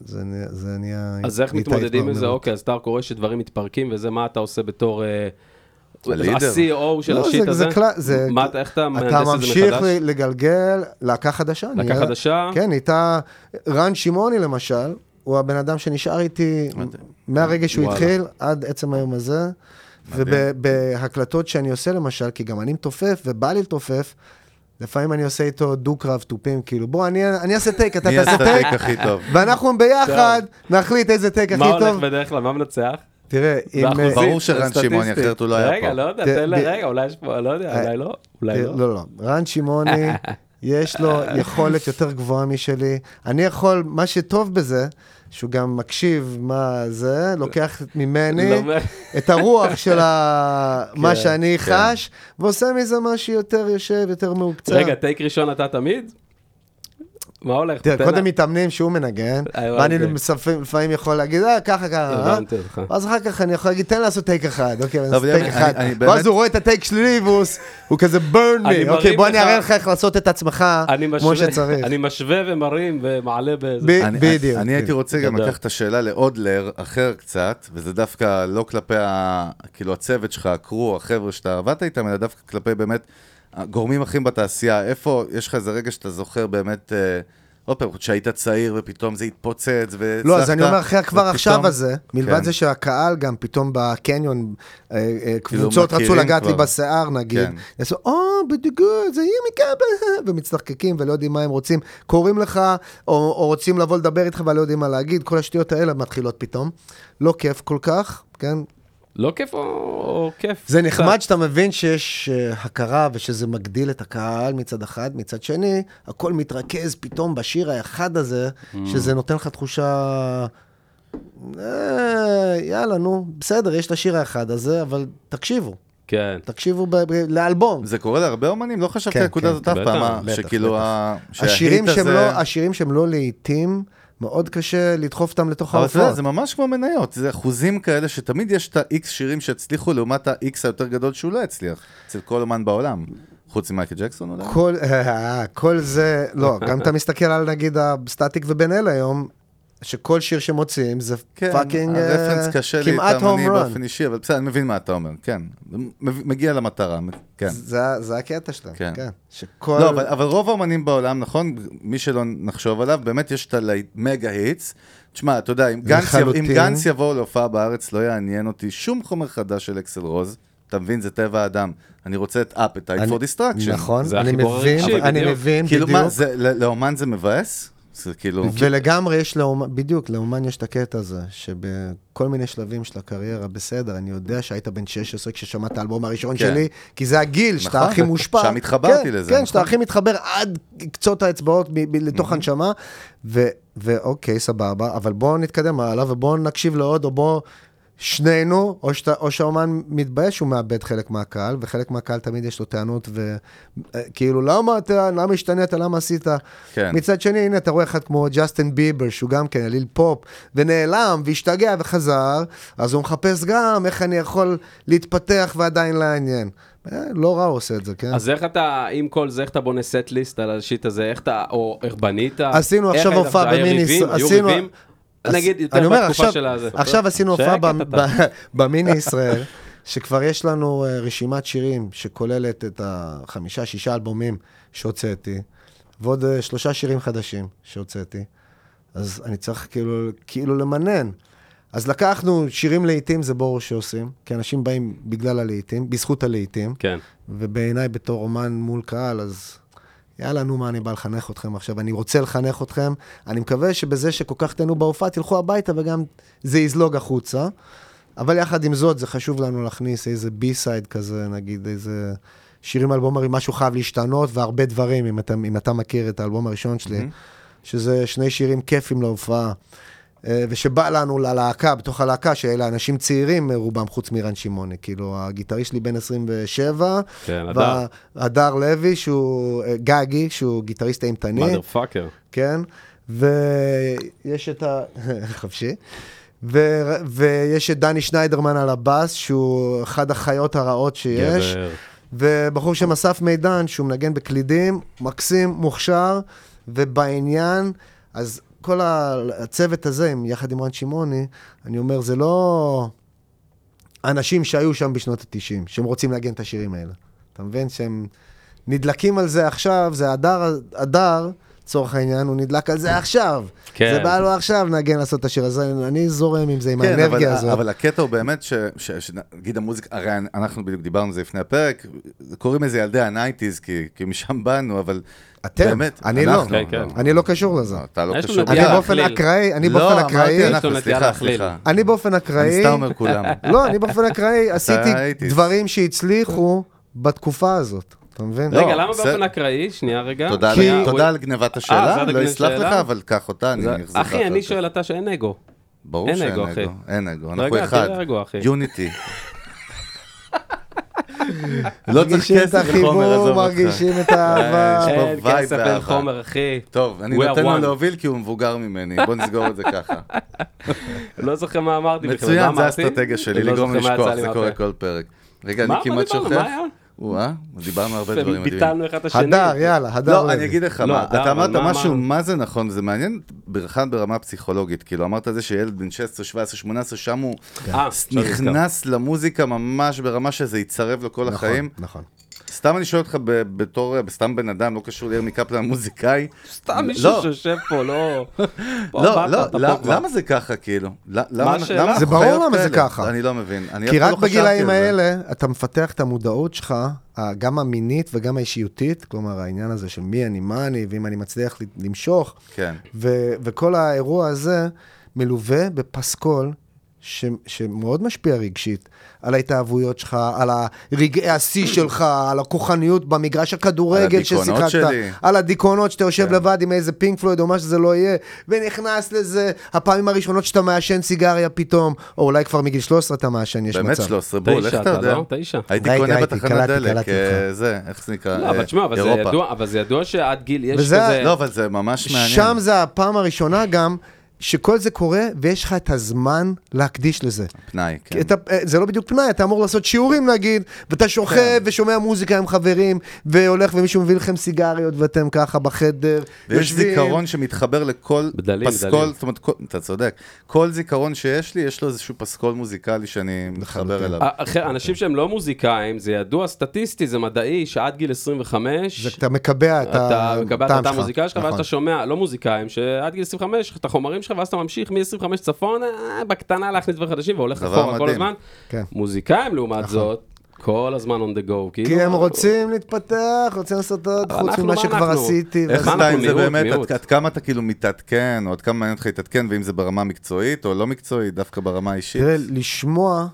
זה נה- זה נהיה... אז איך נהייתה מתמודדים עם זה? התמרמרות. אוקיי, אז אתה קורא שדברים מתפרקים, וזה מה אתה עושה בתור... אה, הלידר. ה-CO של לא, השיט זה- הזה? זה כלל- זה- מה אתה- איך אתה מהנדס אתה את זה ממשיך מחדש? ל- לגלגל להקה חדשה. להקה נהיה- חדשה? כן, הייתה... רן שמעוני למשל, הוא הבן אדם שנשאר איתי מהרגע שהוא וואלה. התחיל עד עצם היום הזה. ובהקלטות שאני עושה למשל, כי גם אני מתופף ובא לי לתופף, לפעמים אני עושה איתו דו-קרב תופים, כאילו בוא, אני אני אעשה טייק, אתה מי תעשה עשה טייק, טייק הכי טוב? ואנחנו ביחד נחליט איזה טייק הכי מה הולך טוב. בדרך כלל? מה מנצח? תראה, אם... באחוזים, אה, ברור שרן סטטיסטית. שמעוני, אחרת הוא לא היה רגע, פה. לא יודע, ת- תן לה, ב- רגע, אולי יש פה, לא יודע, אה, אולי לא, אולי תראה, לא. לא, לא. רן שמעוני, יש לו יכולת יותר גבוהה משלי. אני יכול, מה שטוב בזה, שהוא גם מקשיב מה זה, לוקח ממני לא, מה- את הרוח של ה- מה שאני כן. חש, ועושה מזה משהו יותר יושב, יותר מהוקצה. רגע, טייק ראשון אתה תמיד? מה הולך? תראה, תן לה- קודם מתאמנים שהוא מנגן, אה, ואני הבנתי. לפעמים- לפעמים יכול להגיד, אה, ככה, ככה, הבנתי אותך. לא, אה? אז אחר כך אני יכול להגיד, תן לעשות טייק אחד, אוקיי, אז אבל טייק אני- אחד. אני- אני ואז באמת- הוא רואה את הטייק שלי, והוא עוש- הוא כזה burn אני me, אוקיי, מרים בוא אני לך- אראה לך איך לעשות את עצמך אני כמו משווה- שצריך. אני משווה ומרים ומעלה באיזה... ב- אני- בדיוק. אני הייתי רוצה גם גדול. לקחת את השאלה לעוד לר אחר קצת, וזה דווקא לא כלפי ה- כאילו הצוות שלך, הקרו, החבר'ה שאתה עבדת איתם, אלא דווקא כלפי באמת גורמים אחים בתעשייה. איפה, יש לך איזה רגע שאתה זוכר באמת, אה, עוד פעם, כשהיית צעיר ופתאום זה התפוצץ והצלחת. לא, אז אני אומר אחרי כבר ופתאום- עכשיו הזה, מלבד כן. זה שהקהל גם פתאום בקניון, אה, אה, כאילו, קבוצות רצו מכירים לגעת לי כבר. בשיער נגיד, כן. יעשו, או, בדיוק, זה ימי קאבה, ומצטחקקים ולא יודעים מה הם רוצים, קוראים לך, או או רוצים לבוא לדבר איתך ולא יודעים מה להגיד, כל השטויות האלה מתחילות פתאום. לא כיף כל כך, כן? לא כיף או- או כיף? זה נחמד קצת. שאתה מבין שיש אה, הכרה ושזה מגדיל את הקהל מצד אחד, מצד שני, Mm. הכל מתרכז פתאום בשיר האחד הזה, שזה נותן לך תחושה אה, יאללה, נו, בסדר, יש את השיר האחד הזה, אבל תקשיבו, כן. תקשיבו ב- ב- לאלבום. זה קורה להרבה אומנים, לא חשבתי כן, על הנקודה כן, הזאת אף בטח, פעם, אה, בטח, שכאילו, בטח. ה- השירים שההיט שהם הזה- לא, השירים שהם לא להיטים, מאוד קשה לדחוף אותם לתוך אבל אתה יודע, ההופעות. זה ממש כמו מניות, זה אחוזים כאלה שתמיד יש את ה-X שירים שהצליחו לעומת ה-X היותר גדול שהוא לא הצליח, אצל כל אומן בעולם, חוץ ממייקל ג'קסון אולי. כל, אה, כל זה, לא, גם אתה מסתכל על נגיד הסטטיק ובן אל היום, שכל שיר שמוציאים זה כן, פאקינג אה, הרפרנס קשה לי כמעט איתם, אני הום רun. באופן אישי, אבל בסדר, אני מבין מה אתה אומר, כן. מב- מגיע למטרה, כן. זה, זה הקטע שלהם, כן. כן. שכל... לא, אבל, אבל רוב האמנים בעולם, נכון? מי שלא נחשוב עליו, באמת יש את המגה היטס. תשמע, אתה יודע, אם גנץ, יב... אם לחלוטין. גנץ יבוא להופעה בארץ, לא יעניין אותי שום חומר חדש של אקסל רוז. אתה מבין, זה טבע האדם. אני רוצה את אפטייט אני- פור דיסטרקשן. נכון, זה אני החיבור מבין, הרגשי, אבל אני בדיוק. מבין, כאילו, כן, בדיוק. מה, זה, לא- לאומן זה מבאס? זה כאילו... ולגמרי יש לאומן, בדיוק, לאומן יש את הקטע הזה, שבכל מיני שלבים של הקריירה, בסדר, אני יודע שהיית בן 16 כששמעת את האלבום הראשון כן. שלי, כי זה הגיל נכון, שאתה הכי מושפע. שם התחברתי כן, לזה, כן, נכון. שאתה הכי מתחבר עד קצות האצבעות ב- ב- לתוך הנשמה, ו- ואוקיי, סבבה, אבל בואו נתקדם הלאה ובואו נקשיב לעוד, או בואו... שנינו, או, שאתה, או שהאומן מתבייש שהוא מאבד חלק מהקהל, וחלק מהקהל תמיד יש לו טענות, וכאילו, למה אתה, למה השתנית, למה עשית? כן. מצד שני, הנה, אתה רואה אחד כמו ג'סטין ביבר, שהוא גם כן עליל פופ, ונעלם, והשתגע וחזר, אז הוא מחפש גם איך אני יכול להתפתח ועדיין לעניין. אה, לא רע הוא עושה את זה, כן? אז איך אתה, עם כל זה, איך אתה בונה סט ליסט על השיט הזה, איך אתה, או איך בנית? עשינו איך עכשיו היית- הופעה היה במיני- ריבים? היו עשינו- ריבים? אז- נגיד, אני יותר אומר, בתקופה עכשיו- של הזה. עכשיו עשינו הופעה שקט במ- אתה. ב- במיני ישראל, שכבר יש לנו אה, רשימת שירים שכוללת את החמישה, שישה אלבומים שהוצאתי, ועוד אה, שלושה שירים חדשים שהוצאתי. אז אני צריך כאילו, כאילו למנן. אז לקחנו שירים לעיתים, זה ברור שעושים, כי אנשים באים בגלל הלעיתים, בזכות הלעיתים. כן. ובעיניי בתור אומן מול קהל, אז יאללה, נו, מה אני בא לחנך אתכם עכשיו? אני רוצה לחנך אתכם. אני מקווה שבזה שכל כך תהנו בהופעה, תלכו הביתה וגם זה יזלוג החוצה. אבל יחד עם זאת, זה חשוב לנו להכניס איזה בי-סייד כזה, נגיד איזה שירים אלבומרי, משהו חייב להשתנות, והרבה דברים, אם אתה, אם אתה מכיר את האלבום הראשון שלי, שזה שני שירים כיפים להופעה. אה, ושבא לנו ללהקה, בתוך הלהקה, שאלה אנשים צעירים, אה, רובם חוץ מרן שמעוני. כאילו, הגיטריסט שלי בן 27, כן, וה- הדר לוי, שהוא אה, גגי, שהוא גיטריסט אימתני, מאדר פאקר. כן? ויש את ה... חופשי. ו... ויש את דני שניידרמן על הבאס, שהוא אחד החיות הרעות שיש. גבר. ובחור שם אסף מידן, שהוא מנגן בקלידים, מקסים, מוכשר ובעניין, אז כל ה- הצוות הזה, עם- יחד עם רן שמעוני, אני אומר, זה לא אנשים שהיו שם בשנות ה-90, שהם רוצים לנגן את השירים האלה. אתה מבין? שהם נדלקים על זה עכשיו, זה הדר, הדר, לצורך העניין, הוא נדלק על זה עכשיו. כן. זה בא לו עכשיו לנגן לעשות את השיר הזה, אני זורם עם זה, עם כן, אבל, האנרגיה הזאת. אבל הקטע הוא באמת ש... ש... ש... נגיד המוזיקה, הרי אנ- אנחנו בדיוק דיברנו על זה לפני הפרק, קוראים לזה ילדי הנייטיז, כי, כי משם באנו, אבל... אתם, באמת, אני לא. כן, כן. אני לא קשור לזה. אתה לא יש לנו קשור. נטייה אני באופן להכליל. אקראי, אני לא, באופן אמרתי אקראי, אנחנו, יש לנו נטייה סליחה, להכליל. סליחה. אני באופן אקראי, אני סתם אומר כולם. לא, אני באופן אקראי עשיתי האייטיז. דברים שהצליחו בתקופה הזאת, אתה מבין? לא, רגע, למה זה- באופן אקראי? שנייה רגע. תודה על- שנייה, הוא- תודה על גנבת אה, זה השאלה, על לא גנבת אסלח לך, השאלה? אבל קח אותה, אני זה- אחזיר לך. אחי, אחר אני כך. שואל אתה שאין אגו. ברור אין שאין אגו, אחי. אגו, אין אגו, אנחנו רגע, אחד. תהיה רגוע, אחי. יוניטי. לא צריך מרגישים את כסף לחומר, עזוב אותך. החיבור, אה, מרגישים את האהבה. יש פה אין וייב כסף באהבה. אין חומר, אחי. טוב, אני We are נותן לו one. להוביל כי הוא מבוגר ממני, בוא נסגור את זה ככה. לא זוכר מה אמרתי בכלל. מה מצוין, זה אמרתי? האסטרטגיה שלי, לא לגרום זוכר מה יצא לשכוח, לי זה מהפה. קורה כל פרק. רגע, אני מה? מה כמעט דיברנו? שוכח. מה היה? וואה, דיברנו הרבה דברים מדהימים. ביטלנו אחד את השני. הדר, יאללה, הדר. לא, לוי. אני אגיד לך לא, מה, אדם, אתה אמרת אבל מה משהו, אמרנו? מה זה נכון, זה מעניין, בכלל ברמה פסיכולוגית, כאילו, אמרת זה שילד בן 16, 17, 18, שם הוא אה, נכנס למוזיקה ממש ברמה שזה יצרב לו כל נכון, החיים. נכון. סתם אני שואל אותך ב- בתור, סתם בן אדם, לא קשור לירמי קפלן המוזיקאי. סתם מישהו לא. שיושב פה, לא... לא, לא, למ- למה זה ככה, כאילו? ל- למה השאלה? למה זה אנחנו ברור חיות למה זה כאלה? ככה. אני לא מבין. אני כי אפילו רק לא חשבתי על בגילאים זה. האלה אתה מפתח את המודעות שלך, ה- גם המינית וגם האישיותית, כלומר העניין הזה של מי אני, מה אני, ואם אני מצליח ל- למשוך. כן. ו- וכל האירוע הזה מלווה בפסקול ש, שמאוד משפיע רגשית, על ההתאהבויות שלך, על הרגעי השיא שלך, על הכוחניות במגרש הכדורגל הדיכאונות ששיחקת, שלי. על הדיכאונות שאתה יושב לבד עם איזה פינק פלויד או מה שזה לא יהיה, ונכנס לזה, הפעמים הראשונות שאתה מעשן סיגריה פתאום, או אולי כבר מגיל 13 אתה מעשן, יש באמת מצב. 13, בול, איך תשע אתה אתה, יודע? לא? תשע. הייתי ראיתי, קונה ראיתי, בתחנת קלטתי, דלק, קלטתי אה, אותך. זה, איך זה נקרא? לא, אה, אבל תשמע, אבל זה אירופה. ידוע, אבל זה ידוע שעד גיל יש וזה- כזה... לא, אבל זה ממש מעניין. שם זה הפעם הראשונה גם, שכל זה קורה, ויש לך את הזמן להקדיש לזה. פנאי, כן. כי אתה, אה, זה לא בדיוק פנאי, אתה אמור לעשות שיעורים נגיד, ואתה שוכב כן. ושומע מוזיקה עם חברים, והולך ומישהו מביא לכם סיגריות ואתם ככה בחדר, ויש זיכרון שמתחבר לכל בדלים, פסקול, בדלים. זאת אומרת, כל- אתה צודק, כל זיכרון שיש לי, יש לו איזשהו פסקול מוזיקלי שאני מתחבר אליו. א- אחרי- אה, אנשים שהם לא מוזיקאים, זה ידוע סטטיסטי, זה מדעי, שעד גיל 25... אתה מקבע את אתה הטעם מקבל את התא המוזיקאי שלך, ואז נכון. אתה שומע, לא מוזיקאים, שעד גיל 25, את החומרים שלך, ואז אתה ממשיך מ-25 צפון, אה, בקטנה להכניס דברים חדשים, והולך דבר אחורה כל מדהים. הזמן. כן. נכון. מוזיקאים, לעומת זאת, כל הזמן on the go. כאילו, כי הם רוצים להתפתח, רוצים לעשות עוד אבל חוץ אנחנו, ממה מה שכבר אנחנו? עשיתי. איך מה אתה אנחנו, עם זה מיעוט, באמת, מיעוט. עד- עד כמה אתה כאילו מתעדכן, או עד כמה מעניין אותך להתעדכן, ואם זה ברמה מקצועית או לא מקצועית, דווקא ברמה האישית. תראה, לשמוע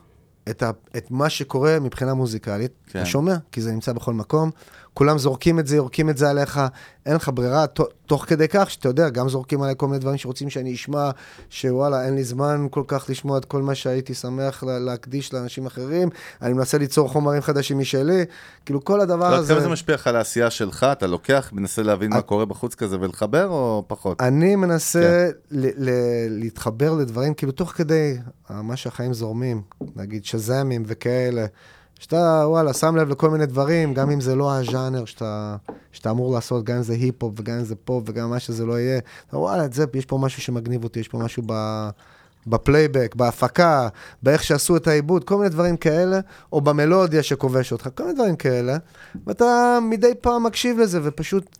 את, ה, את מה שקורה מבחינה מוזיקלית, כן. אתה שומע, כי זה נמצא בכל מקום, כולם זורקים את זה, יורקים את זה עליך, אין לך ברירה, ת, תוך כדי כך שאתה יודע, גם זורקים עליי כל מיני דברים שרוצים שאני אשמע, שוואלה, אין לי זמן כל כך לשמוע את כל מה שהייתי שמח לה, להקדיש לאנשים אחרים, אני מנסה ליצור חומרים חדשים משלי, כאילו כל הדבר לא, עד הזה... כמה זה משפיע לך על העשייה שלך, אתה לוקח, מנסה להבין מה קורה בחוץ כזה ולחבר, או פחות? אני מנסה ל- ל- להתחבר לדברים, כאילו, תוך כדי אה, מה שהחיים זורמים, נגיד שזמים וכאלה, שאתה, וואלה, שם לב לכל מיני דברים, גם אם זה לא הז'אנר שאתה, שאתה אמור לעשות, גם אם זה היפ-הופ וגם אם זה פופ וגם מה שזה לא יהיה, אתה, וואלה, את זה, יש פה משהו שמגניב אותי, יש פה משהו ב... בפלייבק, בהפקה, באיך שעשו את העיבוד, כל מיני דברים כאלה, או במלודיה שכובש אותך, כל מיני דברים כאלה, ואתה מדי פעם מקשיב לזה ופשוט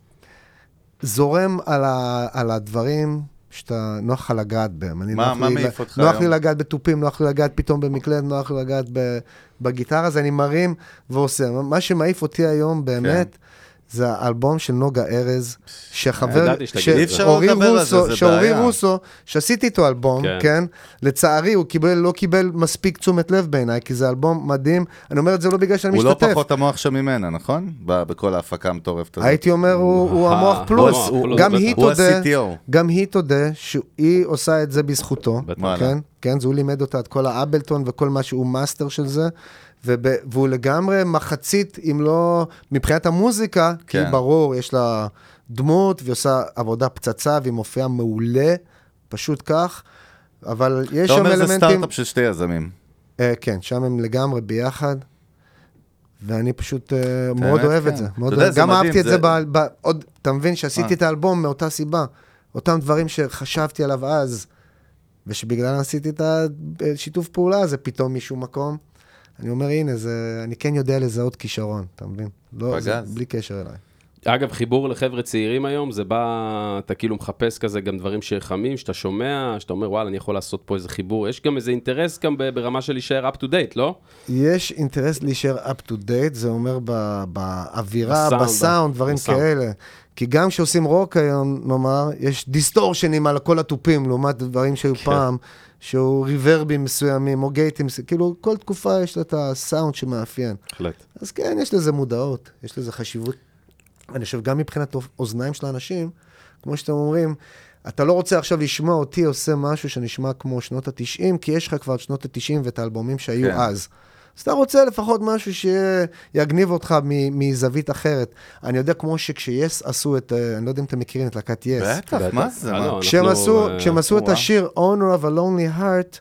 זורם על, ה, על הדברים שאתה, נוח לך לגעת בהם. אני מה- נוח מה לי, מעיף אותך נוח לי היום? לגעת בתופים, נוח לי לגעת פתאום במקלט, נוח לי לגעת ב, בגיטרה, אז אני מרים ועושה. מה- מה שמעיף אותי היום באמת, כן. זה האלבום של נוגה ארז, שחבר, אה, ידעתי שתגיד את זה. אי אפשר לא שאורי לדבר על זה, רוסו, זה שאורי בעיה. רוסו, שעשיתי איתו אלבום, כן. כן, לצערי הוא קיבל, לא קיבל מספיק תשומת לב בעיניי, כי זה אלבום מדהים. אני אומר את זה לא בגלל שאני הוא לא משתתף. פחות המוח שם ממנה, נכון? ב- בכל ההפקה המטורפת הזאת. הייתי אומר, הוא הוא אה, המוח הוא פלוס. המוח פלוס, גם בטח. היא הוא תודה, ה-CTO. גם היא תודה שהיא עושה את זה בזכותו. בטח. וואלה. כן, כן, זה הוא לימד אותה את כל האבלטון וכל מה שהוא מאסטר של זה. וב, והוא לגמרי מחצית, אם לא מבחינת המוזיקה, כן. כן. כי ברור, יש לה דמות, והיא עושה עבודה פצצה, והיא מופיעה מעולה, פשוט כך. אבל יש אתה שם אומר זה אלמנטים... סטארט-אפ של שתי יזמים. אה, כן, שם הם לגמרי ביחד, ואני פשוט אה, מאוד האמת, אוהב כן. את זה. אתה מאוד יודע, אוהב. זה גם מדהים, אהבתי את זה- אה. זה, ב- ב- עוד, אתה מבין שעשיתי את האלבום מאותה סיבה. אותם דברים שחשבתי עליו אז, ושבגללם עשיתי את השיתוף פעולה הזה פתאום משום מקום. אני אומר, הנה, זה, אני כן יודע לזהות כישרון, אתה מבין? לא, זה פגז. בלי קשר אליי. אגב, חיבור לחבר'ה צעירים היום, זה בא, אתה כאילו מחפש כזה גם דברים שחמים, שאתה שומע, שאתה אומר, וואלה, אני יכול לעשות פה איזה חיבור. יש גם איזה אינטרס גם ב- ברמה של להישאר up to date, לא? יש אינטרס להישאר up to date, זה אומר ב- באווירה, בסאונד, בסאונד, דברים בסאונד. כאלה. כי גם כשעושים רוק היום, נאמר, יש דיסטורשנים על כל התופים, לעומת דברים שהיו כן. פעם, שהוא ריברבים מסוימים, או גייטים, מס- כאילו כל תקופה יש לה את הסאונד שמאפיין. בהחלט. אז כן, יש לזה מודעות, יש לזה חשיבות. אני חושב, גם מבחינת אוזניים של האנשים, כמו שאתם אומרים, אתה לא רוצה עכשיו לשמוע אותי עושה משהו שנשמע כמו שנות ה-90, כי יש לך כבר את שנות ה-90 ואת האלבומים שהיו כן. כן. אז. אז אתה רוצה לפחות משהו שיגניב אותך מ- מזווית אחרת. אני יודע, כמו שכשיס עשו את, אה, אני לא יודע אם אתם מכירים את להקת יס. בטח, מה זה? אה, מה? לא, כשהם אנחנו, עשו, אה, כשהם עשו את וואו. השיר Honor of a Lonely Heart,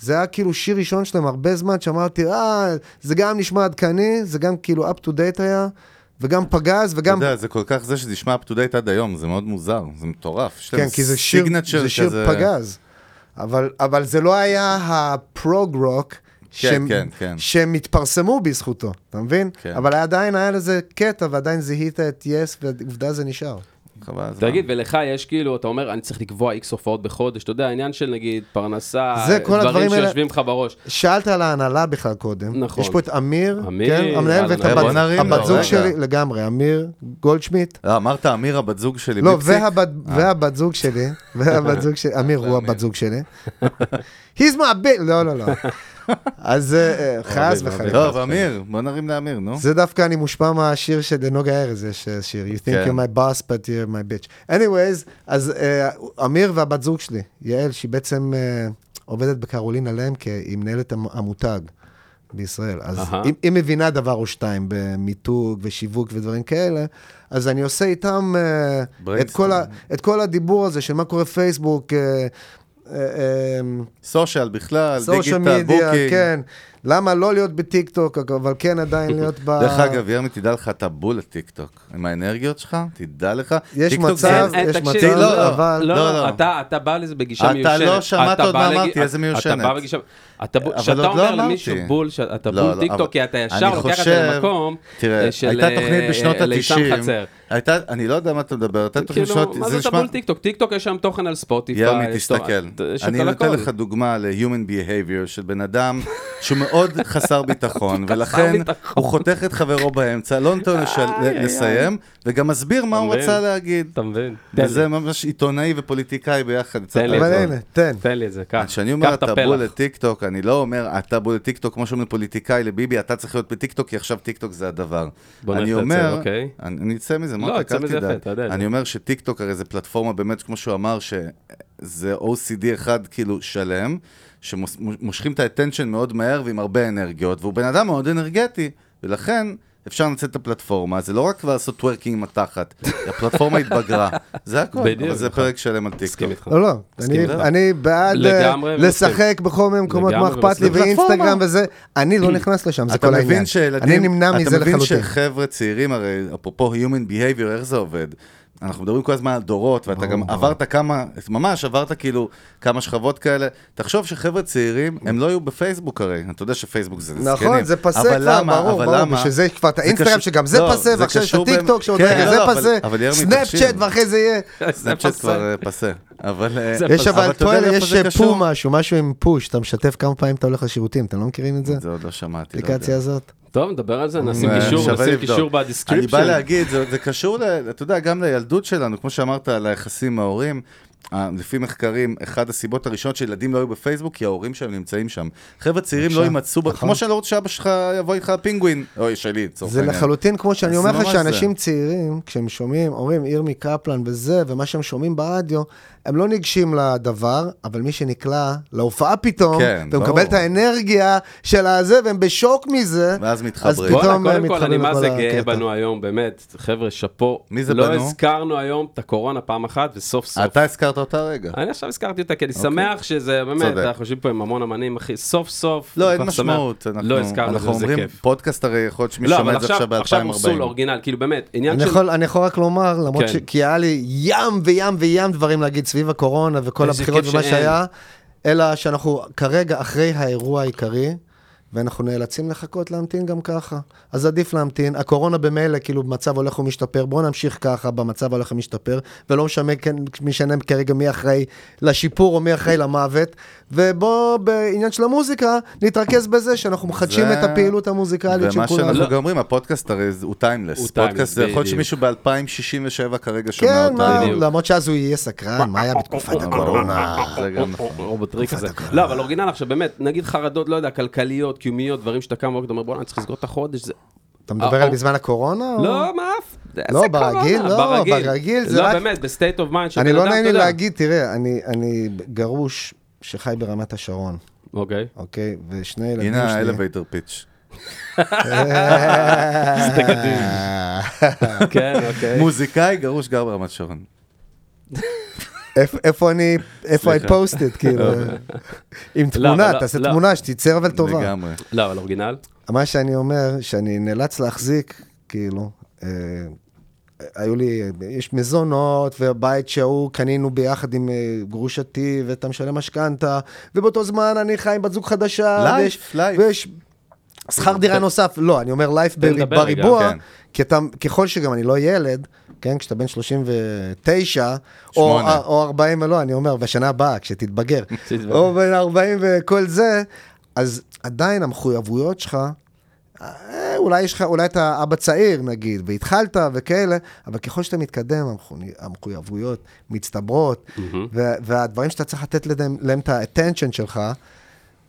זה היה כאילו שיר ראשון שלהם הרבה זמן, שאמרתי, אה, זה גם נשמע עדכני, זה גם כאילו up to date היה, וגם פגז, אתה וגם... יודע, זה כל כך זה שזה נשמע up to date עד היום, זה מאוד מוזר, זה מטורף. יש להם כן, כי זה שיר, signature זה שיר כזה- פגז. אבל, אבל זה לא היה הפרוג רוק. שהם, כן, כן. שהם התפרסמו בזכותו, אתה מבין? כן. אבל עדיין היה לזה קטע ועדיין זיהית את יס, ועובדה זה נשאר. חבל על הזמן. תגיד, ולך יש כאילו, אתה אומר, אני צריך לקבוע איקס הופעות בחודש, אתה יודע, העניין של נגיד פרנסה, זה, כל דברים הדברים האלה- שיושבים לך בראש. שאלת על ההנהלה בכלל קודם. נכון. יש פה את אמיר, אמיר, נכון. כן, המנהל ואת אהלן, בוא הבת, נרים לו, הבת זוג רגע. שלי, לגמרי, אמיר גולדשמיט. לא, אמרת אמיר הבת זוג שלי, לא, בלי פסיק? והבת, אה. והבת זוג שלי, והבת זוג שלי, אמיר הוא הבת זוג שלי. He's my bit, לא, לא, לא. אז אה, אה, חס וחלילה. טוב, לא, אמיר, בוא נרים לאמיר, נו. זה דווקא אני מושפע מהשיר של נוגה ארז, יש אה, שיר, You think כן. you're my boss, but you're my bitch. anyways, אז אה, אמיר והבת זוג שלי, יעל, שהיא בעצם אה, עובדת בקרולינה למקה, היא מנהלת המ- המותג בישראל. אז אהה. היא- היא מבינה דבר או שתיים במיתוג ושיווק ודברים כאלה, אז אני עושה איתם אה, את כל ה- את כל הדיבור הזה של מה קורה פייסבוק, אה, אה, אה, סושיאל בכלל, דיגיטל, סושיאל מדיה, בוקינג. כן. למה לא להיות בטיק טוק, אבל כן עדיין להיות ב... דרך אגב, ירמי, תדע לך, אתה בול לטיקטוק. עם האנרגיות שלך, תדע לך. יש טיקטוק מצב, אה, זה- אין, יש תקשיב, מצב, לא, אבל... לא, לא, לא, לא. אתה אתה בא לזה בגישה אתה מיושנת. לא שמעת אתה עוד בא מה לג- אמרתי, איזה מיושנת. אתה בא בגישה... אתה בו- אבל עוד כשאתה לא אומר אמרתי. למישהו בול, ש- אתה לא, בול לא, טיקטוק, אבל- כי אתה אני ישר לוקח את זה חושב- למקום תראה, אה, של... הייתה אה, תוכנית בשנות אה, ליצן ה-90. חצר. הייתה, אני לא יודע מה אתה מדבר, הייתה תוכנית כאילו, בשנות... מה זה אתה נשמע- בול טיקטוק? טיקטוק יש שם תוכן על ספוטיפיי. ירמי, יש תוכן- תסתכל. יש אני הכל נותן הכל. לך דוגמה ל-human behavior של בן אדם שהוא מאוד חסר ביטחון, ולכן ביטחון. הוא חותך את חברו באמצע, לא נותן לו לשל- איי, לסיים, וגם מסביר מה הוא אתה מבין? רצה להגיד. אתה מבין? וזה ממש עיתונאי ופוליטיקאי ביחד. קצת לי. אבל הכל. הנה, תן. תן לי את זה, קח. כשאני קח אומר את אתה הפלח. בול לטיקטוק, אני לא אומר אתה בול לטיקטוק, כמו שאומרים פוליטיקאי לביבי, אתה צריך להיות בטיקטוק, כי עכשיו טיקטוק זה הדבר. בוא אני נלך לצל, אומר, אוקיי. אני אני אצא מזה, לא, מה אצא מזה יפה, אתה יודע, אני זה- אומר שטיקטוק הרי זה פלטפורמה באמת, כמו שהוא אמר, שזה OCD אחד כאילו שלם, שמושכים את ה-attention מאוד מהר ועם הרבה אנרגיות, והוא בן אדם מאוד אנרגטי, ולכן... אפשר לנצל את הפלטפורמה, זה לא רק כבר לעשות טוורקינג עם התחת, הפלטפורמה התבגרה, זה הכל, בדיוק, אבל זה נכון. פרק שלם על טיקטוק. מסכים איתך. לא, לא, מסכים אני- איתך. אני בעד אה, לגמרי מסכים. לשחק בכל מיני מקומות, מה לגמרי אכפת לי, מסכים. ואינסטגרם וזה, אני לא נכנס לשם, זה כל אתה העניין. מבין שילדים... אני נמנע מזה אתה מבין לחלוטין. שחבר'ה צעירים, הרי אפרופו human behavior, איך זה עובד? אנחנו מדברים כל הזמן על דורות, ואתה גם עברת כמה, ממש עברת כאילו כמה שכבות כאלה. תחשוב שחבר'ה צעירים, הם לא יהיו בפייסבוק הרי. אתה יודע שפייסבוק זה זקנים. נכון, זה פסה אבל כבר, למה- ברור, אבל ברור, למה- בשביל זה יש כבר את זה האינסטגרם, קשור- שגם זה לא, פסה, זה ועכשיו יש את קשור הטיקטוק, במ- שעוד כן, רגע לא, זה לא, אבל- פסה, אבל ירמי, סנאפצ'אט, תקשיב. ואחרי זה יהיה... לא, סנאפצ'אט כבר אה, פסה. אבל... אה, יש אבל אתה יודע פועל, לאיפה יש זה אה, קשור? פו משהו, משהו עם פוש, אתה משתף כמה פעמים אתה הולך לשירותים, אתם לא מכירים את זה? זה עוד לא שמעתי. לא יודע. האפליקציה הזאת? טוב, נדבר על זה, נשים אה, קישור, שווה נשים לבדוק. קישור אני בא בדיסקריפשן. להגיד, זה, זה קשור, ל, אתה יודע, גם לילדות שלנו, כמו שאמרת, על היחסים עם ההורים. אה, לפי מחקרים, אחת הסיבות הראשונות שילדים לא היו בפייסבוק, כי ההורים שלהם נמצאים שם. חבר'ה צעירים לא בבקשה, יימצאו, ב- נכון. כמו שאני לא רוצה שאבא שלך יבוא איתך פינגווין, אוי, שלי, לצורך זה העניין. לחלוטין כמו שאני אז אומר לך ממש שאנשים זה. צעירים, כשהם שומעים, אומרים ירמי קפלן וזה, ומה שהם שומעים ברדיו, הם לא ניגשים לדבר, אבל מי שנקלע להופעה פתאום, כן, והוא ברור. מקבל את האנרגיה של הזה, והם בשוק מזה, ואז מתחברים. אז פתאום וואלה, קודם כל, אני הם מתחברים מה לכל זה גאה הקטע. בנו היום, באמת. חבר'ה, שאפו. מי זה לא בנו? הזכרנו היום את הקורונה פעם אחת, וסוף סוף. אתה הזכרת אותה רגע. אני עכשיו הזכרתי אותה, כי אני שמח שזה, באמת, צודק. אנחנו יושבים פה עם המון אמנים, אחי, סוף סוף. לא, אני אין כל כך שמח. משמעות. אנחנו- לא הזכרנו את זה, אנחנו זה אומרים, כיף. פודקאסט הרי יכול להיות שמי לא, שומע אבל את זה עכשיו עכשיו, עכשיו הורסו ב-2040. לאורגינל, כאילו באמת, עניין אני של... יכול, אני יכול רק לומר, למרות כן. כן. שכי היה לי ים וים וים דברים להגיד סביב הקורונה וכל איזה הבחירות כיף ומה שאין. שהיה, אלא שאנחנו כרגע אחרי האירוע העיקרי, ואנחנו נאלצים לחכות להמתין גם ככה. אז עדיף להמתין. הקורונה במילא כאילו במצב הולך ומשתפר, בואו נמשיך ככה, במצב הולך ומשתפר, ולא משנה, כן, משנה כרגע מי אחראי לשיפור או מי אחראי למוות, ובואו בעניין של המוזיקה, נתרכז בזה שאנחנו מחדשים זה- את הפעילות המוזיקלית של ומה כולנו. שאנחנו גם אומרים, הפודקאסט הרי זה- הוא הוא טיימלס. פודקאסט זה יכול להיות בדיוק. שמישהו ב-2067 כרגע שומע כן, אותנו. מה, בדיוק. לא, למרות שאז הוא יהיה סקרן, מה היה בתקופת הקורונה? זה גם נכון. רובוטריק הזה. לא, אבל אורגינל עכשיו, באמת, נגיד חרדות, לא יודע, כלכליות, קיומיות, דברים שאתה קם ואתה אומר, בוא'נה, אני צריך לסגור את החודש. זה- אתה מדבר על או- בזמן הקורונה? או- לא, מה אף? זה- אה. לא, זה ברגיל, קורונה, לא, ברגיל זה לא, רק- באמת, בסטייט אוף מיינד של אני בן לא אדם, נעים אתה לי יודע. להגיד, תראה, אני- אני גרוש שחי ברמת השרון, אוקיי. אוקיי? ושני ילדים הנה שלי... האלווייטר פיץ'. כן, אוקיי. מוזיקאי גרוש גר ברמת שרון. איפ- איפה אני, איפה I posted, כאילו, לא, עם תמונה, לא, תעשה לא. תמונה שתיצר אבל טובה. לגמרי. לא, אבל אורגינל? מה שאני אומר, שאני נאלץ להחזיק, כאילו, אה, היו לי, יש מזונות, ובית שהוא, קנינו ביחד עם אה, גרושתי, ואתה משלם משכנתה, ובאותו זמן אני חי עם בת זוג חדשה. Life, ויש- life. ויש שכר דירה נוסף, לא, אני אומר לייף תן לדבר רגע, בריבוע, כן. כי אתה, ככל שגם אני לא ילד, כן? כשאתה בן 39, או, שמונה. או 40, לא, אני אומר, בשנה הבאה, כשתתבגר, תתבגר. או בן 40 וכל זה, אז עדיין המחויבויות שלך, אה, אולי יש לך, אולי אתה אבא צעיר נגיד, והתחלת וכאלה, אבל ככל שאתה מתקדם, המחו- המחויבויות מצטברות, ו- והדברים שאתה צריך לתת להם, להם את ה-attention שלך,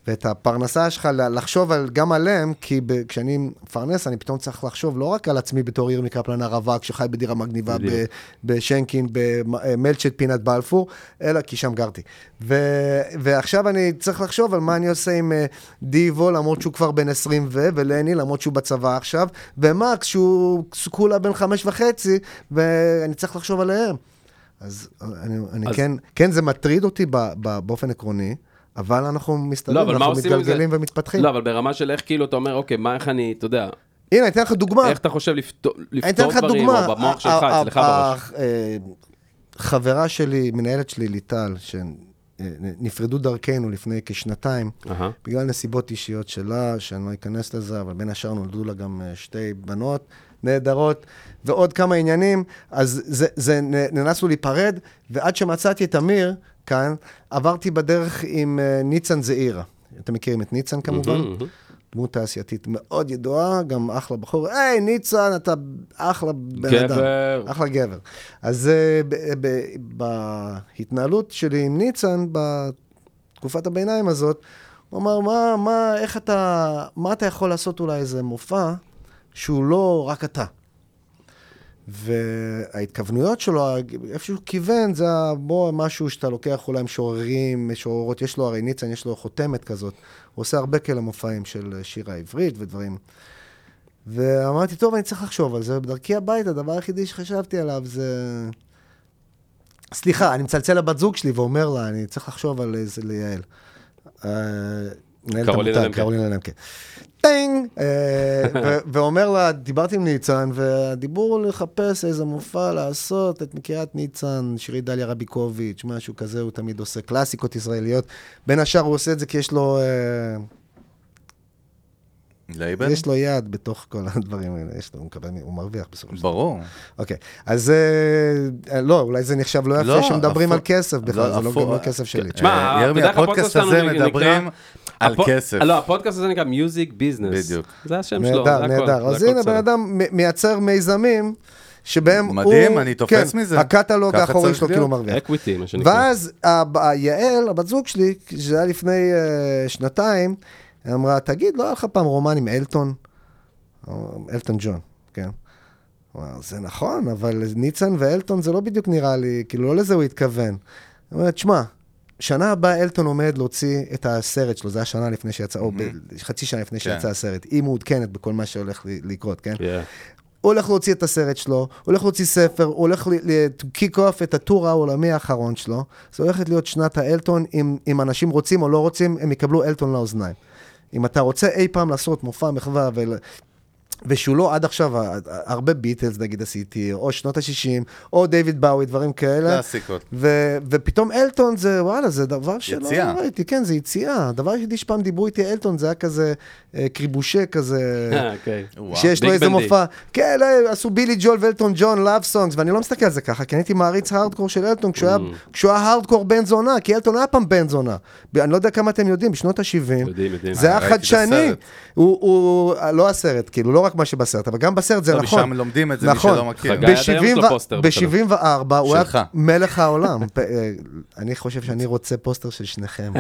ואת הפרנסה שלך ל- לחשוב על, גם עליהם, כי ב, כשאני מפרנס, אני פתאום צריך לחשוב לא רק על עצמי בתור עיר מקפלן הרווק, שחי בדירה מגניבה ב, בשנקין, במלצ'ט פינת בלפור, אלא כי שם גרתי. ו, ועכשיו אני צריך לחשוב על מה אני עושה עם אה, דיבו, למרות שהוא כבר בן 20 ו, ולני, למרות שהוא בצבא עכשיו, ומקס, שהוא כולה בן חמש וחצי, ואני צריך לחשוב עליהם. אז אה, אני, אני אז- אז... כן, כן, זה מטריד אותי ב, ב, באופן עקרוני. אבל אנחנו מסתדרים, לא, אבל מה אנחנו עושים עם זה? מתגלגלים ומתפתחים. לא, אבל ברמה של איך כאילו אתה אומר, אוקיי, מה, איך אני, אתה יודע, הנה, אני אתן לך דוגמה. איך אתה חושב לפתור אני אתן לפתור לך דברים, דוגמה. או במוח שלך, ה- ה- אצלך ה- בראש. אה, חברה שלי, מנהלת שלי, ליטל, שנפרדו דרכנו לפני כשנתיים, אהה. בגלל נסיבות אישיות שלה, שאני לא אכנס לזה, אבל בין השאר נולדו לה גם אה, שתי בנות נהדרות, ועוד כמה עניינים, אז זה, זה נ- נאנסנו להיפרד, ועד שמצאתי את אמיר כאן, עברתי בדרך עם אה, ניצן זעירה. אתם מכירים את ניצן כמובן? דמות תעשייתית מאוד ידועה, גם אחלה בחור. היי, ניצן, אתה אחלה בן גבר. אדם. אחלה גבר. אז אה, ב- ב- בהתנהלות שלי עם ניצן, בתקופת הביניים הזאת, הוא אמר, מה, מה, איך אתה, מה אתה יכול לעשות אולי איזה מופע שהוא לא רק אתה? וההתכוונויות שלו, איפה שהוא כיוון, זה ה- בוא, משהו שאתה לוקח אולי עם שוררים, משוררות, יש לו, הרי ניצן, יש לו חותמת כזאת. הוא עושה הרבה כאלה מופעים של שירה עברית ודברים. ואמרתי, טוב, אני צריך לחשוב על זה, ובדרכי הביתה, הדבר היחידי שחשבתי עליו זה... סליחה, אני מצלצל לבת זוג שלי ואומר לה, אני צריך לחשוב על איזה לייעל. אה, מנהלת קרולינה עמותה, למקה. קרולינה למקה. טינג! אה, ו- ואומר לה, דיברתי עם ניצן, והדיבור הוא לחפש איזה מופע לעשות, את מכירה את ניצן, שירי דליה רביקוביץ', משהו כזה, הוא תמיד עושה קלאסיקות ישראליות. בין השאר הוא עושה את זה כי יש לו... אה, לייבל? יש לו יד בתוך כל הדברים האלה, יש לו, הוא מקבל, מ- הוא מרוויח בסופו של דבר. ברור. אוקיי, אז אה, אה, לא, אולי זה נחשב לא לא, יפה שמדברים על הפוך- כסף בכלל, לא, זה לא הפוך- גם לא כסף שלי. תשמע, אה, אתה ירמי, יודע איך הפודקאסט הזה שלנו נקרא- מדברים על הפו- כסף. לא, הפודקאסט הזה נקרא Music Business. בדיוק. זה השם שלו, זה נהדר, הכל. נהדר. זה אז הכל הנה, בן בסדר. אדם מ- מייצר מיזמים שבהם הוא... מדהים, אני תופס כן, מזה. הקטלוג ככה האחורי צריך שלו כאילו להיות. מרוויח. Equity, מה שנקרא. ואז הב- יעל, הבת זוג שלי, שזה היה לפני אה, שנתיים, היא אמרה, תגיד, לא היה לך פעם רומן עם אלטון? או, אלטון ג'ון, כן. הוא אמר, זה נכון, אבל ניצן ואלטון זה לא בדיוק נראה לי, כאילו, לא לזה הוא התכוון. היא אומרת, שמע, שנה הבאה אלטון עומד להוציא את הסרט שלו, זה היה שנה לפני שיצא, או ב- חצי שנה לפני כן. שיצא הסרט. היא מעודכנת בכל מה שהולך ל- לקרות, כן? Yeah. הוא הולך להוציא את הסרט שלו, הוא הולך להוציא ספר, הוא הולך לקיק אוף את הטור העולמי האחרון שלו. זו הולכת להיות שנת האלטון, אם, אם אנשים רוצים או לא רוצים, הם יקבלו אלטון לאוזניים. אם אתה רוצה אי פעם לעשות מופע מחווה ול... ושהוא לא עד עכשיו, ה- ה- הרבה ביטלס נגיד עשיתי, או שנות ה-60, או דיוויד באווי, דברים כאלה. קלאסיקות. ו- ופתאום אלטון זה, וואלה, זה דבר שלא יציאה. ראיתי, כן, זה יציאה. הדבר היחידי שפעם דיברו איתי אלטון, זה היה כזה אה, קריבושה כזה. כן. אה, אוקיי. שיש לו ביג איזה בנדי. מופע, כן, לא, עשו בילי ג'ול ואלטון ג'ון, לאב סונגס, ואני לא מסתכל על זה ככה, כי אני הייתי מעריץ הארדקור של אלטון, כשהוא היה- Mm. כשהוא היה הארדקור בן זונה, כי אלטון היה פעם בן זונה. ב- אני לא יודע כמה אתם יודעים, בשנות ה-70, יודעים, יודעים. זה היה ראיתי את חדשני. הסרט. הוא, הוא, לא הסרט, כאילו, לא רק מה שבסרט, אבל גם בסרט זה לא, נכון. משם לומדים את זה, מי שלא מכיר. חגי, עד היום יש לו ב- פוסטר בטלפון. ב-74 הוא היה שלך. מלך העולם. פ- אה, אני חושב שאני רוצה פוסטר של שניכם.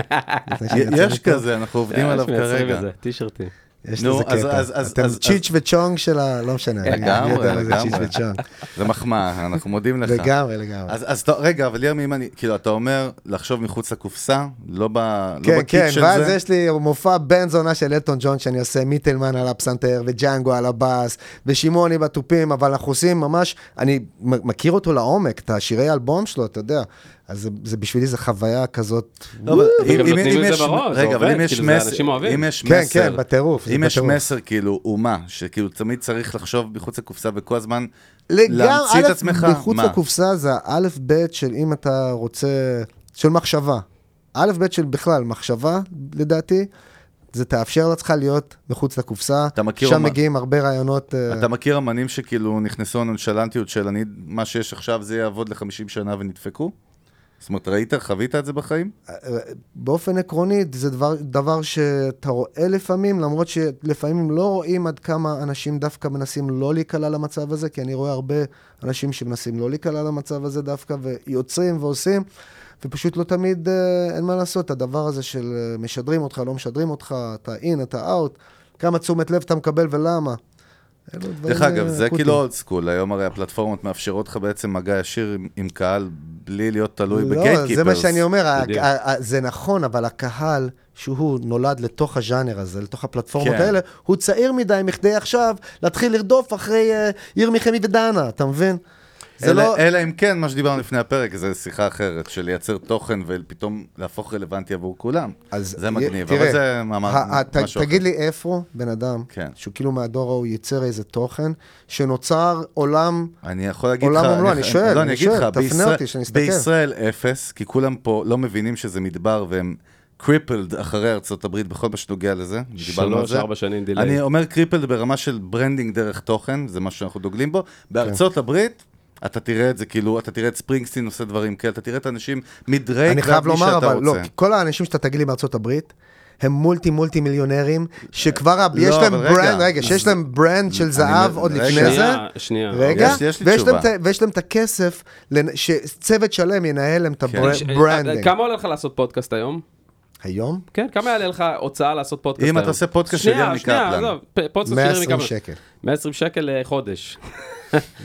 לפני שאני אצא יש מפה. כזה, אנחנו עובדים אה, עליו יש מייצרים כרגע. את זה, טישרטים. יש נו, לזה אז- קטע. אז- אז- אתם אז- צ'יץ' וצ'ונג של ה... לא משנה. אני- אני לגמרי, יודע מה זה לגמרי. צ'יץ' וצ'ונג. זה מחמאה, אנחנו מודים לך. לגמרי, לגמרי. אז, אז אתה, רגע, אבל ירמי, אם אני, כאילו, אתה אומר לחשוב מחוץ לקופסה, לא, ב, לא כן, בקיט כן, של זה. ואז יש לי מופע בן זונה של אלטון ג'ון שאני עושה מיטלמן על הפסנתר וג'אנגו על הבאס ושמעוני בתופים, אבל אנחנו עושים ממש, אני מ- מכיר אותו לעומק, את השירי האלבום שלו, אתה יודע, אז זה- זה בשבילי זה חוויה כזאת, לא, אבל וגם נותנים את זה בראש, זה רגע, אבל אם עובד, יש כאילו, זה מסר, אנשים אוהבים. אם יש כן, מסר, כן, בטירוף, זה אם יש בטירוף. מסר כאילו אומה, שכאילו תמיד צריך לחשוב מחוץ לקופסה וכל הזמן לגמרי, להמציא את א', עצמך, מחוץ מה? לקופסה זה האלף בית של אם אתה רוצה, של מחשבה. אלף בית של בכלל מחשבה, לדעתי, זה תאפשר לעצמך להיות מחוץ לקופסה. אתה מכיר שם אומן- מגיעים הרבה רעיונות... אה, אתה מכיר אמנים שכאילו נכנסו לנונשלנטיות של אני, מה שיש עכשיו זה יעבוד ל-50 שנה ונדפקו? זאת אומרת, ראית, חווית את זה בחיים? באופן עקרוני, זה דבר, דבר שאתה רואה לפעמים, למרות שלפעמים לא רואים עד כמה אנשים דווקא מנסים לא להיקלע למצב הזה, כי אני רואה הרבה אנשים שמנסים לא להיקלע למצב הזה דווקא, ויוצרים ועושים, ופשוט לא תמיד, אה, אין מה לעשות, הדבר הזה של אה, משדרים אותך, לא משדרים אותך, אתה אין, אתה אאוט, כמה תשומת לב אתה מקבל ולמה. אלו דברים, דרך אגב, אה, זה אקוטיים. כאילו אולד סקול, היום הרי הפלטפורמות מאפשרות לך בעצם מגע ישיר עם- עם קהל בלי להיות תלוי לא, זה מה בגייטקיפרס. שאני אומר, ה- בדיוק. ה- ה- זה נכון, אבל הקהל שהוא נולד לתוך הז'אנר הזה, לתוך הפלטפורמות כן. האלה, הוא צעיר מדי מכדי עכשיו להתחיל לרדוף אחרי אה, ירמי חמי ודנה, אתה מבין? זה אלא- לא... אלא אם כן, מה שדיברנו לפני הפרק, זה שיחה אחרת, של לייצר תוכן ופתאום להפוך רלוונטי עבור כולם. אז זה י- מגניב, תראה, אבל זה מאמר ה- ה- ת- משהו אחר. תגיד לי איפה בן אדם, כן. שהוא כאילו מהדור ההוא ייצר איזה תוכן, שנוצר עולם... אני יכול להגיד עולם לך... ומלואו, אני שואל, לא, אני אגיד שואל, לך, תפנה בישראל- אותי שאני אסתכל. בישראל אפס, כי כולם פה לא מבינים שזה מדבר והם קריפלד אחרי ארצות הברית בכל מה שנוגע לזה. דיברנו על שלוש, זה. ארבע שנים delay. אני אומר קריפלד ברמה של ברנדינג דרך תוכן, זה מה שאנחנו דוגלים בו. כן. בארצות הברית... אתה תראה את זה, כאילו, אתה תראה את ספרינגסטין עושה דברים כאלה, אתה תראה את האנשים מדרייק אני ועד חייב מי לומר, שאתה אבל לא, רוצה. כי כל האנשים שאתה תגיד לי מארצות הברית, הם מולטי מולטי מיליונרים, שכבר ה- לא, יש להם אבל רגע. ברנד, רגע, שיש להם ברנד של זהב עוד רגע. לפני זה. שנייה, אה, שנייה. רגע, יש- יש לי ויש להם, תשובה. את- ויש להם את הכסף לנ- שצוות שלם ינהל להם את כן. ש- הברנדינג. אה, כמה עולה לך לעשות פודקאסט היום? היום? כן, כמה יעלה לך הוצאה לעשות פודקאסט אם היום? אתה עושה פודקאסט של ירמי שנייה, קפלן. שנייה, עזוב, פ- פודקאסט של ירמי 120 קפלן. שקל. 120 שקל לחודש.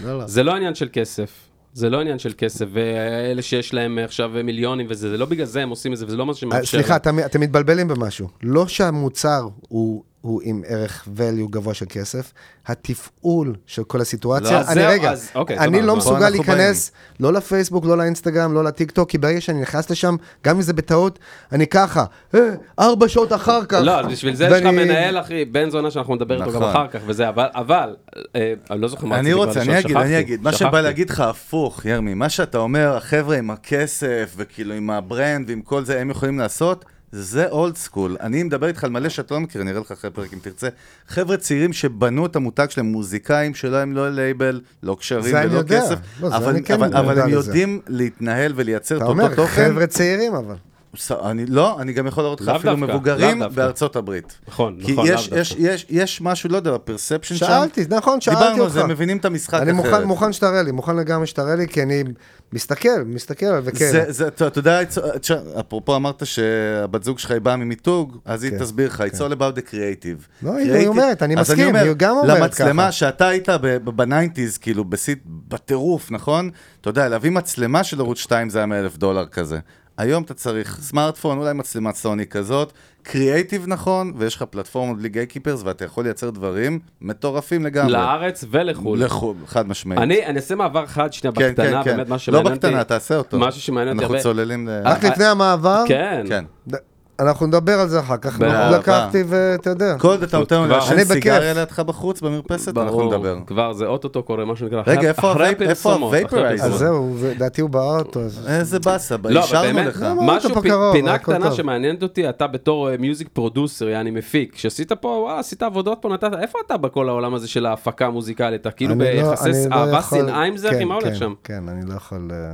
לא, לא. זה לא עניין של כסף. זה לא עניין של כסף, ואלה שיש להם עכשיו מיליונים וזה, זה לא בגלל זה הם עושים את זה, וזה לא מה אה, שמאפשר. סליחה, אתם אתם מתבלבלים במשהו. לא שהמוצר הוא... הוא עם ערך value גבוה של כסף, התפעול של כל לא, הסיטואציה. אז אני זהו, רגע, אז- אוקיי, אני סבבה, לא אז פה מסוגל אנחנו להיכנס לא לפייסבוק, לא לאינסטגרם, לא לטיק טוק, כי ברגע שאני נכנס לשם, גם אם זה בטעות, אני ככה, "אה, ארבע שעות אחר כך. לא, אז בשביל זה יש לך ואני- מנהל, אחי, בן זונה שאנחנו נדבר איתו גם נכון. אחר כך וזה, אבל, אבל, אה, אני לא זוכר מה אני רציתי כבר רוצה, לשאול, אני אגיד, שכחתי, אני אגיד. מה שבא שכחתי. להגיד לך הפוך, ירמי, מה שאתה אומר, החבר'ה עם הכסף, וכאילו עם הברנד ועם כל זה, הם יכולים לעשות, זה אולד סקול. אני מדבר איתך על מלא שאתה לא מכיר, נראה לך אחרי פרק אם תרצה. חבר'ה צעירים שבנו את המותג שלהם, מוזיקאים שלהם, לא לייבל, לא קשרים זה אני ולא יודע. כסף, לא, זה אבל- אני כן אבל אבל מודע הם לזה. יודעים להתנהל ולייצר את אתה אותו אומר, תוכן. חבר'ה צעירים אבל. ס- אני לא, אני גם יכול להראות לך לאו אפילו דווקא, מבוגרים לאו דווקא. בארצות הברית. נכון, כי נכון, לאו יש- דווקא. יש- יש- יש משהו, לא יודע, הפרספשן שם. שאלתי, נכון, שאלתי דיברנו על אותך. זה, הם מבינים את המשחק אחרת. אני מוכן, מוכן שתראה לי, מוכן לגמרי שתראה לי, כי אני מסתכל, מסתכל, וכן. זה, זה, אתה, אתה יודע, it's- תשמע, אפרופו אמרת שהבת זוג שלך היא באה ממיתוג, אז היא כן, תסביר לך, it's all about the creative. לא, היא- היא Creative- אומרת, אני אז מסכים, היא גם אומרת למצלמה ככה. שאתה היית בניינטיז, כאילו, בשיא, בטירוף, נכון? אתה יודע, להביא מצלמה של ערוץ 2 זה היה 100 אלף דולר כזה. היום אתה צריך סמארטפון, אולי מצלמת סוני כזאת, קריאייטיב נכון, ויש לך פלטפורמות בלי גיי קיפרס, ואתה יכול לייצר דברים מטורפים לגמרי. לארץ ולחו"ל. לחו"ל, חד משמעית. אני אני אעשה מעבר חד שנייה כן, כן, בקטנה, כן. באמת, מה שמעניין לא אותי. בקטנה, תעשה אותו. משהו שמעניין אותי אנחנו הרבה. אה, צוללים ל... רק לפני המעבר, כן. כן. ד- אנחנו נדבר על זה אחר כך, באהבה. לקחתי ואתה יודע. כל עוד אתה נותן לנו כבר- אני לעשן בכיף. סיגריה לידך בחוץ במרפסת, אנחנו ברור, נדבר. כבר זה אוטוטו קורה, מה שנקרא. רגע, אחרי- איפה אחרי הווייפ- איפה הפרסומות, אחרי הווייפרייזר? הפרסומות. אז זהו, לדעתי הוא באוטו. אז- איזה באסה, לא, אבל אישרנו באמת, לך. משהו, אמרת פה פ- קרוב, פינה הכל קטנה טוב. שמעניינת אותי, אתה בתור מיוזיק פרודוסר, יעני מפיק, שעשית פה, וואלה, עשית עבודות פה, נתת, איפה אתה בכל העולם הזה של ההפקה המוזיקלית? אתה כאילו אני לא- ביחסי אני לא אהבה יכול- שנאה עם זה, אחי, כן, מה הולך כן, שם? כן, אני לא יכול... אה,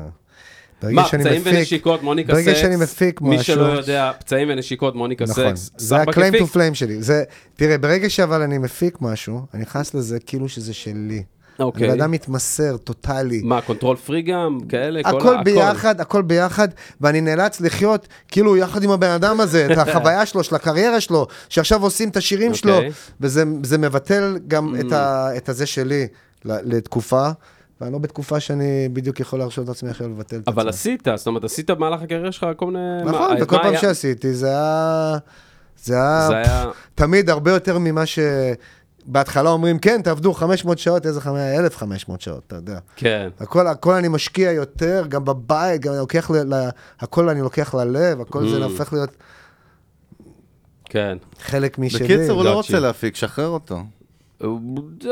ברגע מה, שאני פצעים מפיק- ונשיקות, מוניקה סקס? ברגע שאני מפיק מי משהו- שלא יודע, פצעים ונשיקות, מוניקה נכון, סקס. זה סבבה ה-claim כיפי. to flame שלי. זה, תראה, ברגע שאבל אני מפיק משהו, אני נכנס לזה כאילו שזה שלי. אוקיי. אני אדם מתמסר, טוטאלי. מה, קונטרול פרי גם? כאלה? כל ה- הכל ביחד, הכל ביחד, ואני נאלץ לחיות כאילו יחד עם הבן אדם הזה, את החוויה שלו, של הקריירה שלו, שעכשיו עושים את השירים שלו, אוקיי. Mm. וזה זה מבטל גם את, ה, את הזה שלי ל- לתקופה, ואני לא בתקופה שאני בדיוק יכול להרשות לעצמי עכשיו לבטל את אבל עצמי. עשית, זאת אומרת, עשית במהלך הקריירה שלך כל מיני... נכון, מה- וכל מה פעם היה- שעשיתי זה היה... זה היה... זה היה- תמיד הרבה יותר ממה ש... בהתחלה אומרים, כן, תעבדו 500 שעות, איזה 500? 1,500 שעות, אתה יודע. כן. הכל, הכל אני משקיע יותר, גם בבית, גם אני לוקח ל... ל הכל אני לוקח ללב, הכל זה הופך להיות כן. חלק משלי. בקיצור, הוא לא גאצ'י. רוצה להפיק, שחרר אותו.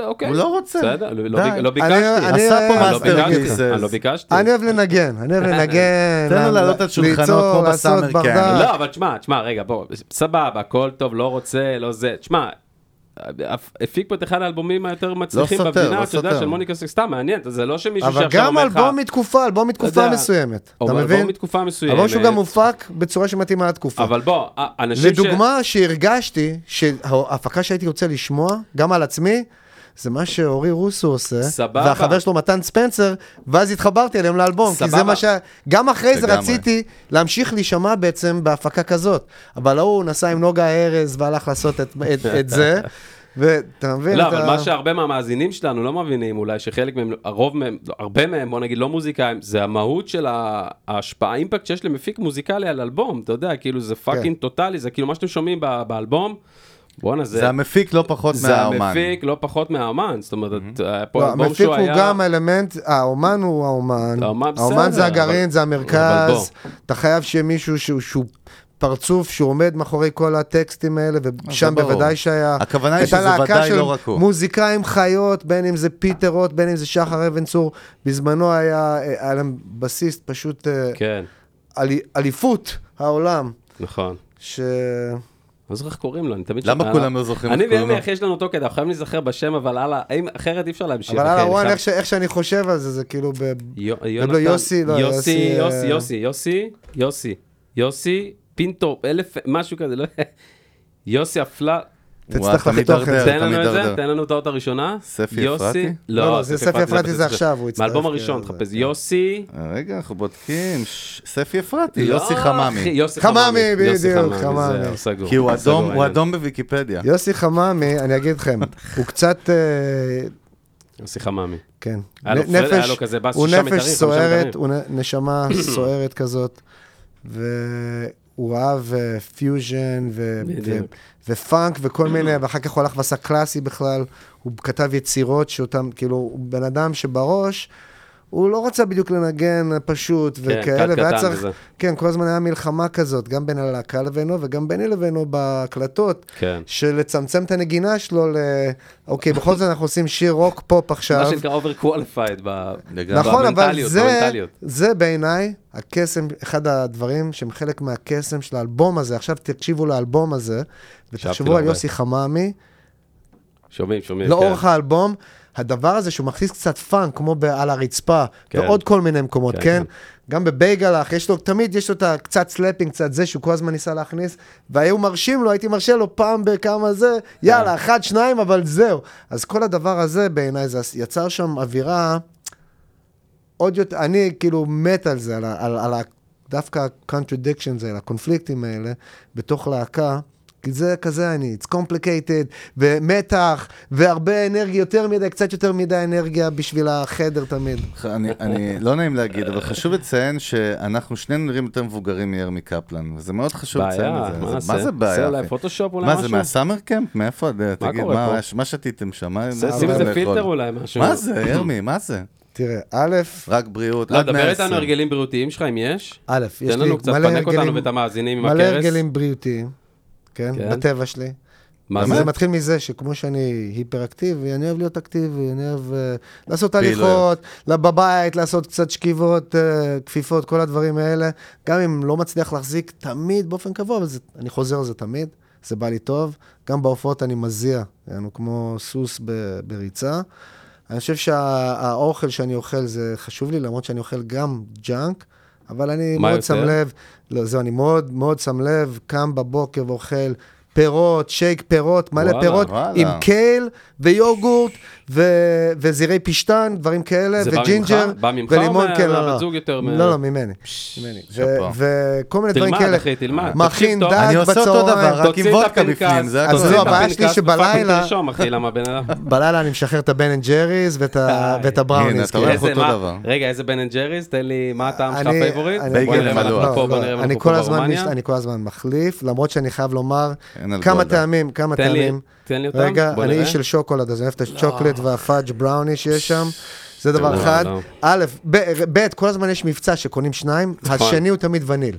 אוקיי. הוא לא רוצה. בסדר, לא- לא די. ביק- לא אני- ביקשתי. אני- עשה פה אני לא מאסטר ביקשתי. פיסס. אני לא ביקשתי. אני אוהב לנגן, אני אוהב לנגן. אה, תן לו ל- לעלות על שולחנות ליצור, כמו לעשות בסאמר כן. ברדק. קאמפ. לא, אבל תשמע, תשמע, רגע, בוא, סבבה, הכל טוב, לא רוצה, לא זה. תשמע, הפ- הפיק פה את אחד האלבומים היותר מצליחים סותר, במדינה, לא אתה יודע, סותר. של מוניקה סיקס, סתם מעניין, זה לא שמישהו אבל שעכשיו גם אומר לך... אלבום מתקופה, אלבום מתקופה יודע, מסוימת. אתה אלבום מבין? מתקופה מסוימת. אלבום שהוא גם הופק בצורה שמתאימה לתקופה. אבל בוא, א- אנשים ש... לדוגמה שהרגשתי שההפקה שהייתי רוצה לשמוע, גם על עצמי, זה מה שאורי רוסו עושה, סבבה. והחבר שלו מתן ספנסר, ואז התחברתי אליהם לאלבום, כי סבבה. זה מה ש... גם אחרי זה לגמרי. רציתי להמשיך להישמע בעצם בהפקה כזאת, אבל ההוא נסע עם נוגה ארז והלך לעשות את, את, את זה, ואתה מבין? לא, כן, אתה... אבל מה שהרבה מהמאזינים שלנו לא מבינים אולי, שחלק מהם, הרוב מהם, לא, הרבה מהם, בוא נגיד, לא מוזיקאים, זה המהות של ה- ההשפעה, האימפקט שיש למפיק מוזיקלי על אלבום, אתה יודע, כאילו זה פאקינג טוטאלי, זה כאילו מה שאתם שומעים ב- באלבום, בואנה, זה... זה המפיק לא פחות זה מהאומן. המפיק לא פחות מהאמן, זאת אומרת, היה פה לא, אלבום המפיק שהוא הוא היה... גם אלמנט, האומן הוא האומן, האומן בסדר, האומן זה הגרעין, אבל- זה אבל בוא. המרכז, אתה חייב שיהיה מישהו שהוא- שהוא פרצוף, שהוא עומד מאחורי כל הטקסטים האלה, ושם ברור. בוודאי שהיה. הכוונה היא הייתה שזה להקה ודאי של לא רק הוא. מוזיקאים חיות, בין אם זה פיטר רוט, בין אם זה שחר אבן צור, בזמנו היה, אה, היה להם בסיסט פשוט אה, כן, אלי- אליפות העולם, נכון. ש... אני לא זוכר איך קוראים לו, אני תמיד... למה שומע- כולם לא זוכרים איך אני קוראים לו? וירמיח יש לנו אותו כדי, אנחנו חייבים להיזכר בשם, אבל הלאה, אם- אחרת אי אפשר להמשיך. אבל אחי, על אני הוואן, חייב- איך ש- איך שאני חושב על זה, זה כאילו ב... יו- לו יונתן- יוסי, לא, יוסי, יוסי, יוסי, אה, יוסי, יוסי, יוסי, יוסי, פינטו, אלף, משהו כזה, לא... יוסי אפלה, אה, וואי, תצטרך אתה לחתוך את זה. מידרדר, תן אתה לנו את זה, מידרדר. תן לנו את האות הראשונה. ספי יוסי- אפרתי? לא, לא, זה ספי אפרתי זה בסדר. עכשיו, הוא הצטרף, מהאלבום כן, הראשון, זה- תחפש, יוסי... רגע, אנחנו בודקים. ש- ספי אפרתי, לא, יוסי אחי, חממי. יוסי חממי, יוסי בדיוק, חממי. חממי. זה לא סגור. כי הוא סגור, אדום, הוא העניין. אדום בוויקיפדיה. יוסי חממי, אני אגיד לכם, הוא קצת, אה, יוסי חממי. כן, היה לו נ- פרד- היה לו כזה בס הוא שישה נפש מיתרים, חמישה מיתרים. סוערת, הוא נ- נשמה סוערת כזאת, והוא אהב אה, פיוז'ן ו- בדיוק. ו- ופאנק וכל מיני, ואחר כך הוא הלך ועשה קלאסי בכלל, הוא כתב יצירות שאותם, כאילו, הוא בן אדם שבראש, הוא לא רצה בדיוק לנגן פשוט וכאלה, קל כן, קטן והיה צריך, וזה. כן, כל הזמן היה מלחמה כזאת, גם בין הלהקה לבינו וגם ביני לבינו בהקלטות, כן. של לצמצם את הנגינה שלו ל... אוקיי, בכל זאת אנחנו עושים שיר רוק פופ מה עכשיו. שנקרא over qualified ב... לגמרי. נכון, אבל במנטליות, זה, במנטליות. זה בעיניי הקסם, אחד הדברים שהם חלק מהקסם של האלבום הזה. עכשיו תקשיבו לאלבום הזה, הקשבתי ותחשבו לו על הרבה. כן, יוסי חממי, שומעים, שומעים. לאורך האלבום, הדבר הזה שהוא מכניס קצת פאנק, כמו על הרצפה, כן. ועוד כל מיני מקומות, כן, כן? כן. גם בבייגלח, יש לו, תמיד יש לו את הקצת סלאפינג, קצת זה, שהוא כל הזמן ניסה להכניס, והיו מרשים לו, הייתי מרשה לו פעם בכמה זה, יאללה, אחד, שניים, אבל זהו. אז כל הדבר הזה בעיניי, זה יצר שם אווירה עוד יותר, אני כאילו מת על זה, על, ה- על, על ה, דווקא ה-contradictions האלה, הקונפליקטים האלה, בתוך להקה. כי זה כזה אני, it's complicated, ומתח, והרבה אנרגיה, יותר מדי, קצת יותר מדי אנרגיה בשביל החדר תמיד. אני, אני, לא נעים להגיד, אבל חשוב לציין שאנחנו שנינו נראים יותר מבוגרים מירמי קפלן, וזה מאוד חשוב לציין בעיה, את זה. מה זה- זה? מה זה בעיה? עושה אולי אחי? פוטושופ אולי מה זה, משהו? מהסאמר קמפ? מאיפה? אתה- תגיד, קורה מה- פה? מה שתיתם שם? מה- זה- מה שים אתם איזה לאכול? פילטר אולי, משהו. מה זה, ירמי, מה זה? תראה, א', רק בריאות, לא, עד דבר 120. איתנו הרגלים בריאותיים שלך, אם יש. א', יש לי תן לנו קצת, מלא פנק אותנו הרגלים- ואת המאזינים עם מלא הכרס. הרגלים בריאותיים, כן, כן. בטבע שלי. מה זה זה? מתחיל מזה שכמו שאני היפראקטיבי, אני אוהב להיות אקטיבי, אני אוהב אה, לעשות פעילויות. הליכות, לה- בבית, לעשות קצת שכיבות, אה, כפיפות, כל הדברים האלה. גם אם לא מצליח להחזיק תמיד באופן קבוע, אבל זה- אני חוזר על זה תמיד, זה בא לי טוב. גם בהופעות אני מזיע, יענו כמו סוס ב- בריצה. אני חושב שהאוכל שאני אוכל זה חשוב לי, למרות שאני אוכל גם ג'אנק, אבל אני מה מאוד יותר? שם לב, לא, זהו, אני מאוד מאוד שם לב, קם בבוקר ואוכל פירות, שייק פירות, מלא וואלה, פירות, וואלה. עם קייל ויוגורט ו- וזירי פשטן, דברים כאלה, זה בא וג'ינג'ר, ממך? בא ממך ולימון, או כן, מה- לא, מהבת לא, זוג יותר מה- לא, לא, ממני, ממני, ו- שאפו. וכל מיני דברים תלמד, כאלה, אחי, תלמד. מכין תקשיב טוב. דג אני עושה אותו דבר, בצהריים, רק עם תוציא את וודקה הפנקס, בפנים, זה הכל. אז תוציא לא, את הבעיה הפנקס שלי שבלילה- ופאקינג תרשום, אחי, למה בן אדם... בלילה אני משחרר את הבן אנד ג'ריס ואת ה- ואת הנה, הבראוניס, אתה רואה כאילו. איך איזה, אותו מה? דבר. רגע, איזה בן אנד ג'ריס? תן לי, מה הטעם שלך אני- הפייבורית? אני- בייגל בוא נראה אם אנחנו מלוח. פה, לא, בוא לא, נראה אם אני אנחנו פה כל הזמן מש- ברומניה. אני כל הזמן מחליף, למרות שאני חייב לומר אין על כמה גולדה. טעמים, כמה תן לי- טעמים. תן לי אותם, רגע, בוא אני נראה. איש של שוקולד, אז אני אוהב את השוקולד והפאג' בראוני שיש שם. זה דבר לא, אחד. לא. נכון. א', ב- ב', כל הזמן יש מבצע שקונים שניים, השני הוא תמיד וניל.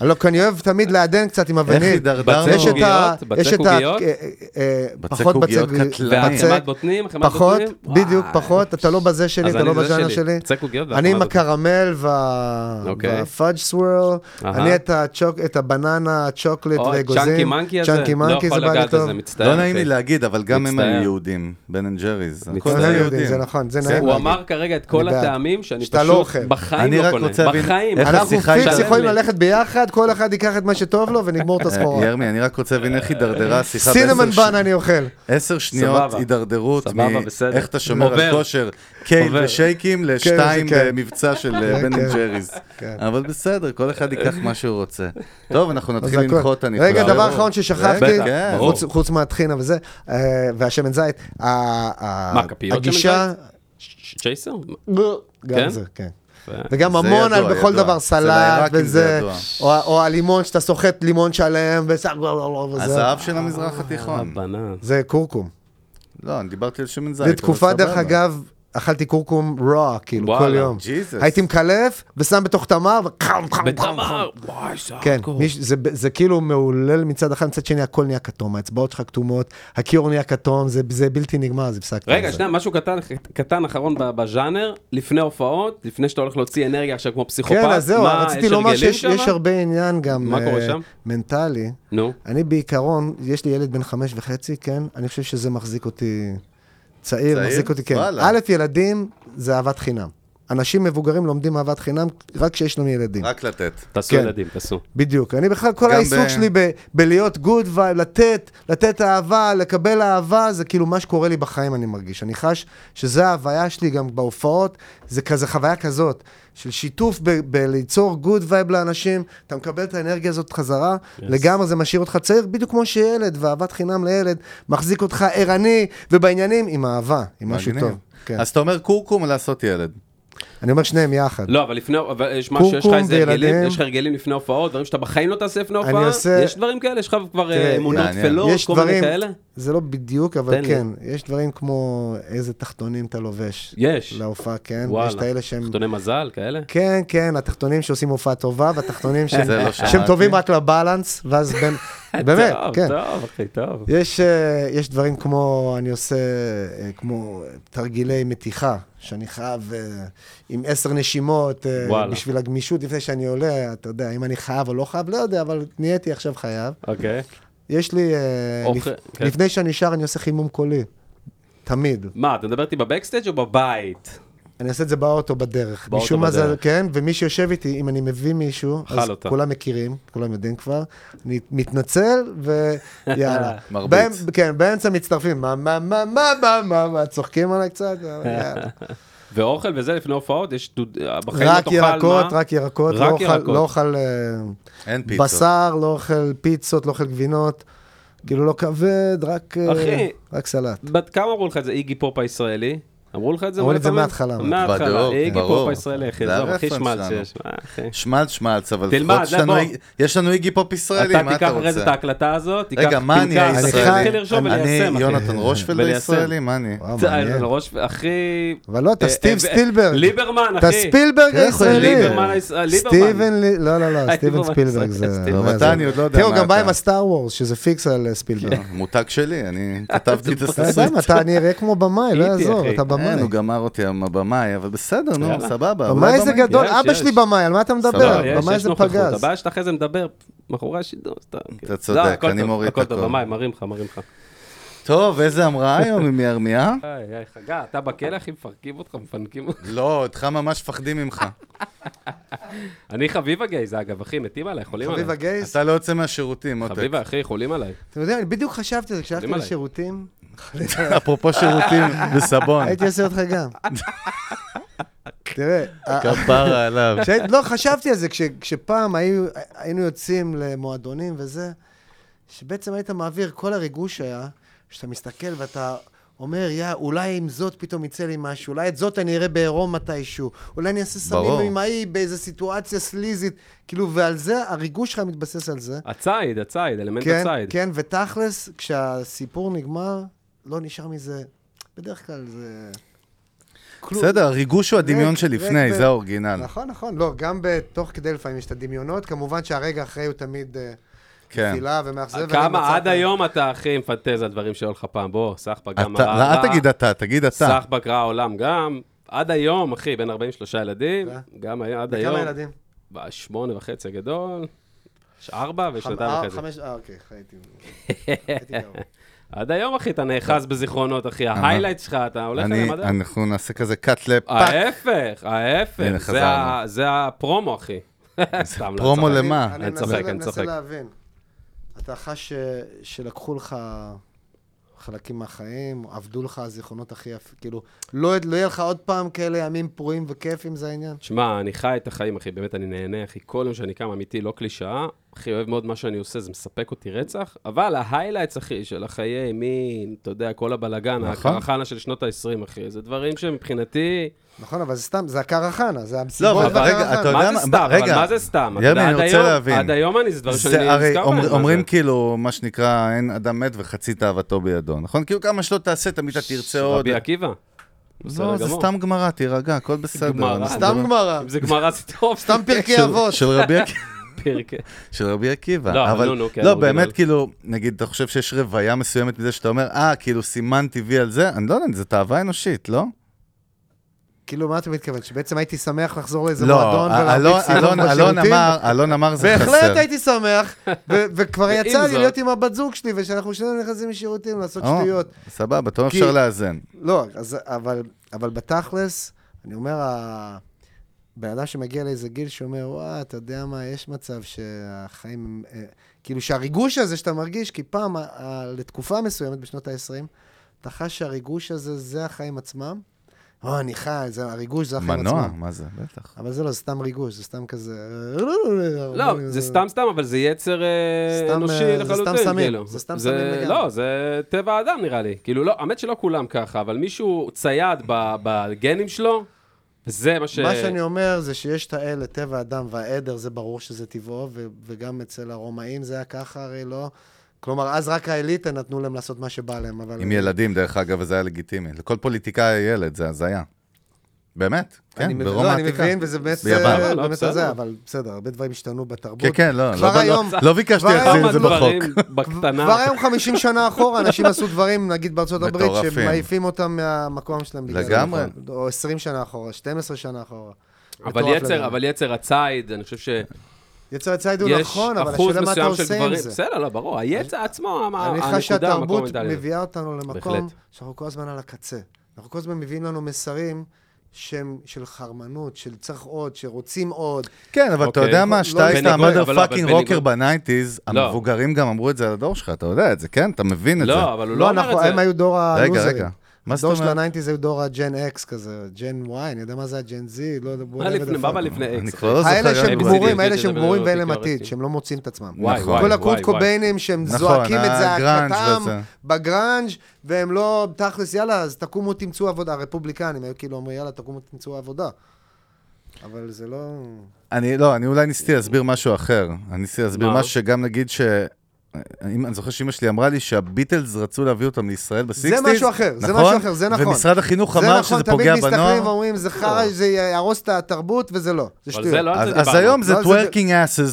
אני לא, כי אני אוהב תמיד לעדן קצת עם אבנית. הידרדרנו? יש את ה- בצק יש את ה... קוגיות? אה, אה, אה, בצק פחות קוגיות קטלן. בצק, והחמת בוטנים, החמת פחות, בוטנים? וואי. בדיוק, פחות, אתה לא בזה שלי, אז אתה אני לא זה בז'אנר שלי. שלי. בצק קוגיות והחמת אני עם בוטנים. הקרמל וה- אוקיי. והפאג' סוורל, אהה. אני את הצ'וק- את הבננה, הצ'וקלט אוי, ואגוזים. צ'אנקי מנקי הזה? צ'אנקי לא מנקי יכול זה בא לי לגעת טוב. בזה, מצטער. לא נעים לי אחי. להגיד, אבל גם הם מצטער. היו יהודים, בן אנד ג'ריס. הכל מצטער. היו יהודים, יהודים. זה נכון, זה כן. נעים הוא להגיד. אמר כרגע את כל אני בעד. הטעמים שאני שאתה לא פשוט אוכל. בחיים אני לא רק קונה. רוצה להבין בחיים. איך בחיים. אנחנו השיחה פיקס התעלם יכולים לי. ללכת ביחד, כל אחד ייקח את מה שטוב לו ונגמור את הסחורה. אה, ירמי, אני רק רוצה להבין איך הידרדרה השיחה סינמן ש- בן אני אוכל. עשר שניות סבבה. הידרדרות, סבבה, מ- בסדר. איך אתה שומר עובר. על כושר, קייל עובר. ושייקים לשתיים כן. במבצע של אה, כן, בן אנד כן. ג'ריס. כן. אבל בסדר, כל אחד ייקח מה שהוא רוצה. טוב, אנחנו אז נתחיל הכל. לנחות, אני רגע, חושב. דבר אחרון ששכחתי, רגע, כן. ברור. חוץ- חוץ מהטחינה וזה, אה, והשמן זית, ה- ה- מה, כפיות שמן הגישה, ש- צ'ייסר? גם כן? זה, כן. ו- וגם זה המון ידוע, על בכל ידוע. דבר אצל סלט העיראקים זה וזה, ידוע. או ה- או הלימון שאתה סוחט לימון שלם ושם לא, וזה, הזהב של המזרח התיכון. הבנה. זה כורכום. לא, אני דיברתי על שמן זית. אבל לתקופה דרך סבבה. אגב, אכלתי כורכום רוע, כאילו, וואלה, כל יום. Jesus. הייתי מקלף ושם בתוך תמר ו... בתמר! וואי, זה כן, הארדקור. מיש, זה, זה כאילו מעולל מצד אחד, מצד שני הכל נהיה כתום, האצבעות שלך כתומות, הכיור נהיה כתום, זה, זה בלתי נגמר, זה פסק. רגע, זה. שנייה, משהו קטן, קטן אחרון ב- בז'אנר, לפני הופעות, לפני שאתה הולך להוציא אנרגיה עכשיו כמו פסיכופת, כן, אז זהו, מה, רציתי יש לומר הרגלים שיש שם? יש הרבה עניין גם מה אה, קורה שם? מנטלי. נו, אני בעיקרון, יש לי ילד בן חמש וחצי, כן? אני חושב שזה מחזיק אותי צעיר, צעיר? מחזיק אותי, כן. וואלה. א', ילדים זה אהבת חינם. אנשים מבוגרים לומדים אהבת חינם רק כשיש לנו ילדים. רק לתת. תעשו כן. ילדים, תעשו. בדיוק. אני בכלל, כל גם העיסוק ב- שלי ב- בלהיות גוד, לתת, לתת אהבה, לקבל אהבה, זה כאילו מה שקורה לי בחיים, אני מרגיש. אני חש שזה ההוויה שלי גם בהופעות, זה כזה חוויה כזאת, של שיתוף ב- בליצור גוד וייב לאנשים, אתה מקבל את האנרגיה הזאת חזרה, yes. לגמרי זה משאיר אותך צעיר, בדיוק כמו שילד, ואהבת חינם לילד, מחזיק אותך ערני ובעניינים עם אהבה, עם משהו מגניב. טוב. כן. אז אתה אומר קורקום לעשות ילד. אני אומר שניהם יחד. לא, אבל לפני, אבל יש משהו, יש לך קומקום איזה הרגלים, וילדים. יש לך הרגלים לפני הופעות, דברים שאתה בחיים לא תעשה לפני אני הופעה, עושה- יש דברים כאלה, יש לך כבר תראה, אה, אמונות מעניין. טפלות, יש כל מיני דברים, כאלה? זה לא בדיוק, תן אבל לי. כן, יש דברים כמו איזה תחתונים אתה לובש. יש. להופעה, כן. יש את וואלה, האלה שהם... חתוני מזל, כאלה? כן, כן, התחתונים שעושים הופעה טובה, והתחתונים שהם- זה לא שהם שמעתי. טובים רק לבלנס, ואז בין... באמת, טוב, כן. טוב, אחי, טוב. יש, אה, יש דברים כמו, אני עושה, אה, כמו תרגילי מתיחה, שאני חייב אה, עם עשר נשימות, אה, וואלה. בשביל הגמישות לפני שאני עולה, אתה יודע, אם אני חייב או לא חייב, לא יודע, אבל נהייתי עכשיו חייב. אוקיי. יש לי... אה, אוכל, לפ... כן. לפני שאני שר, אני עושה חימום קולי. תמיד. מה, אתה מדבר איתי בבקסטייג' או בבית? אני עושה את זה באוטו בדרך. באוטו משום מה זה, בדרך. כן, ומי שיושב איתי, אם אני מביא מישהו, אכל אז אותה. כולם מכירים, כולם יודעים כבר. אני מתנצל, ויאללה. מרביץ. באמ- כן, באמצע מצטרפים, מה, מה, מה, מה, מה, מה, מה, צוחקים עליי קצת, אבל יאללה. ואוכל וזה לפני הופעות, יש דוד... בחיים לא רק תאכל, ירקות, מה? רק ירקות, רק לא אוכל- ירקות. לא אוכל אה, אין פיצות. בשר, לא אוכל פיצות, לא אוכל גבינות, כאילו לא כבד, רק אה, אחי. רק סלט. בת כמה אמרו לך את זה, איגי פופ הישראלי? אמרו לך את זה? אמרו מלא לי את זה פעמים? מההתחלה, אמרתי. מההתחלה, בדוק, איגי ברור. פופ הישראלי, אחי, זה זהו, הכי הרפרנס שמלט שלנו. שיש. מה, אחי? שמלץ, שמלץ, אבל תלמד, לפחות יש זה לנו- בוא. יש לנו איגי פופ ישראלי, אתה מה תיקח אתה אחרי זה את רוצה? ההקלטה הזאת, תיקח רגע, מה אני כן פנקס, תתחיל הישראלי? לרשום אני וליישם, אחי. יונתן רושפלד וליישם. הישראלי? מה אני? וואו, זה, אה, מעניין. על ראש, אחי... אבל לא, אתה אה, סטיב אה, ספילברג. ליברמן, אתה אחי. ספילברג כן, יכול הישראלי. להיות. ליברמן הישראל- ליברמן. סטיבן, ל- לא, לא, לא, סטיבן ליברמן ספילברג הישראלי. זה... סטיבן. טוב, מה אתה, זה? אני עוד לא יודע תראו, מה גם בא אתה. עם הסטאר וורס, שזה פיקס על אה, ספילברג. כן, מותג שלי, אני כתבתי את אתה יודע הסרט. מה, אתה נראה כמו במאי, לא הייתי, יעזור, אחי. אתה אין, במאי. הוא גמר אותי עם הבמאי, אבל בסדר, נו, יאללה. סבבה. אולי במאי זה במאי. גדול, יש, אבא יש. שלי במאי, על מה אתה סבבה, מדבר? לא, יש, במאי יש זה נוכחות. פגז. הבעיה שאתה אחרי זה מדבר מאחורי השידור. אז אתה צודק, לא, הכל אני טוב, מוריד את הכל הכל. טוב, במים, מרים לך, מרים לך. טוב, איזה המראה היום עם ירמיה? איי, איי, חגה, אתה בכלא, אחי, מפרקים אותך, מפנקים אותך. לא, אותך ממש מפחדים ממך. אני חביבה גייז, אגב, אחי, מתים עליי, חולים עליי. חביבה גייס, אתה לא יוצא מהשירותים, מותק. חביבה, אחי, חולים עליי. אתם יודעים, אני בדיוק חשבתי על זה, כשהלכתי עליי. לשירותים, אפרופו שירותים וסבון. הייתי עושה אותך גם. תראה, ה- כפרה עליו. כשהי- לא, חשבתי על זה, כש- כשפעם היו- היינו יוצאים למועדונים וזה, שבעצם היית מעביר, כל הריגוש היה, שאתה מסתכל ואתה אומר, יא, אולי עם זאת פתאום יצא לי משהו, אולי את זאת אני אראה בעירום מתישהו, אולי אני אעשה סמים ברור. עם ההיא באיזה סיטואציה סליזית, כאילו, ועל זה, הריגוש שלך מתבסס על זה. הציד, הציד, אלמנט כן, הציד. כן, ותכלס, כשהסיפור נגמר, לא נשאר מזה, בדרך כלל זה... כלום. בסדר, הריגוש הוא הדמיון ריק, שלפני, ריק ב- זה האורגינל. נכון, נכון. לא, גם בתוך כדי לפעמים יש את הדמיונות. כמובן שהרגע אחרי הוא תמיד אה, כן. תפילה ומאכזב. אה, ואני כמה מצאתי- עד היום אתה הכי מפנטז על דברים שהיו לך פעם, בוא, סחבק גם אתה- לא, אל תגיד אתה, תגיד אתה. סחבק רע העולם גם. עד היום, אחי, בן 43 ילדים, ו- גם היה- עד היום. וכמה ילדים? בשמונה וחצי הגדול, יש ארבע ושנתיים אה, וחצי. חמש, אה, אוקיי, חייתי. חייתי גרוע. עד היום, אחי, אתה נאחז בזיכרונות, אחי. ההיילייט שלך, אתה הולך אני- אליהם עד היום. אנחנו נעשה כזה cut לפאק. ההפך, הנה, ההפך. זה ה- חזרנו. זה זה הפרומו, אחי. סתם, לא פרומו צוחק. אני- למה? אני אני מנסה- צוחק, אני צוחק. מנסה להבין. אתה חש ש- שלקחו לך חלקים מהחיים, עבדו לך הזיכרונות הכי יפים, כאילו, לא לא יהיה לך עוד פעם כאלה ימים פרועים וכיף אם זה העניין? תשמע, אני חי את החיים, אחי, באמת, אני נהנה, אחי. כל יום שאני קם, אמיתי, לא קלישאה. אחי, אוהב מאוד מה שאני עושה, זה מספק אותי רצח. אבל ההיילייטס, אחי, של החיי מין, אתה יודע, כל הבלגן, נכון. הקרחנה של שנות ה-20, אחי, זה דברים שמבחינתי... נכון, אבל זה סתם, זה הקרחנה, זה המסיבות לא, אבל רגע, והקרחנה. אתה יודע מה זה מה- סתם? רגע. אבל מה זה סתם? ירמי, אתה יודע, אני עד רוצה היום- להבין. עד היום אני, זה דברים שאני זה הרי נזכר אומר- בהם, מה אומרים זה? כאילו, מה שנקרא, אין אדם מת וחצי תאוותו בידו, נכון? כאילו כמה שלא תעשה, תמיד אתה תרצה עוד. רבי עקיבא. בסדר לא, זה גמור. סתם גמרא, תירגע, הכל בסדר. גמרא. אנחנו סתם מדברים- סתם גמרא, אם זה לא- גמרא זה טוב, סתם פרקי אבות. של רבי עקיבא. פרק. של רבי עקיבא. לא, אבל נו, נו, כן, לא, אורגינל. באמת, כאילו, נגיד, אתה חושב שיש רוויה מסוימת מזה שאתה אומר, אה, כאילו, סימן טבעי על זה? אני לא יודע, זה תאווה אנושית, לא? כאילו, מה אתה מתכוון? שבעצם הייתי שמח לחזור לאיזה לא, מועדון אלון- ולהרביץ סיבוב אלון- אלון בשירותים? אמר, אלון אמר זה חסר. בהחלט הייתי שמח, ו- וכבר ועם יצא לי זאת- להיות עם הבת זוג שלי, ושאנחנו שנינו נכנסים לשירותים לעשות או, שטויות. סבבה, טוב כי- אפשר לאזן. לא, אז, אבל, אבל בתכלס, אני אומר, הבן אדם שמגיע לאיזה גיל שאומר, וואה, אתה יודע מה, יש מצב שהחיים הם... אה, כאילו שהריגוש הזה שאתה מרגיש, כי פעם, ה- ה- לתקופה מסוימת בשנות ה-20, אתה חש שהריגוש הזה, זה החיים עצמם. או, אני חי, זה הריגוש, זה החיים מנוע, עצמם. מה זה, בטח. אבל זה לא, זה סתם ריגוש, זה סתם כזה... אה, לא, זה סתם סתם, אבל זה יצר אה, סתם, אה, אנושי זה סתם לחלוטין. סמים, כאילו. זה סתם סמים לגמרי. לא, זה טבע האדם נראה לי. כאילו, לא, האמת שלא כולם ככה, אבל מישהו צייד ב- בגנים שלו, זה מה ש... מה שאני אומר זה שיש את האל, את טבע האדם והעדר, זה ברור שזה טבעו, ו- וגם אצל הרומאים זה היה ככה, הרי לא... כלומר, אז רק האליטה נתנו להם לעשות מה שבא להם, אבל... עם ילדים, דרך אגב, וזה היה לגיטימי. לכל פוליטיקאי ילד, זה הזיה. באמת, אני כן, מבין- ברומא לא, אני העתיקה. מבין, וזה באמת... ביוון. אה, לא, באמת בסדר. זה, אבל בסדר, הרבה דברים השתנו בתרבות. כן, כן, לא, כבר לא- לא- היום- לא ביקשתי כבר להחזיר את כמה זה דברים בחוק. בקטנה. כבר היום 50 שנה אחורה, אנשים עשו דברים, נגיד בארצות הברית, מטורפים. שמעיפים אותם מהמקום שלהם. בגלל זה, לגמרי. נכון. או 20 שנה אחורה, 12 שנה אחורה. אבל מטורף יצר, לגמרי. אבל יצר הציד, אני חושב שיש יצר הציד הוא נכון, אבל אחוז השאלה מה אתה מסוים של עושה עם גברים. זה. בסדר, לא, ברור, היצר עצמו, המ- אני הנקודה, חש המקום שהתרבות המנטלי. מביאה אותנו למקום בהחלט. שאנחנו כל הזמן על הקצה. אנחנו כל הזמן מביאים לנו מסרים שהם של חרמנות, של צריך עוד, שרוצים עוד. כן, אבל אתה אוקיי. יודע לא, מה, שטייס, בניגוד- אתה מודר אבל לא, אבל פאקינג בניגוד- רוקר בנייטיז, לא. המבוגרים גם אמרו את זה על הדור שלך, אתה יודע את זה, כן? אתה מבין את זה. לא, אבל הוא לא לא, אומר אנחנו, את הם זה. היו דור הלוזרים. רגע, רגע. מה זאת הדור של אומרת? הניינטיז היו דור הג'ן אקס כזה, ג'ן וואי, אני יודע מה זה הג'ן זי, לא יודע, בוא מה נראה לפני, מה בא לפני אני אקס? כבר לא זוכר. האלה יוני. שהם ABCD, גמורים, ABCD, האלה שהם זה גמורים ואלה כן, תיאורטי. מתאים, שהם לא מוצאים את עצמם. וואי, נכון. וואי, כל וואי, הקרוט וואי. קוביינים שהם נכון, זועקים את הגראנג' זעקתם וזה. בגראנג', והם לא, תכלס, יאללה, אז תקומו תמצאו עבודה. הרפובליקנים היו כאילו אומרים, יאללה, תקומו תמצאו עבודה. אבל זה לא... אני לא, אני אולי ניסיתי להסביר משהו אחר. אני ניסיתי להסביר אה, מה? משהו שגם נגיד ש... אם, אני זוכר שאימא שלי אמרה לי שהביטלס רצו להביא אותם לישראל בסיקסטיז. משהו אחר, זה משהו אחר, זה נכון. ומשרד החינוך זה אמר נכון, שזה תמיד פוגע מסתכלים בנוער. ואומרים, זה חרא, זה יהרוס את התרבות, וזה לא. אבל זה שטויות. זה לא על אז, זה אז דיברנו. היום זה לא, זה- twerking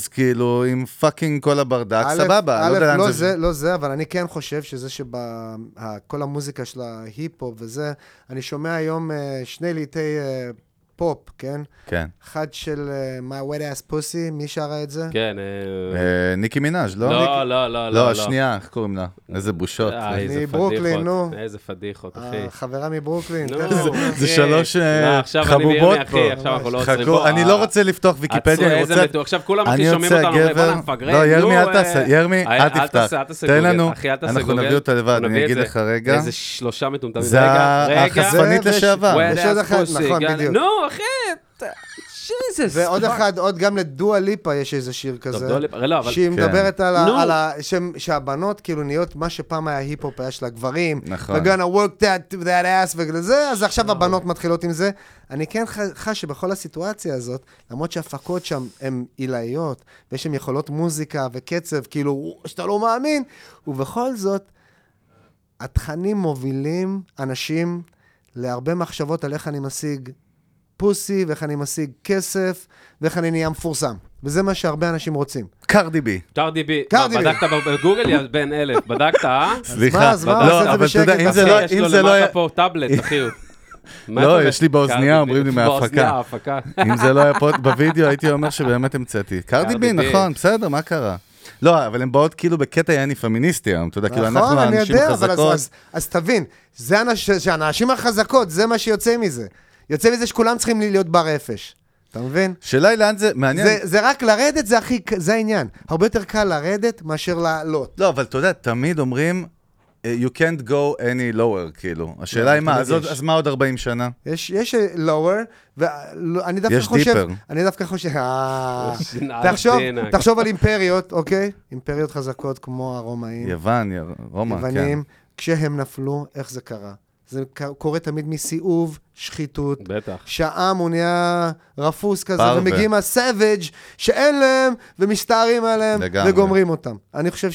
asses, כאילו, עם פאקינג כל הברדק, א', סבבה, א', לא יודע לא לאן זה, לא זה, אבל אני כן חושב שזה שכל המוזיקה של ההיפ-הופ וזה, אני שומע היום אה, שני ליטי אה, פופ, כן? כן. אחד של אה, My Wet Ass Pussy, מי שרה את זה? כן, אה, אה, ניקי מנאז', לא? לא, ניקי- לא, לא, לא, לא. השנייה, איך קוראים לה? איזה בושות. אה, איזה מברוקלין, פדיחות, נו. איזה פדיחות, אחי. החברה אה, מברוקלין. נו, תכף הוא- אחי. זה שלוש, אה, לא, עכשיו אני חבובות וירמי, פה. אחי, עכשיו אנחנו לא עוצרים חכו, פה. אני אה, לא רוצה לפתוח עצרו, ויקיפדיה, אני איזה רוצה... מתוק. עכשיו כולם הכי אני שומעים רוצה אותנו, אומרים, גבר- "בואנה, מפגרים", לא, ירמי, נו, אל תעשה, אה, ירמי, אה, אל תפתח. תעשה, אל תעשה תן גוגל. לנו, אחי, אל תעשה אנחנו גוגל. נביא אותה לבד, אנחנו אני נביא את אגיד זה. לך רגע. איזה שלושה מטומטמים. זה רגע, רגע. החשפנית זה- זה- לשעבר. Wet יש עוד ass אחד, pussy, נכון, גל- בדיוק. נו, אחי, אתה- ג'יזוס. ועוד פאק. אחד, עוד גם לדואה ליפה יש איזה שיר כזה. דואה ליפה, לא, אבל- שהיא כן. מדברת על נו. ה... על ה- שהם- שהבנות כאילו נהיות מה שפעם היה היפ-הופ היה של הגברים. נכון. We're gonna work that, that ass וזה, אז עכשיו הבנות מתחילות עם זה. אני כן ח- חש שבכל הסיטואציה הזאת, למרות שההפקות שם הן עילאיות, ויש שם יכולות מוזיקה וקצב, כאילו, שאתה לא מאמין, ובכל זאת, התכנים מובילים אנשים להרבה מחשבות על איך אני משיג פוסי, ואיך אני משיג כסף, ואיך אני נהיה מפורסם. וזה מה שהרבה אנשים רוצים. קרדי בי. קרדי בי, קרדי מה, בי. בדקת בגוגל, יא בן אלף, בדקת, אה? סליחה. מה, אז מה, לא, עושה את זה אבל אתה יודע, בשקט, אם זה אחי, לא- יש אם לו זה לא למטה היה- פה טאבלט, אחי. הוא- מה לא, אתה- יש לי באוזנייה, קרדי אומרים בי, לי באוזנייה, מההפקה. ההפקה. אם זה לא היה פה בווידאו, הייתי אומר שבאמת המצאתי. קרדי בי, קרדי בי. נכון, בסדר, מה קרה? לא, אבל הן באות כאילו בקטע יעני פמיניסטי היום, אתה יודע, כאילו נכון, אנחנו נכון, אני האנשים יודע, אבל אז- החזקות. אז- אז תבין, זה אנש- שהנשים החזקות, זה מה שיוצא מזה. יוצא מזה שכולם צריכים להיות בר אפש. אתה מבין? שאלה היא לאן זה, מעניין. זה, זה רק לרדת, זה הכי, ק- זה העניין. הרבה יותר קל לרדת מאשר לעלות. לא, אבל אתה יודע, תמיד אומרים, אה, you can't go any lower, כאילו. השאלה לא, היא מה, תמיד אז עוד- יש. אז מה עוד 40 שנה? יש, יש אה, lower, ואני דווקא יש חושב... deeper. אני דווקא חושב... אה, שנאה תחשוב, בעיניי. תחשוב על אימפריות, אוקיי? אימפריות חזקות כמו הרומאים, יוון, יר- רומא, כן. יוונים, כשהם נפלו, איך זה קרה? זה ק- קורה תמיד מסיאוב, שחיתות, בטח. שהעם הוא נהיה רפוס כזה, פרווה. ומגיעים הסאביג' שאין להם, ומסתערים עליהם, לגמרי. וגומרים אותם. אני חושב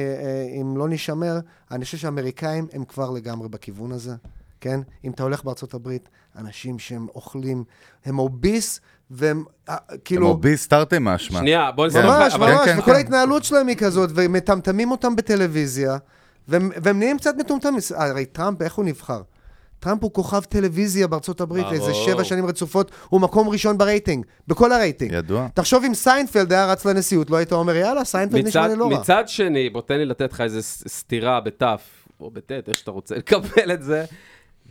שאם לא נשמר, אני חושב שהאמריקאים הם כבר לגמרי בכיוון הזה, כן? אם אתה הולך בארצות הברית, אנשים שהם אוכלים, הם אוביס, והם אה, כאילו... כמו בי סטארטי משמע. שנייה, בוא נסיים. ממש, אבל- ממש, כן, וכל כן. ההתנהלות שלהם היא כזאת, ומטמטמים אותם בטלוויזיה, והם והם נהיים קצת מטומטמים. הרי טראמפ, איך הוא נבחר? טראמפ הוא כוכב טלוויזיה בארצות הברית, ברור. איזה שבע שנים רצופות, הוא מקום ראשון ברייטינג, בכל הרייטינג. ידוע. תחשוב אם סיינפלד היה רץ לנשיאות, לא היית אומר, יאללה, סיינפלד נשמע מצד, לי לא רע. מצד שני, בוא תן לי לתת לך איזה ס- סטירה בתף, או בטית, איך שאתה רוצה לקבל את זה.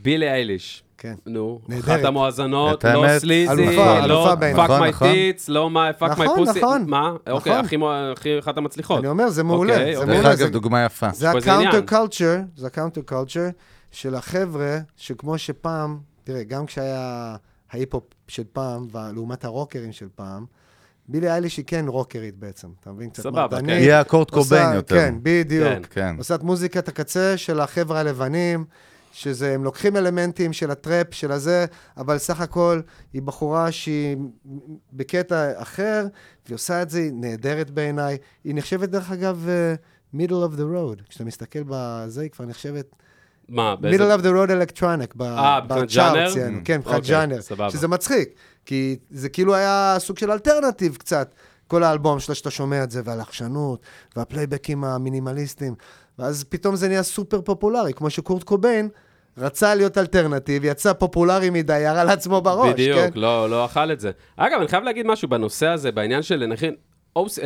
בילי אייליש. כן. נו, נהדרת. אחת המואזנות, את לא האמת, סליזי, אלופה, לא אלופה בעיניי. פאק נכון, מי נכון. טיץ, לא מה, פאק מי נכון, פוסי. נכון. מה? אוקיי, נכון. הכי מוע- הכי אחת המצליחות. אני אומר, זה מעולה, אוקיי, זה אוקיי. דרך מעולה. זה- אגב, דוגמה יפה. זה פה איזה הקאונטר עניין. קולצ'ר, זה הקאונטר קולצ'ר של החבר'ה, שכמו שפעם, תראה, גם כשהיה ההיפ-הופ של פעם, לעומת הרוקרים של פעם, בילי אייליש היא כן רוקרית בעצם, אתה מבין? קצת סבבה, מרדנית, כן. היא הקורט עושה- קוביין יותר. כן, בדיוק. כן. כן. עושה את מוזיקת הקצה של החבר'ה הלבנים, שזה, הם לוקחים אלמנטים של הטראפ, של הזה, אבל סך הכל היא בחורה שהיא בקטע אחר, והיא עושה את זה, היא נהדרת בעיניי. היא נחשבת, דרך אגב, אה, middle of the road. כשאתה מסתכל בזה, היא כבר נחשבת מה, middle באיזה... of the road electronic, ב- אה, מבחינת בצ'ארט ז'אנר? שלנו. Mm. כן, מבחינת אוקיי, ג'אנר. סבבה. שזה מצחיק, כי זה כאילו היה סוג של אלטרנטיב קצת, כל האלבום שלה שאתה שומע את זה, והלחשנות, והפלייבקים המינימליסטיים, ואז פתאום זה נהיה סופר פופולרי, כמו שקורט קוביין רצה להיות אלטרנטיב, יצא פופולרי מדי, ירה לעצמו בראש, בדיוק, כן? לא, לא אכל את זה. אגב, אני חייב להגיד משהו בנושא הזה, בעניין של נכין, אוס, אה,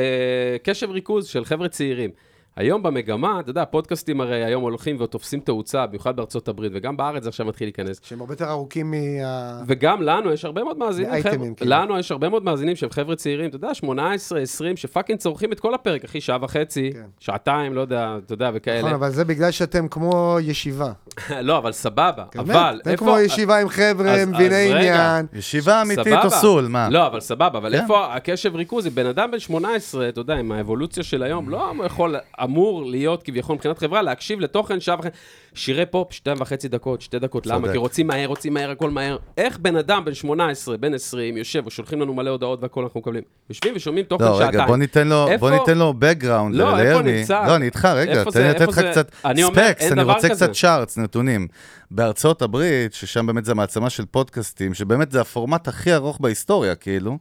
קשב ריכוז של חבר'ה צעירים. היום במגמה, אתה יודע, הפודקאסטים הרי היום הולכים ותופסים תאוצה, במיוחד בארצות הברית, וגם בארץ זה עכשיו מתחיל להיכנס. שהם הרבה יותר ארוכים מה... וגם לנו יש הרבה מאוד מאזינים, לאייטמים, חבר'ה- כאילו. לנו יש הרבה מאוד מאזינים שהם חבר'ה צעירים, אתה יודע, 18, 20, שפאקינג צורכים את כל הפרק, אחי, שעה וחצי, כן. שעתיים, לא יודע, אתה יודע, נכון, וכאלה. אבל זה בגלל שאתם כמו ישיבה. לא, אבל סבבה, באמת, אבל אתם כן, כמו ישיבה עם חבר'ה, אז- אז מביני רגע. עניין. ישיבה אמיתית סבבה. או סול, מה? לא, אבל סבבה, אבל כן. איפה הקשב ריכוז? בן אדם בן 18, אתה יודע, עם האבולוציה של היום, לא יכול, אמור להיות כביכול מבחינת חברה, להקשיב לתוכן שעה וחצי, שירי פופ, שתיים וחצי דקות, שתי דקות, למה? צודק. כי רוצים מהר, רוצים מהר, הכל מהר. איך בן אדם בן 18, בן 20, יושב, ושולחים לנו מלא הודעות והכל אנחנו מקבלים? יושבים ושומעים תוכן לא, שעתיים. רגע, בוא ניתן לו, בוא איפה- ניתן לו background, לא, לרמי. איפה נמצא? לא, אני איתך, רגע, תן איפה זה- לי לתת איפה לך זה- קצת אני אומר, ספקס, אין אני דבר רוצה כזה. קצת charts, נתונים. בארצות הברית, ששם באמת זה מעצמה של פודקאסטים, שבאמת זה הפורמט הכי ארוך בהיסטוריה, כאילו.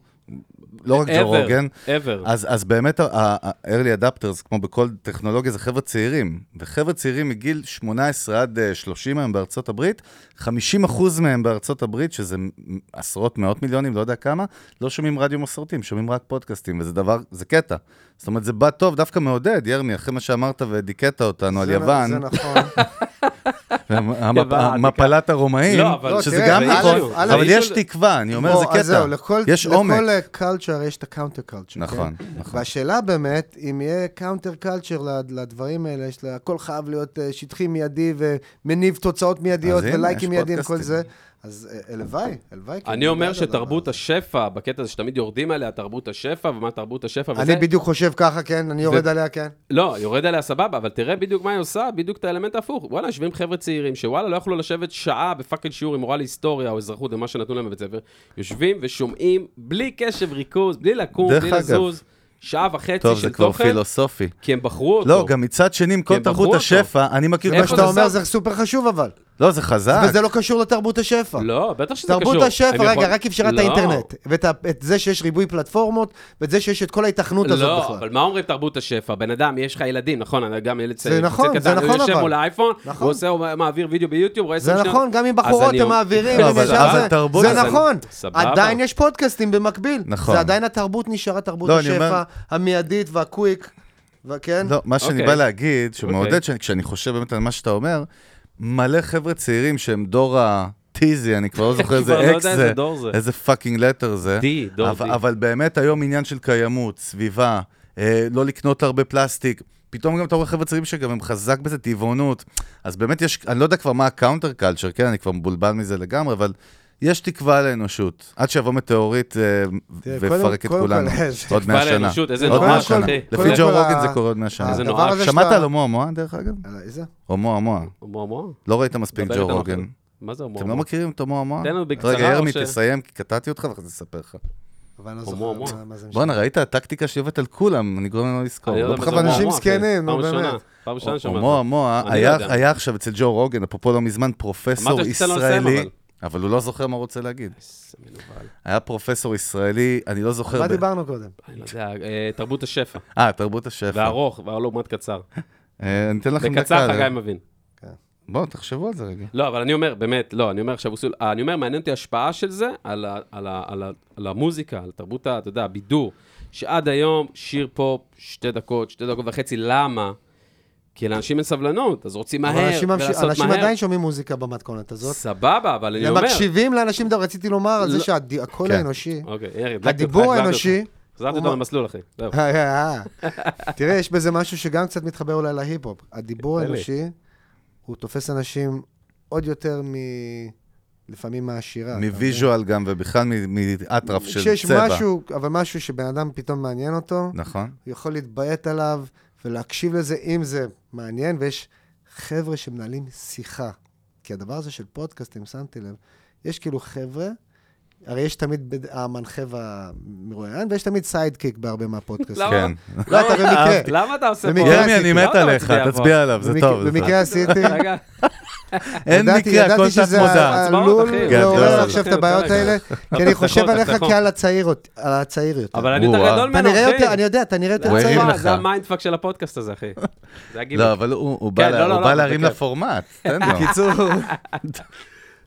לא רק ג'ו ever, רוגן. ever. אז, אז באמת ה-early adapters, כמו בכל טכנולוגיה, זה חבר'ה צעירים. וחבר'ה צעירים מגיל 18 עד אה, 30 היום בארצות הברית, 50 אחוז מהם בארצות הברית, שזה מ- עשרות, מאות מיליונים, לא יודע כמה, לא שומעים רדיו מסורתיים, שומעים רק פודקאסטים, וזה דבר, זה קטע. זאת אומרת, זה בא טוב, דווקא מעודד, ירמי, אחרי מה שאמרת ודיכאת אותנו על זה נ- יוון, זה נכון. יוון, המפ- המפלת הרומאים, לא, אבל- שזה לא, גם תראה, נכון, א', אבל א', יש א', תקווה, אני אומר, לא, זה אז קטע, זהו, לכל, יש עומק. לכל קלצ'ר יש את הקאונטר קלצ'ר. נכון, כן? נכון. והשאלה באמת, אם יהיה קאונטר קלצ'ר לדברים האלה, של הכל חייב להיות אה, שטחי מיידי ומניב תוצאות מיידיות אז הנה, ולייקים יש מיידיים, כל פודקאסטים. זה, אז אה, הלוואי, הלוואי. כי אני אומר בעד הדבר שתרבות הזה. השפע, בקטע הזה שתמיד יורדים עליה, תרבות השפע, ומה תרבות השפע, וזה... אני בדיוק חושב ככה, כן? אני יורד ו- עליה, כן? לא, יורד עליה סבבה, אבל תראה בדיוק מה היא עושה, בדיוק את האלמנט ההפוך. וואלה, יושבים חבר'ה צעירים, שוואלה, לא יכלו לשבת שעה בפאקינג שיעור עם מורה להיסטוריה או אזרחות ומה שנתנו להם בבית ספר. יושבים ושומעים, בלי קשב ריכוז, בלי לקום, דרך בלי אגב. לזוז, שעה וחצי טוב, של זה כבר תוכן, פילוסופי. כי הם בחרו אותו. לא, גם מצד שני, עם כי כל הם בחרו תרבות אותו. השפע, אני מכיר מאיפה מה מה זה שאתה זר? אומר זה סופר חשוב אבל. לא, זה חזק. וזה לא קשור לתרבות השפע. לא, בטח שזה קשור. תרבות השפע, אני יכול- רגע, רק אפשרה את לא. האינטרנט. ואת ה- את זה שיש ריבוי פלטפורמות, ואת זה שיש את כל ההיתכנות הזאת לא, אבל בכלל. מה אומרים תרבות השפע? בן אדם, יש לך ילדים, נכון, אני גם ילד צעיר, נכון, צעיר זה קטן, נכון, הוא יושב אבל. מול האייפון, נכון. הוא עושה, הוא מעביר וידאו ביוטיוב, רואה זה עשרים נכון, שניות. גם עם אז בחורות אני- הם מעבירים, לא, הם אבל- ישר אבל זה. התרבות- זה אז אני- נכון. סבבה. עדיין יש פודקאסטים במקביל. נכון. זה עדיין התרבות נשארה תרבות לא, אני אומר- השפע המיידית והקוויק, כן? וכן? לא, מה שאני אוקיי. בא להגיד, שמעודד, אוקיי. שאני- כשאני חושב באמת על מה שאתה אומר, מלא חבר'ה צעירים שהם דור הטיזי, אני כבר לא זוכר כבר לא איזה אקס יודע איזה זה, דור זה. איזה פאקינג לטר זה. D, דור אבל- D. אבל באמת היום עניין של קיימות, סביבה, אה, לא לקנות הרבה פלסטיק. פתאום גם אתה רואה חבר'ה צעירים שגם הם חזק בזה, טבעונות. אז באמת יש, אני לא יודע כבר מה הקאונטר קלצ'ר, כן, אני כבר מבולבל מזה לגמרי, אבל יש תקווה לאנושות. עד שיבוא מטאורית אה, תראה, קודם- ויפרק את קודם כולנו. כל, איזה עוד תקווה מאה שנה. לאנושות, איזה עוד נורא, מאה שנה. אחי. לפי קודם ג'ו כל, רוגן זה ה- קורה עוד מאה שנה. איזה הדבר נורא. הזה שמעת שאתה- על הומו המואה, דרך אגב? על אה, איזה? הומו המואה. הומו הומו? לא ראית מספיק דבר ג'ו איתנו רוגן. אחרי. מה זה הומו אתם לא הומו? מכירים את הומו המואה? תן לנו בקצרה, רגע, או ירמי, ש- תסיים, כי קטעתי אותך ואחרי זה אספר לך. אבל אני לא הומו, זוכר הומו. מה- מה זה משנה. בואנה, ראית? הטקטיקה שהיא עובדת על כולם, אני גורם לו לזכור. אני לא לא יודע מה זה בכוונה. הומו אנשים הומו, אחי. זקנים, נו, פעם ראשונה, באמת. פעם ראשונה שומעת. הומו המואה אני לא היה- יודע. היה עכשיו אצל ג'ו רוגן, אפרופו לא מזמן, פרופסור אמרת שתיתן לו לסיים, ישראלי, אבל. אבל הוא לא זוכר מה הוא רוצה להגיד. איזה מנוול. היה פרופסור ישראלי, אני לא זוכר... מה ב- דיברנו קודם? אני לא יודע, אה, תרבות השפע. אה, תרבות השפע. וארוך, ולעומת קצר. אה, אני אתן לכם דקה. בקצר חגי ל- מבין. בואו, תחשבו על זה רגע. לא, אבל אני אומר, באמת, לא, אני אומר עכשיו, אוסול- אני אומר, מעניין אותי ההשפעה של זה על, ה, על, ה, על, ה, על המוזיקה, על תרבות, ה- אתה יודע, הבידור, שעד היום שיר פופ, שתי דקות, שתי דקות וחצי, למה? כי לאנשים אין סבלנות, אז רוצים אבל מהר, אנשים ממש- ולעשות מהר. אנשים עדיין שומעים מוזיקה במתכונת הזאת. סבבה, אבל אני הם אומר... מקשיבים לאנשים, דו- רציתי לומר על זה לא. שהקול כן. האנושי, אוקיי, ירי, הדלקתי אותך, הדיבור החזרתי האנושי, אותך. החזרתי הוא אותו מה- למסלול, אחי. זהו. אה, תראה, יש בזה משהו שגם קצת מתחבר אולי להיפ-הופ. הדיבור תן לי. האנושי, הוא תופס אנשים עוד יותר מ... לפעמים מהשירה. אתה מבין? מוויז'ואל גם, ובכלל מ- מאטרף של צבע. כשיש משהו, אבל משהו שבן אדם פתאום מעניין אותו, נכון. הוא יכול להתביית עליו ולהקשיב לזה, אם זה מעניין, ויש חבר'ה שמנהלים שיחה. כי הדבר הזה של פודקאסטים, שמתי לב, יש כאילו חבר'ה, הרי יש תמיד בד- המנחה והמרואיין, ויש תמיד סיידקיק בהרבה מהפודקאסטים. למה? אה, כן. לא, אתה במקרה. למה אתה עושה פה... במקרה ירמי, אני למה מת אתה עליך, מצביע לא פה? תצביע עליו, זה במק- טוב. זה טוב. במקרה עשיתי, רגע, אין ידעתי- מקרה, הכל כן, ידעתי תת שזה מודע. הצבעות, עלול אחי. לעורר גדול. עכשיו את אותי הבעיות רגע. לא, האלה, כי אני חושב תחכו, עליך תחכו. כעל הצעיר יות- על הצעיר יותר. אבל אני אוקיי. יותר וואו. גדול אתה ממנו, נראה יותר, אני אחי. יודע, אתה נראה יותר הוא צעיר. הרים וואי, לך. זה המיינדפאק של הפודקאסט הזה, אחי. זה הגיל. לא, אבל הוא הוא בא כן, לה- לא, לא, הוא לא, בא זה להרים כיף. לפורמט, תן לו. בקיצור,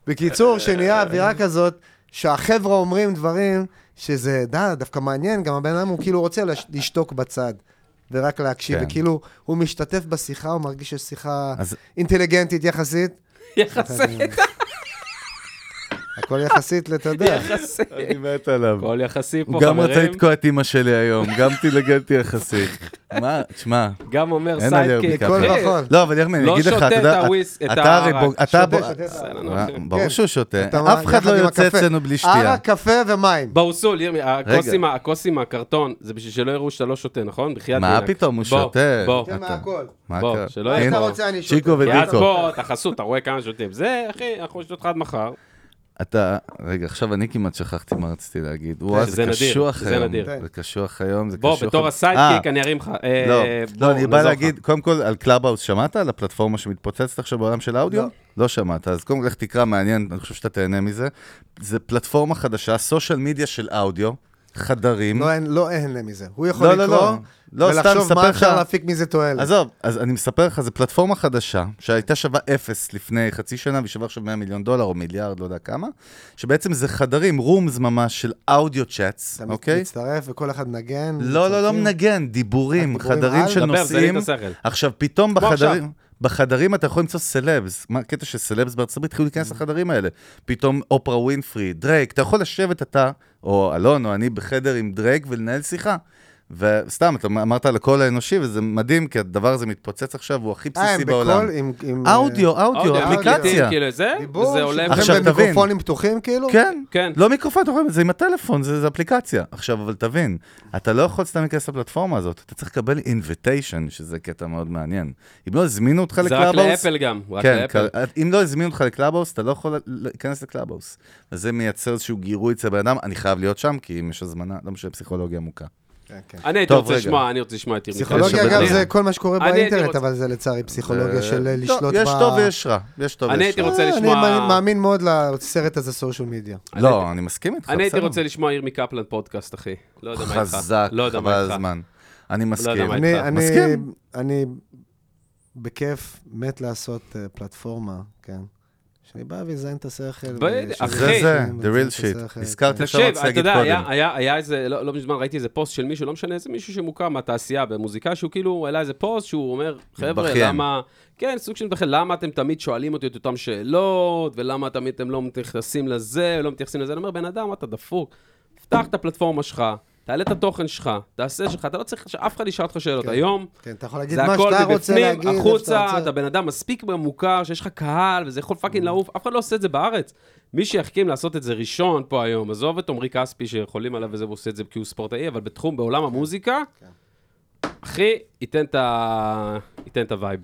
בקיצור, שנהיה אווירה כזאת, שהחבר'ה אומרים דברים שזה, דה, דווקא מעניין, גם הבן אדם הוא כאילו רוצה לש- לשתוק בצד. ורק להקשיב, כן. וכאילו, הוא משתתף בשיחה, הוא מרגיש שיש שיחה אז- אינטליגנטית יחסית. יחסית, הכל יחסית, לת- אתה יודע. יחסית. אני מת עליו. הכל יחסי פה, הוא חברים. גם רצה לתקוע את אימא שלי היום, גם אינטליגנטי יחסית. מה, תשמע. גם אומר אין עליו סיידקיק. בדיקה. כן. מכל אחי. וכל. לא, אבל ירמי, אני לא אגיד לך, שותה אתה את יודע, הוויס- את אתה הרי הערק. בוג... אתה שותה, בוג- שותה את הערק. אה, כן. ברור שהוא שותה, אתה- אף אחד יחד לא עם יוצא הקפה. אצלנו בלי שתייה. ערק, קפה ומים. באוסול, ירמי, הכוס רגע. עם ה- הכוס עם הקרטון, זה בשביל שלא יראו שאתה לא שותה, נכון? בחייאת מה דינק. פתאום, הוא בוא, שותה. בוא. זה אתה- מהכל. מה בוא, קרה? שלא הנה, יהיה אתה פה. רוצה, אני שותה. צ'יקו כי אז ודיקו. פה, אתה חסות, אתה רואה כמה שותים. זה, אחי, אנחנו נשתות לך עד מחר. אתה, רגע, עכשיו אני כמעט שכחתי מה רציתי להגיד. וואו, שזה זה נדיר, קשוח זה היום. נדיר. כן. זה קשוח היום, זה בוא, קשוח. בתור היום. הסיידקיק אה, אני ארים לך. לא, אה, בוא, לא, אני נעזור בא לך. להגיד, קודם כל, על קלאבהאוס שמעת? על הפלטפורמה שמתפוצצת עכשיו בעולם של האודיו? לא. לא שמעת, אז קודם כל לך תקרא, מעניין, אני חושב שאתה תהנה מזה. זה פלטפורמה חדשה, סושיאל מדיה של אודיו, חדרים. לא, אין- לא אין מזה. הוא יכול לא, לא, לקרוא, לא. לא, סתם ולחשוב מספר מה לך- אפשר להפיק מזה תועלת. עזוב, אז אני מספר לך, זו פלטפורמה חדשה, שהייתה שווה אפס לפני חצי שנה, והיא שווה עכשיו 100 מיליון דולר או מיליארד, לא יודע כמה, שבעצם זה חדרים, רומס ממש של אודיו צ'אטס, אתה מת- אוקיי? מצטרף וכל אחד מנגן. לא, לא, לא מצטרפים. מנגן, דיבורים, הדיבורים אה, על? חדרים של דבר, זה לי את נושאים. השכל. עכשיו, פתאום כמו בחדרים... עכשיו. בחדרים אתה יכול למצוא סלבס, מה הקטע שסלבס בארצות הברית התחילו Mm. להיכנס לחדרים האלה? פתאום אופרה ווינפרי, דרייק, אתה יכול לשבת אתה, או אלון או אני בחדר עם דרייק ולנהל שיחה. וסתם, אתה אמרת על הקול האנושי, וזה מדהים, כי הדבר הזה מתפוצץ עכשיו, הוא הכי אה, בסיסי הם בעולם. בכל... עם- עם, אה, אודיו, אודיו, אוקיו, "אוקיי, אפליקציה. מקליטים, כאילו, זה, דיבור, וזה עולה... עכשיו, עכשיו תבין. במיקרופונים פתוחים כאילו? כן, כן. לא מיקרופון, אתה רואה את זה עם הטלפון, זה, זה אפליקציה. עכשיו, אבל תבין, אתה לא יכול סתם להיכנס לפלטפורמה הזאת, אתה צריך לקבל אינביטיישן, שזה קטע מאוד מעניין. אם לא הזמינו אותך זה רק לקלאבהאוס... לאפל גם, רק כן, לאפל. כ- אם לא הזמינו אותך לקלאבהאוס, אתה לא יכול להיכנס לקלאבהאוס. אז זה מייצר איזשהו גירוי אצל בן אדם, אני חייב להיות שם, כי אם יש הזמנה, לא משנה, פסיכולוגיה עמוקה. כן, כן. אני הייתי טוב, רוצה רגע. לשמוע, אני רוצה לשמוע את ירמיהו. פסיכולוגיה, יש אגב, הבדלים. זה כל מה שקורה אני הייתי באינטרנט, רוצה- אבל זה לצערי פסיכולוגיה של אה, לא, לשלוט ב... אה, יש טוב ויש רע. יש טוב אני ויש הייתי רע. רוצה אני מאמין- לשמוע... מאמין מאוד לסרט הזה, סושיאל מדיה. לא, אני מסכים איתך, אני הייתי בסדר. רוצה לשמוע ירמי קפלן פודקאסט, אחי. לא יודע מה איתך. חזק, לא יודע חבל מה איתך. לא הזמן. אני יודע מסכים. מה אני, איתך? אני, מסכים. אני בכיף מת לעשות אה, פלטפורמה, כן. שאני בא ואזיין את השכל. בדיוק, ושזה- זה אחי. זה, ושזה the real מזיין את shit. השכל, נזכרתי כן. עכשיו, תקשיב, רציתי אתה להגיד יודע, היה, קודם. היה, היה איזה, לא, לא מזמן ראיתי איזה פוסט של מישהו, לא משנה, איזה מישהו שמוכר מהתעשייה במוזיקה, שהוא כאילו העלה איזה פוסט שהוא אומר, חבר'ה, מתבכיין. למה, כן, סוג של מתבכיין, למה אתם תמיד שואלים אותי את אותן שאלות, ולמה תמיד אתם לא מתייחסים לזה, ולא מתייחסים לזה, אני אומר, בן אדם, אתה דפוק, פתח את הפלטפורמה שלך, תעלה את התוכן שלך, תעשה שלך, אתה לא צריך, שאף אחד ישאל אותך שאלות. כן. היום, כן, אתה יכול להגיד זה מה הכל שאתה רוצה מבפנים, להגיד. איפה שאתה החוצה, רוצה. אתה בן אדם מספיק מוכר, שיש לך קהל, וזה יכול פאקינג לעוף, אף אחד לא עושה את זה בארץ. מי שיחכים לעשות את זה ראשון פה היום, עזוב את עמרי כספי שיכולים עליו וזה, והוא עושה את זה כי הוא ספורטאי, אבל בתחום, בעולם המוזיקה, כן. אחי, ייתן את ה... ייתן את הווייב.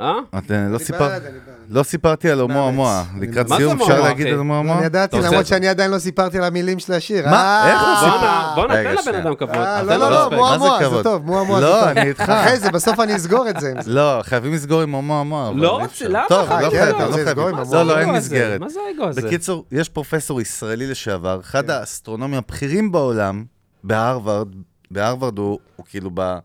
אה? את, אה, לא סיפר- בעד, אני בעד. לא סיפרתי על הומו המוה. לקראת מה זה סיום הומו אפשר המוה, להגיד אחי? על הומו המוה? אוקיי. אני ידעתי, אתה רוצה- למרות שאני עדיין לא סיפרתי על המילים של השיר. מה? אה, איך לא סיפרת? בואנה, בואנה, רגע, תן לבן שנייה. אדם כבוד. אה, תן לא, לו לא, לא, רספקט. מועה מה זה מועה, זה כבוד? טוב, מועה מועה זה לא, טוב. אני איתך. אחרי זה, בסוף אני אסגור את זה. עם זה. לא, חייבים לסגור עם הומו המוה. אבל לא, אי אפשר. למה? טוב, אה, לא כן, חייבים, אתה לא רוצה חייבים. לסגור עם מה זה לא, לא, האגו אין הזה? מסגרת. מה זה האגו הזה? בקיצור, יש פרופסור ישראלי לשעבר, כן. אחד האסטרונומים הבכירים בעולם, בהרווארד, בהרווארד הוא הוא כאילו ב-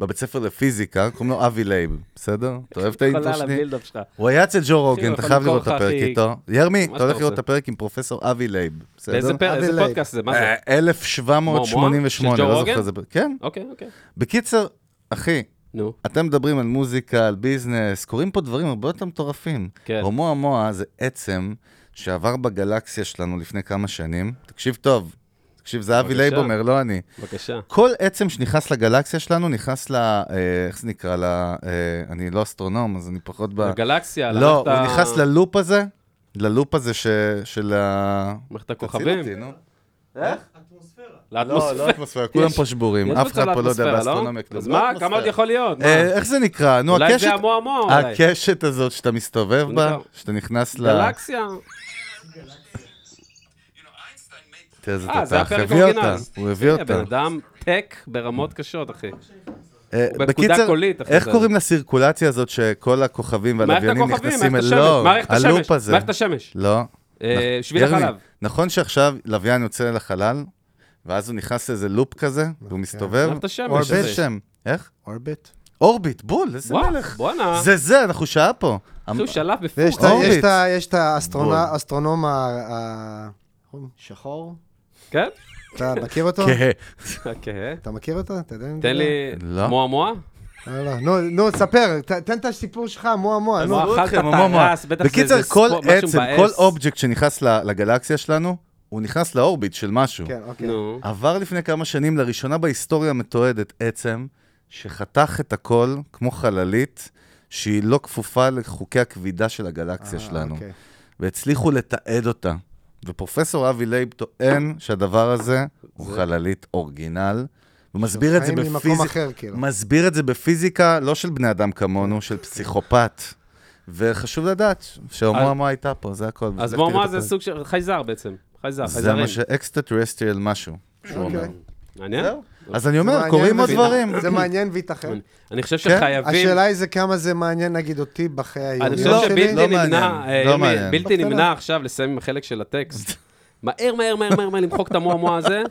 בבית ספר לפיזיקה, קוראים לו אבי לייב, בסדר? אתה אוהב את האינטרו חלל שלי? הבילדאפ שלך. הוא היה אצל ג'ו הוא רוגן, אתה יכול חייב לראות את למכור לך, הפרק אחי. איתו. ירמי, אתה שאתה הולך לראות את רוצה. הפרק עם פרופסור אבי לייב, בסדר? באיזה פרק- אבי איזה לייב. פודקאסט זה? מה זה? אה, 1888, של ג'ו לא רוגן? זוכר איזה... פרק. כן. אוקיי, אוקיי. בקיצר, אחי, נו. אתם מדברים על מוזיקה, על ביזנס, קורים פה דברים הרבה יותר מטורפים. כן. הומו המוה זה עצם שעבר בגלקסיה שלנו לפני כמה שנים. תקשיב טוב, תקשיב, זה אבי בבקשה. לייב אומר, לא אני. בבקשה. כל עצם שנכנס לגלקסיה שלנו נכנס ל... אה, איך זה נקרא? ל... אה, אני לא אסטרונום, אז אני פחות ב... בגלקסיה, לא, הוא למערכת ה- נכנס ללופ הזה, ללופ הזה ש... של ה... מערכת תציל הכוכבים. אותי, נו. לא, לאטמוספירה. לא אטמוספירה, כולם פה שבורים, יש אף אחד מצב פה לא יודע לאטמוספירה, באסטרונומיה כלום. אז לא מה, אטמוספירה. כמה עוד יכול להיות? מה? אה, איך זה נקרא? נו, אולי הקשת... זה המועמוע, אולי. הקשת הזאת שאתה מסתובב בה, נקרא. שאתה נכנס ל... גלקסיה. תראה איזה אה, זה תותח, הפרק הביא האורגינל. אותה, הוא הביא אה, בן אותה. אדם טק ברמות קשות, אחי. אה, הוא בפקודה בקיצר, קולית אחרי איך זה. קוראים לסירקולציה הזאת שכל הכוכבים מערכת והלוויינים הכוכבים, נכנסים מערכת אל... השמש. לא, מערכת השמש. הלופ הזה. מערכת השמש. לא. אה, נכ- שביל ירמי, החלב. נכון שעכשיו לוויין יוצא לחלל, ואז הוא נכנס לאיזה לופ כזה, אוקיי. והוא מסתובב, מערכת השמש הוא הזה. עובד שם. איך? אורביט. אורביט, בול, איזה וואו, מלך. בואנה. כאילו זה זה, אנחנו שעה פה. אמ- הוא שלף ויש בפוקס. את ה- אורביט. יש את ה- יש את האסטרונא- בול. האסטרונום ה- ה... שחור? כן? אתה מכיר אותו? כן. אוקיי. אתה מכיר אותו? אתה יודע? מי תן מדבר? לי לא. מועמוע. לא, לא. נו, נו, ספר, ת- תן את הסיפור שלך, מועה מועה. נו. מועה. אכלת אתכם, את הומו המוח. הרס, בטח זה- בקיצר, זה כל ספו- משהו עצם, מבאס. כל אובייקט שנכנס ל- לגלקסיה שלנו, הוא נכנס לאורביט של משהו. כן, אוקיי. נו. עבר לפני כמה שנים, לראשונה בהיסטוריה המתועדת, עצם שחתך את הכל כמו חללית, שהיא לא כפופה לחוקי הכבידה של הגלקסיה אה, שלנו. אוקיי. והצליחו לתעד אותה. ופרופסור אבי לייב טוען שהדבר הזה הוא חללית אורגינל. הוא מסביר את זה חיים ממקום בפיזיקה, אחר, כאילו. מסביר את זה בפיזיקה, לא של בני אדם כמונו, של פסיכופת. וחשוב לדעת שהומו אז- המו הייתה פה, זה הכל. אז לך מועמוע תראה את זה הפרק. סוג של חייזר בעצם. חייזר, זה חייזרים. מה שאקסטטרסטריאל משהו, שהוא אומר. אוקיי. מעניין? זהו. אז אני זה אומר, מעניין לא, קורים עוד וייתכן. דברים. אוקיי, זה מעניין וייתכן. אני חושב כן, שחייבים... השאלה היא זה כמה זה מעניין, נגיד, אותי בחיי אני היומיים שלי. חושב לא, שבלתי לא נמנע, מעניין, אה, לא ירמי, מעניין. בלתי בקטנה. נמנע עכשיו לסיים עם החלק של הטקסט. מהר, מהר, מהר, מהר, מהר, למחוק את המועמוע הזה,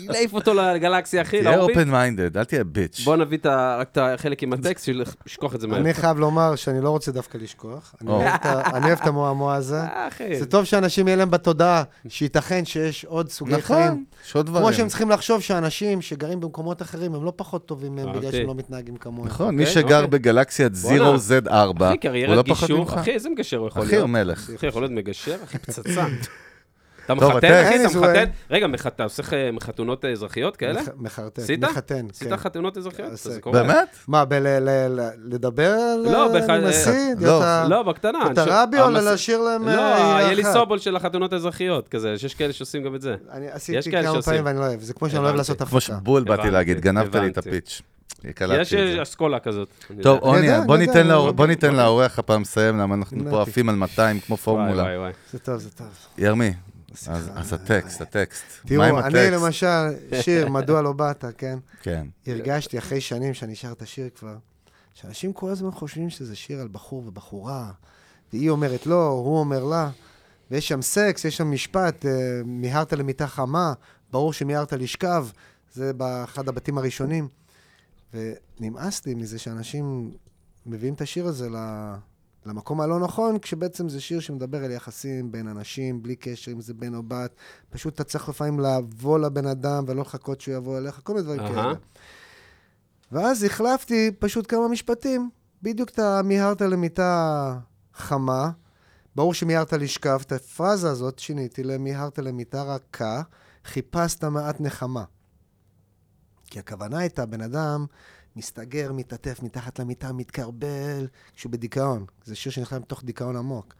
להעיף אותו לגלקסיה, אחי, תהיה לאורביט. אופן מיינדד, אל תהיה ביץ'. אוקיי. בוא נביא את ה- רק את החלק עם הטקסט, של- לשכוח את זה מהר. אני חייב לומר שאני לא רוצה דווקא לשכוח. אני או. אוהב את ה- אני אוהב את המועמוע הזה. אה, אחי. זה טוב שאנשים יהיה להם בתודעה, שייתכן שיש עוד סוגי נכון, חיים. יש עוד דברים. כמו שהם צריכים לחשוב שאנשים שגרים במקומות אחרים, הם לא פחות טובים מהם בגלל אהבתי. שהם לא מתנהגים כמוהם. נכון, מי אוקיי, שגר אוקיי. בגלקסיית 0Z4, אחי, הוא לא קריירת פחות גישור, ממך. אחי, איזה מגשר הוא יכול אחי, להיות? הוא מלך. אחי, יכול להיות מגשר? אחי, פצצה. אתה טוב, מחתן, הטקסט. אחי, אתה אין, זה- מחתן? רגע, מח- אתה עושה ח- חתונות אה, אזרחיות כאלה? מח- מחרטט, עשית? מחתן, עשית כן. חתונות אזרחיות? עושה. זה קורה. אה, באמת? מה, בלדבר על לא, בח- הנשיא? לא, לא, בקטנה. אתה אני ש- רבי או המס- לשיר להם... לא, אה, עילה יהיה לי אחת? סובול של החתונות האזרחיות, כזה, שיש כאלה שעושים גם את זה. אני יש עשיתי כאלה כמה שעושים. פעמים ואני לא אוהב, זה כמו שאני לא אוהב הבנתי. לעשות אה, כמו הפקה. שבול באתי הבנתי, להגיד, גנבת לי את הבנתי. הפיץ'. יש קלטתי את אה, זה. אסכולה כזאת. אני טוב, יודע. עוני, יודע, בוא אני ניתן יודע, לאור- אני בוא יודע. ניתן לאורח הפעם לסיים, למה אנחנו פה הבנתי. עפים על 200 כמו וואי, פורמולה. וואי, וואי. זה טוב, זה טוב. ירמי, אז אז הטקסט, הטקסט. תראו, מה עם אני הטקסט? למשל, שיר, מדוע לא באת, כן? כן. הרגשתי אחרי שנים שאני שר את השיר כבר, שאנשים כל הזמן חושבים שזה שיר על בחור ובחורה, והיא אומרת לא, הוא אומר לה, ויש שם סקס, יש שם משפט, אה, מיהרת למיטה חמה, ברור שמיהרת לשכב, זה באחד הבתים הראשונים. ונמאס לי מזה שאנשים מביאים את השיר הזה ל- למקום הלא נכון, כשבעצם זה שיר שמדבר על יחסים בין אנשים, בלי קשר אם זה בן או בת. פשוט אתה צריך לפעמים לבוא לבן אדם ולא לחכות שהוא יבוא אליך, כל מיני דברים אהה. כאלה. ואז החלפתי פשוט כמה משפטים. בדיוק אתה מיהרת למיטה חמה, ברור שמיהרת לשכב, את הפרזה הזאת שיניתי למיהרת למיטה רכה, חיפשת מעט נחמה. כי הכוונה הייתה, בן אדם מסתגר, מתעטף מתחת למיטה, מתקרבל, כשהוא בדיכאון. זה שיר שנכלל מתוך דיכאון עמוק.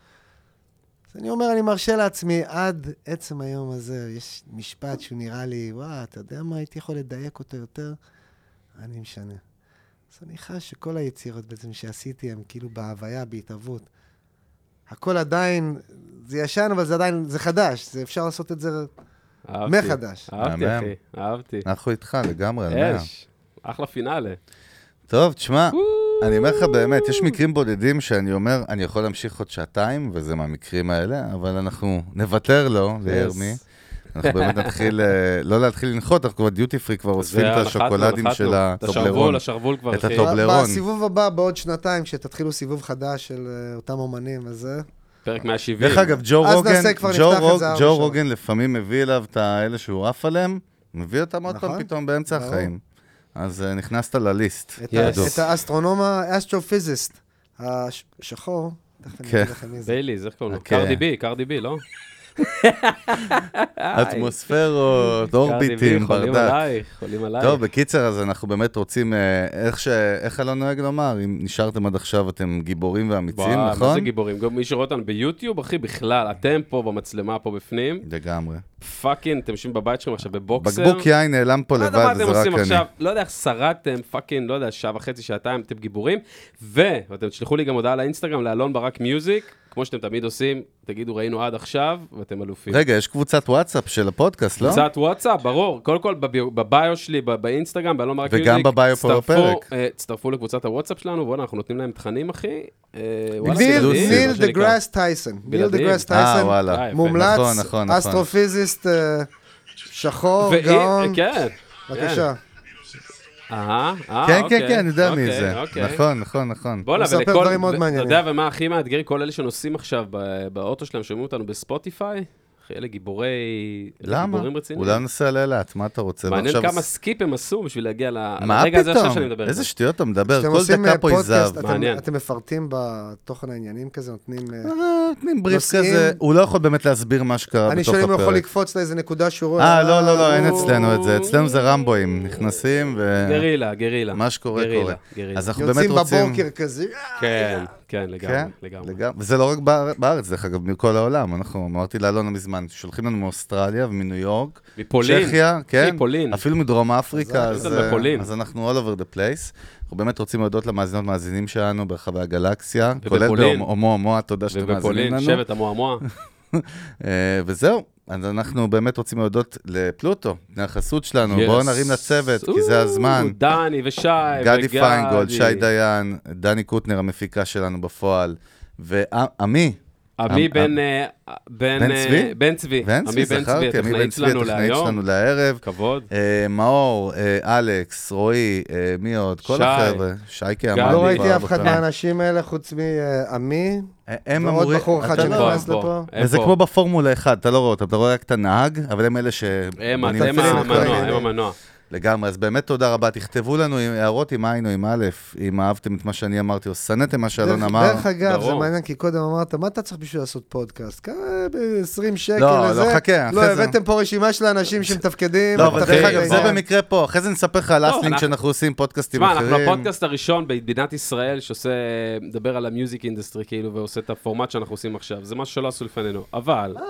אז אני אומר, אני מרשה לעצמי, עד עצם היום הזה, יש משפט שהוא נראה לי, וואה, אתה יודע מה, הייתי יכול לדייק אותו יותר, אני משנה. אז אני חש שכל היצירות בעצם שעשיתי, הן כאילו בהוויה, בהתהוות. הכל עדיין, זה ישן, אבל זה עדיין, זה חדש, זה אפשר לעשות את זה אהבתי. מחדש. אהבתי, מהמם. אחי, אהבתי. אנחנו איתך לגמרי, על מאה. אש, אחלה פינאלה. טוב, תשמע, אני אומר לך באמת, יש מקרים בודדים שאני אומר, אני יכול להמשיך עוד שעתיים, וזה מהמקרים האלה, אבל אנחנו נוותר לו, לירמי. אנחנו באמת נתחיל, אה, לא להתחיל לנחות, אנחנו כבר דיוטי פרי, כבר אוספים את השוקולדים של הטובלרון. השרוול, השרוול כבר, את אחי. הטוב- טובלרון. לא, בסיבוב הבא, בעוד שנתיים, כשתתחילו סיבוב חדש של אה, אותם אומנים, אז זה... פרק 170. דרך אגב, ג'ו אז רוגן, נעשה כבר, ג'ו נפתח את רוג- זה הראשון. ג'ו רוגן לפעמים מביא אליו את האלה שהוא עף עליהם, מביא אותם עוד פעם נכון. פתאום באמצע ברור. החיים. אז אה, נכנסת לליסט. את Yes. ה- את האסטרונום, האסטרופיזיסט, השחור, תכף אני כן. אגיד לכם מי זה. בייליז, איך קוראים לו? אוקיי. קרדי בי, קרדי בי, לא? אה, אטמוספירות, קרדי בי, אורביטים, חולים אה, ברדק. עלייך, חולים עלייך. טוב, בקיצר, אז אנחנו באמת רוצים, אה, איך ש... איך אלון נוהג לומר, אם נשארתם עד עכשיו, אתם גיבורים ואמיצים, וואו, נכון? איזה גיבורים. גם מי שרואה אותנו ביוטיוב, אחי, בכלל, אתם פה במצלמה פה בפנים, לגמרי. פאקינג, אתם יושבים בבית שלכם עכשיו בבוקסר. בקבוק יין נעלם פה לא יודע מה לבד, אתם זה רק עושים אני. עכשיו, לא יודע איך שרדתם, פאקינג, לא יודע, שעה וחצי, שעתיים, אתם גיבורים. ואתם תשלחו לי גם הודעה לאינסטגרם, לאלון ברק מיוזיק, כמו שאתם תמיד עושים, תגידו ראינו עד עכשיו, ואתם אלופים. רגע, יש קבוצת וואטסאפ של הפודקאסט, לא? קבוצת וואטסאפ, ברור. קודם כל בביו- בביו שלי, ב- באינסטגרם, באלון ברק וגם בביו פה הצטרפו, בפרק. אה, הצטרפו לקבוצת הוואטסאפ שלנו, בואנה, אנחנו נותנים להם תנים, אחי. אה, וואלה, ניל בלעדיים, ניל מה שנקרא. דה גראס טייסון. ניל דה בלעדיים. גראס אה, טייסון, וואלה. יפה. מומלץ, נכון, נכון, נכון. אסטרופיזיסט, אה, שחור, ואי- גאון. כן. אה, בבקשה. אהה, אה, כן, כן, אוקיי. כן, אני יודע מי אוקיי, זה. אוקיי. נכון, נכון, נכון. בואנה, מספר ולכל... דברים מאוד ו- מעניינים. אתה יודע, ומה הכי מאתגר? כל אלה שנוסעים עכשיו ב- באוטו שלהם, שומעים אותנו בספוטיפיי? אחי, אלה גיבורי... אלה למה? גיבורים רציניים. אולי נוסע לאילת, מה אתה רוצה? מעניין ועכשיו- כמה סקיפ הם עשו בשביל להגיע ל- מה לרגע הזה עכשיו שאני פתאום? מדבר. איזה איתך. שטויות אתה מדבר, כשאתם כל עושים, אה, דקה פה היא פודקאסט, זהב. אתם- מעניין. אתם מפרטים בתוכן העניינים כזה, נותנים... אה, אה, נותנים בריף נושאים- כזה, הוא לא יכול באמת להסביר מה שקרה אני בתוך שואל אם הוא יכול הפרק. לקפוץ לאיזה נקודה שהוא רואה. אה, לא, לא, לא, אין הוא- אצלנו את זה. אצלנו זה רמבואים, נכנסים ו... גרילה, גרילה. מה שקורה, גרילה, קורה. גרילה. אז אנחנו באמת יוצאים רוצים... בבוקר כזה, אה, כן, כן, כן, לגמרי, לגמרי. לגמרי. וזה לא רק באר- בארץ, דרך אגב, מכל העולם. אנחנו, אמרתי לאלונה מזמן, שולחים לנו מאוסטרליה ומניו יורק. מפולין. צ'כיה, כן. מפולין. אפילו מדרום אפריקה, יש אז, לנו בפולין. אז אנחנו all over the place. אנחנו באמת רוצים להודות למאזינות מאזינים שלנו ברחבי הגלקסיה, כולל ובפולין. בהומו הומואה, תודה שאתם מאזינים ובפולין, לנו. שבט המועמוע. אה, וזהו, אז אנחנו באמת רוצים להודות לפלוטו, בני החסות שלנו. Yes. בואו נרים לצוות, כי זה או, הזמן. דני ושי גדי וגדי. פיינגולד, שי דיין, דני קוטנר המפיקה שלנו בפועל, ועמי, עמי עמ- בן... אה, בן בן אה, צבי? בן צבי. בן צבי זכרתי, עמי בן הטכנאית צבי, שלנו הטכנאית שלנו להיום. לערב. כבוד. אה, מאור, אה, אלכס, רועי, אה, מי עוד? כל שי. החבר'ה. שייקה אמרנו. גדי. לא כבר ראיתי אף אחד בפעם. מהאנשים האלה חוץ מעמי. אה, הם ועוד אמורים... בחור אחד אתה שלא לא- פה, נכנס פה. לפה. הם זה פה. כמו בפורמולה 1, אתה לא רואה אותם, אתה רואה רק את הנהג, אבל הם אלה ש... הם בונים את הם הסרט. המנוע, המנוע, העניינים. הם המנוע. לגמרי, אז באמת תודה רבה. תכתבו לנו עם הערות עם עין או עם א', אם אהבתם את מה שאני אמרתי או שנאתם מה שאלון דרך- אמר. דרך אגב, זה ברור. מעניין, כי קודם אמרת, מה אתה צריך בשביל לעשות פודקאסט? כמה ב-20 שקל לא, לזה? לא, חכה, לא, אחרי זה- הבאתם פה רשימה של האנשים שמתפקדים. לא, אבל מפתחים דרך את אגב, זה אה, העניין. במקרה פה, אחרי זה נספר לך על לא, אסלינג אנחנו- שאנחנו עושים פודקאסטים תשמע, אחרים. אנחנו הפודקאסט הראשון במדינת ישראל שעושה, מדבר על המיוזיק אינדסטרי, כאילו, ועושה את הפורמט שאנחנו עושים עכשיו. זה משהו שלא עשו לפנינו, אבל... אה,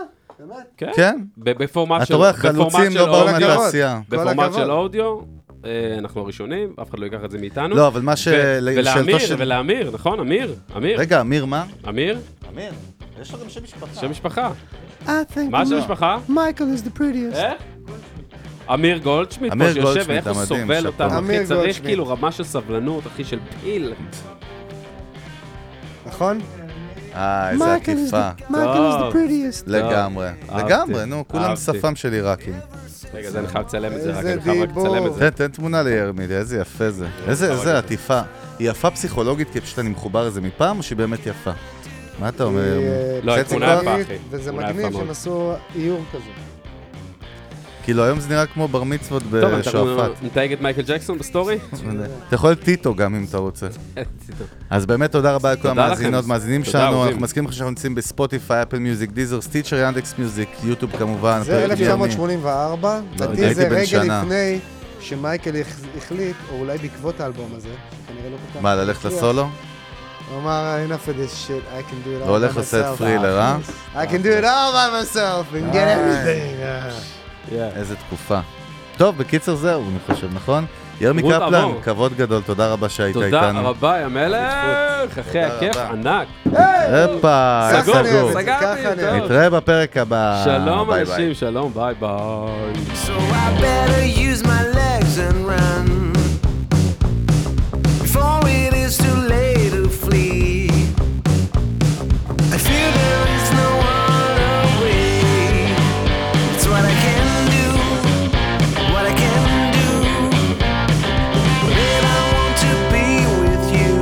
כן? כן. ב- בפורמט אתה של... רואה, בפורמט חלוצים של לא באו אודיו- מהתעשייה. כל בפורמט הכבוד. של אודיו, אה, אנחנו הראשונים, אף אחד לא ייקח את זה מאיתנו. לא, אבל מה ש- ו- לשאלתו ולאמיר, של- ולאמיר, נכון? אמיר, אמיר, רגע, אמיר, מה? אמיר, אמיר. יש לו גם שם משפחה. שם משפחה. I think מה I'm- שם משפחה? מייקל is the prettiest. איך? אמיר גולדשמיט אמיר פה שיושב, גולדשמיט, ואיך הוא המדהים, סובל שאפו. אותם, אחי, אמיר צריך גולדשמיט. כאילו רמה של סבלנות, אחי, של פיל. נכון? אה, איזה מייקל is עקיפה. the- מייקל is טוב. the prettiest. לגמרי. אהבתי. לגמרי, נו, כולם אהבתי. שפם של עיראקים. רגע, זה אני חייב לצלם את זה, רק איזה אני חייב רק דיבור. לצלם את זה. תן, תן תמונה לירמילי, איזה יפה זה. איזה איזה אוקיי. עטיפה. היא יפה פסיכולוגית, כי פשוט אני מחובר לזה מפעם, או שהיא באמת יפה? מה אתה אומר? אה, לא, חצי התמונה כוח? יפה, אחי. וזה תמונה יפה מגניב מאוד. שהם עשו איור כזה. כאילו, היום זה נראה כמו בר מצוות טוב, אנחנו בשועפאט. נתייג את מייקל ג'קסון בסטורי? אתה יכול טיטו גם אם אתה רוצה. אז באמת תודה רבה לכל תודה המאזינות, לכם. מאזינים תודה, שלנו, אהובים. אנחנו מזכירים לכם שאנחנו נמצאים בספוטיפיי, אפל מיוזיק, דיזר, סטיצ'ר, ינדקס מיוזיק, יוטיוב כמובן, זה פרק יומי. 1984, לדעתי לא, הייתי זה בן רגע שנה. לפני שמייקל הח- החליט, או אולי בעקבות האלבום הזה, שכנראה לא כל כך... מה, ללכת הצליח, לסולו? הוא אמר, enough of this shit, I can do it all by myself. לא הולך לסרט פרילר, אה? I can do it all by myself and get everything. איזה תקופה. טוב, בקיצר זהו, אני חושב, נכון? ירמי רות קפלן, עמור. כבוד גדול, תודה רבה שהיית איתנו. תודה רבה, יא מלך, אחי, תודה הכיף רבה. ענק. הופה, סגור, סגור. סגור. סגרתי, ככה טוב. אני- נתראה בפרק הבא. שלום ביי ביי. אנשים, שלום, ביי ביי. So I better use my legs and run before it is too late to flee. I feel there is no other way. It's what I can do, what I can do. Then I want to be with you.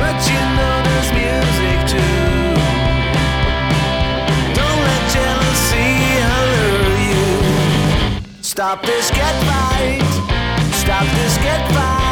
But you know there's music too. Don't let jealousy allure you. Stop this get right. Stop this get right.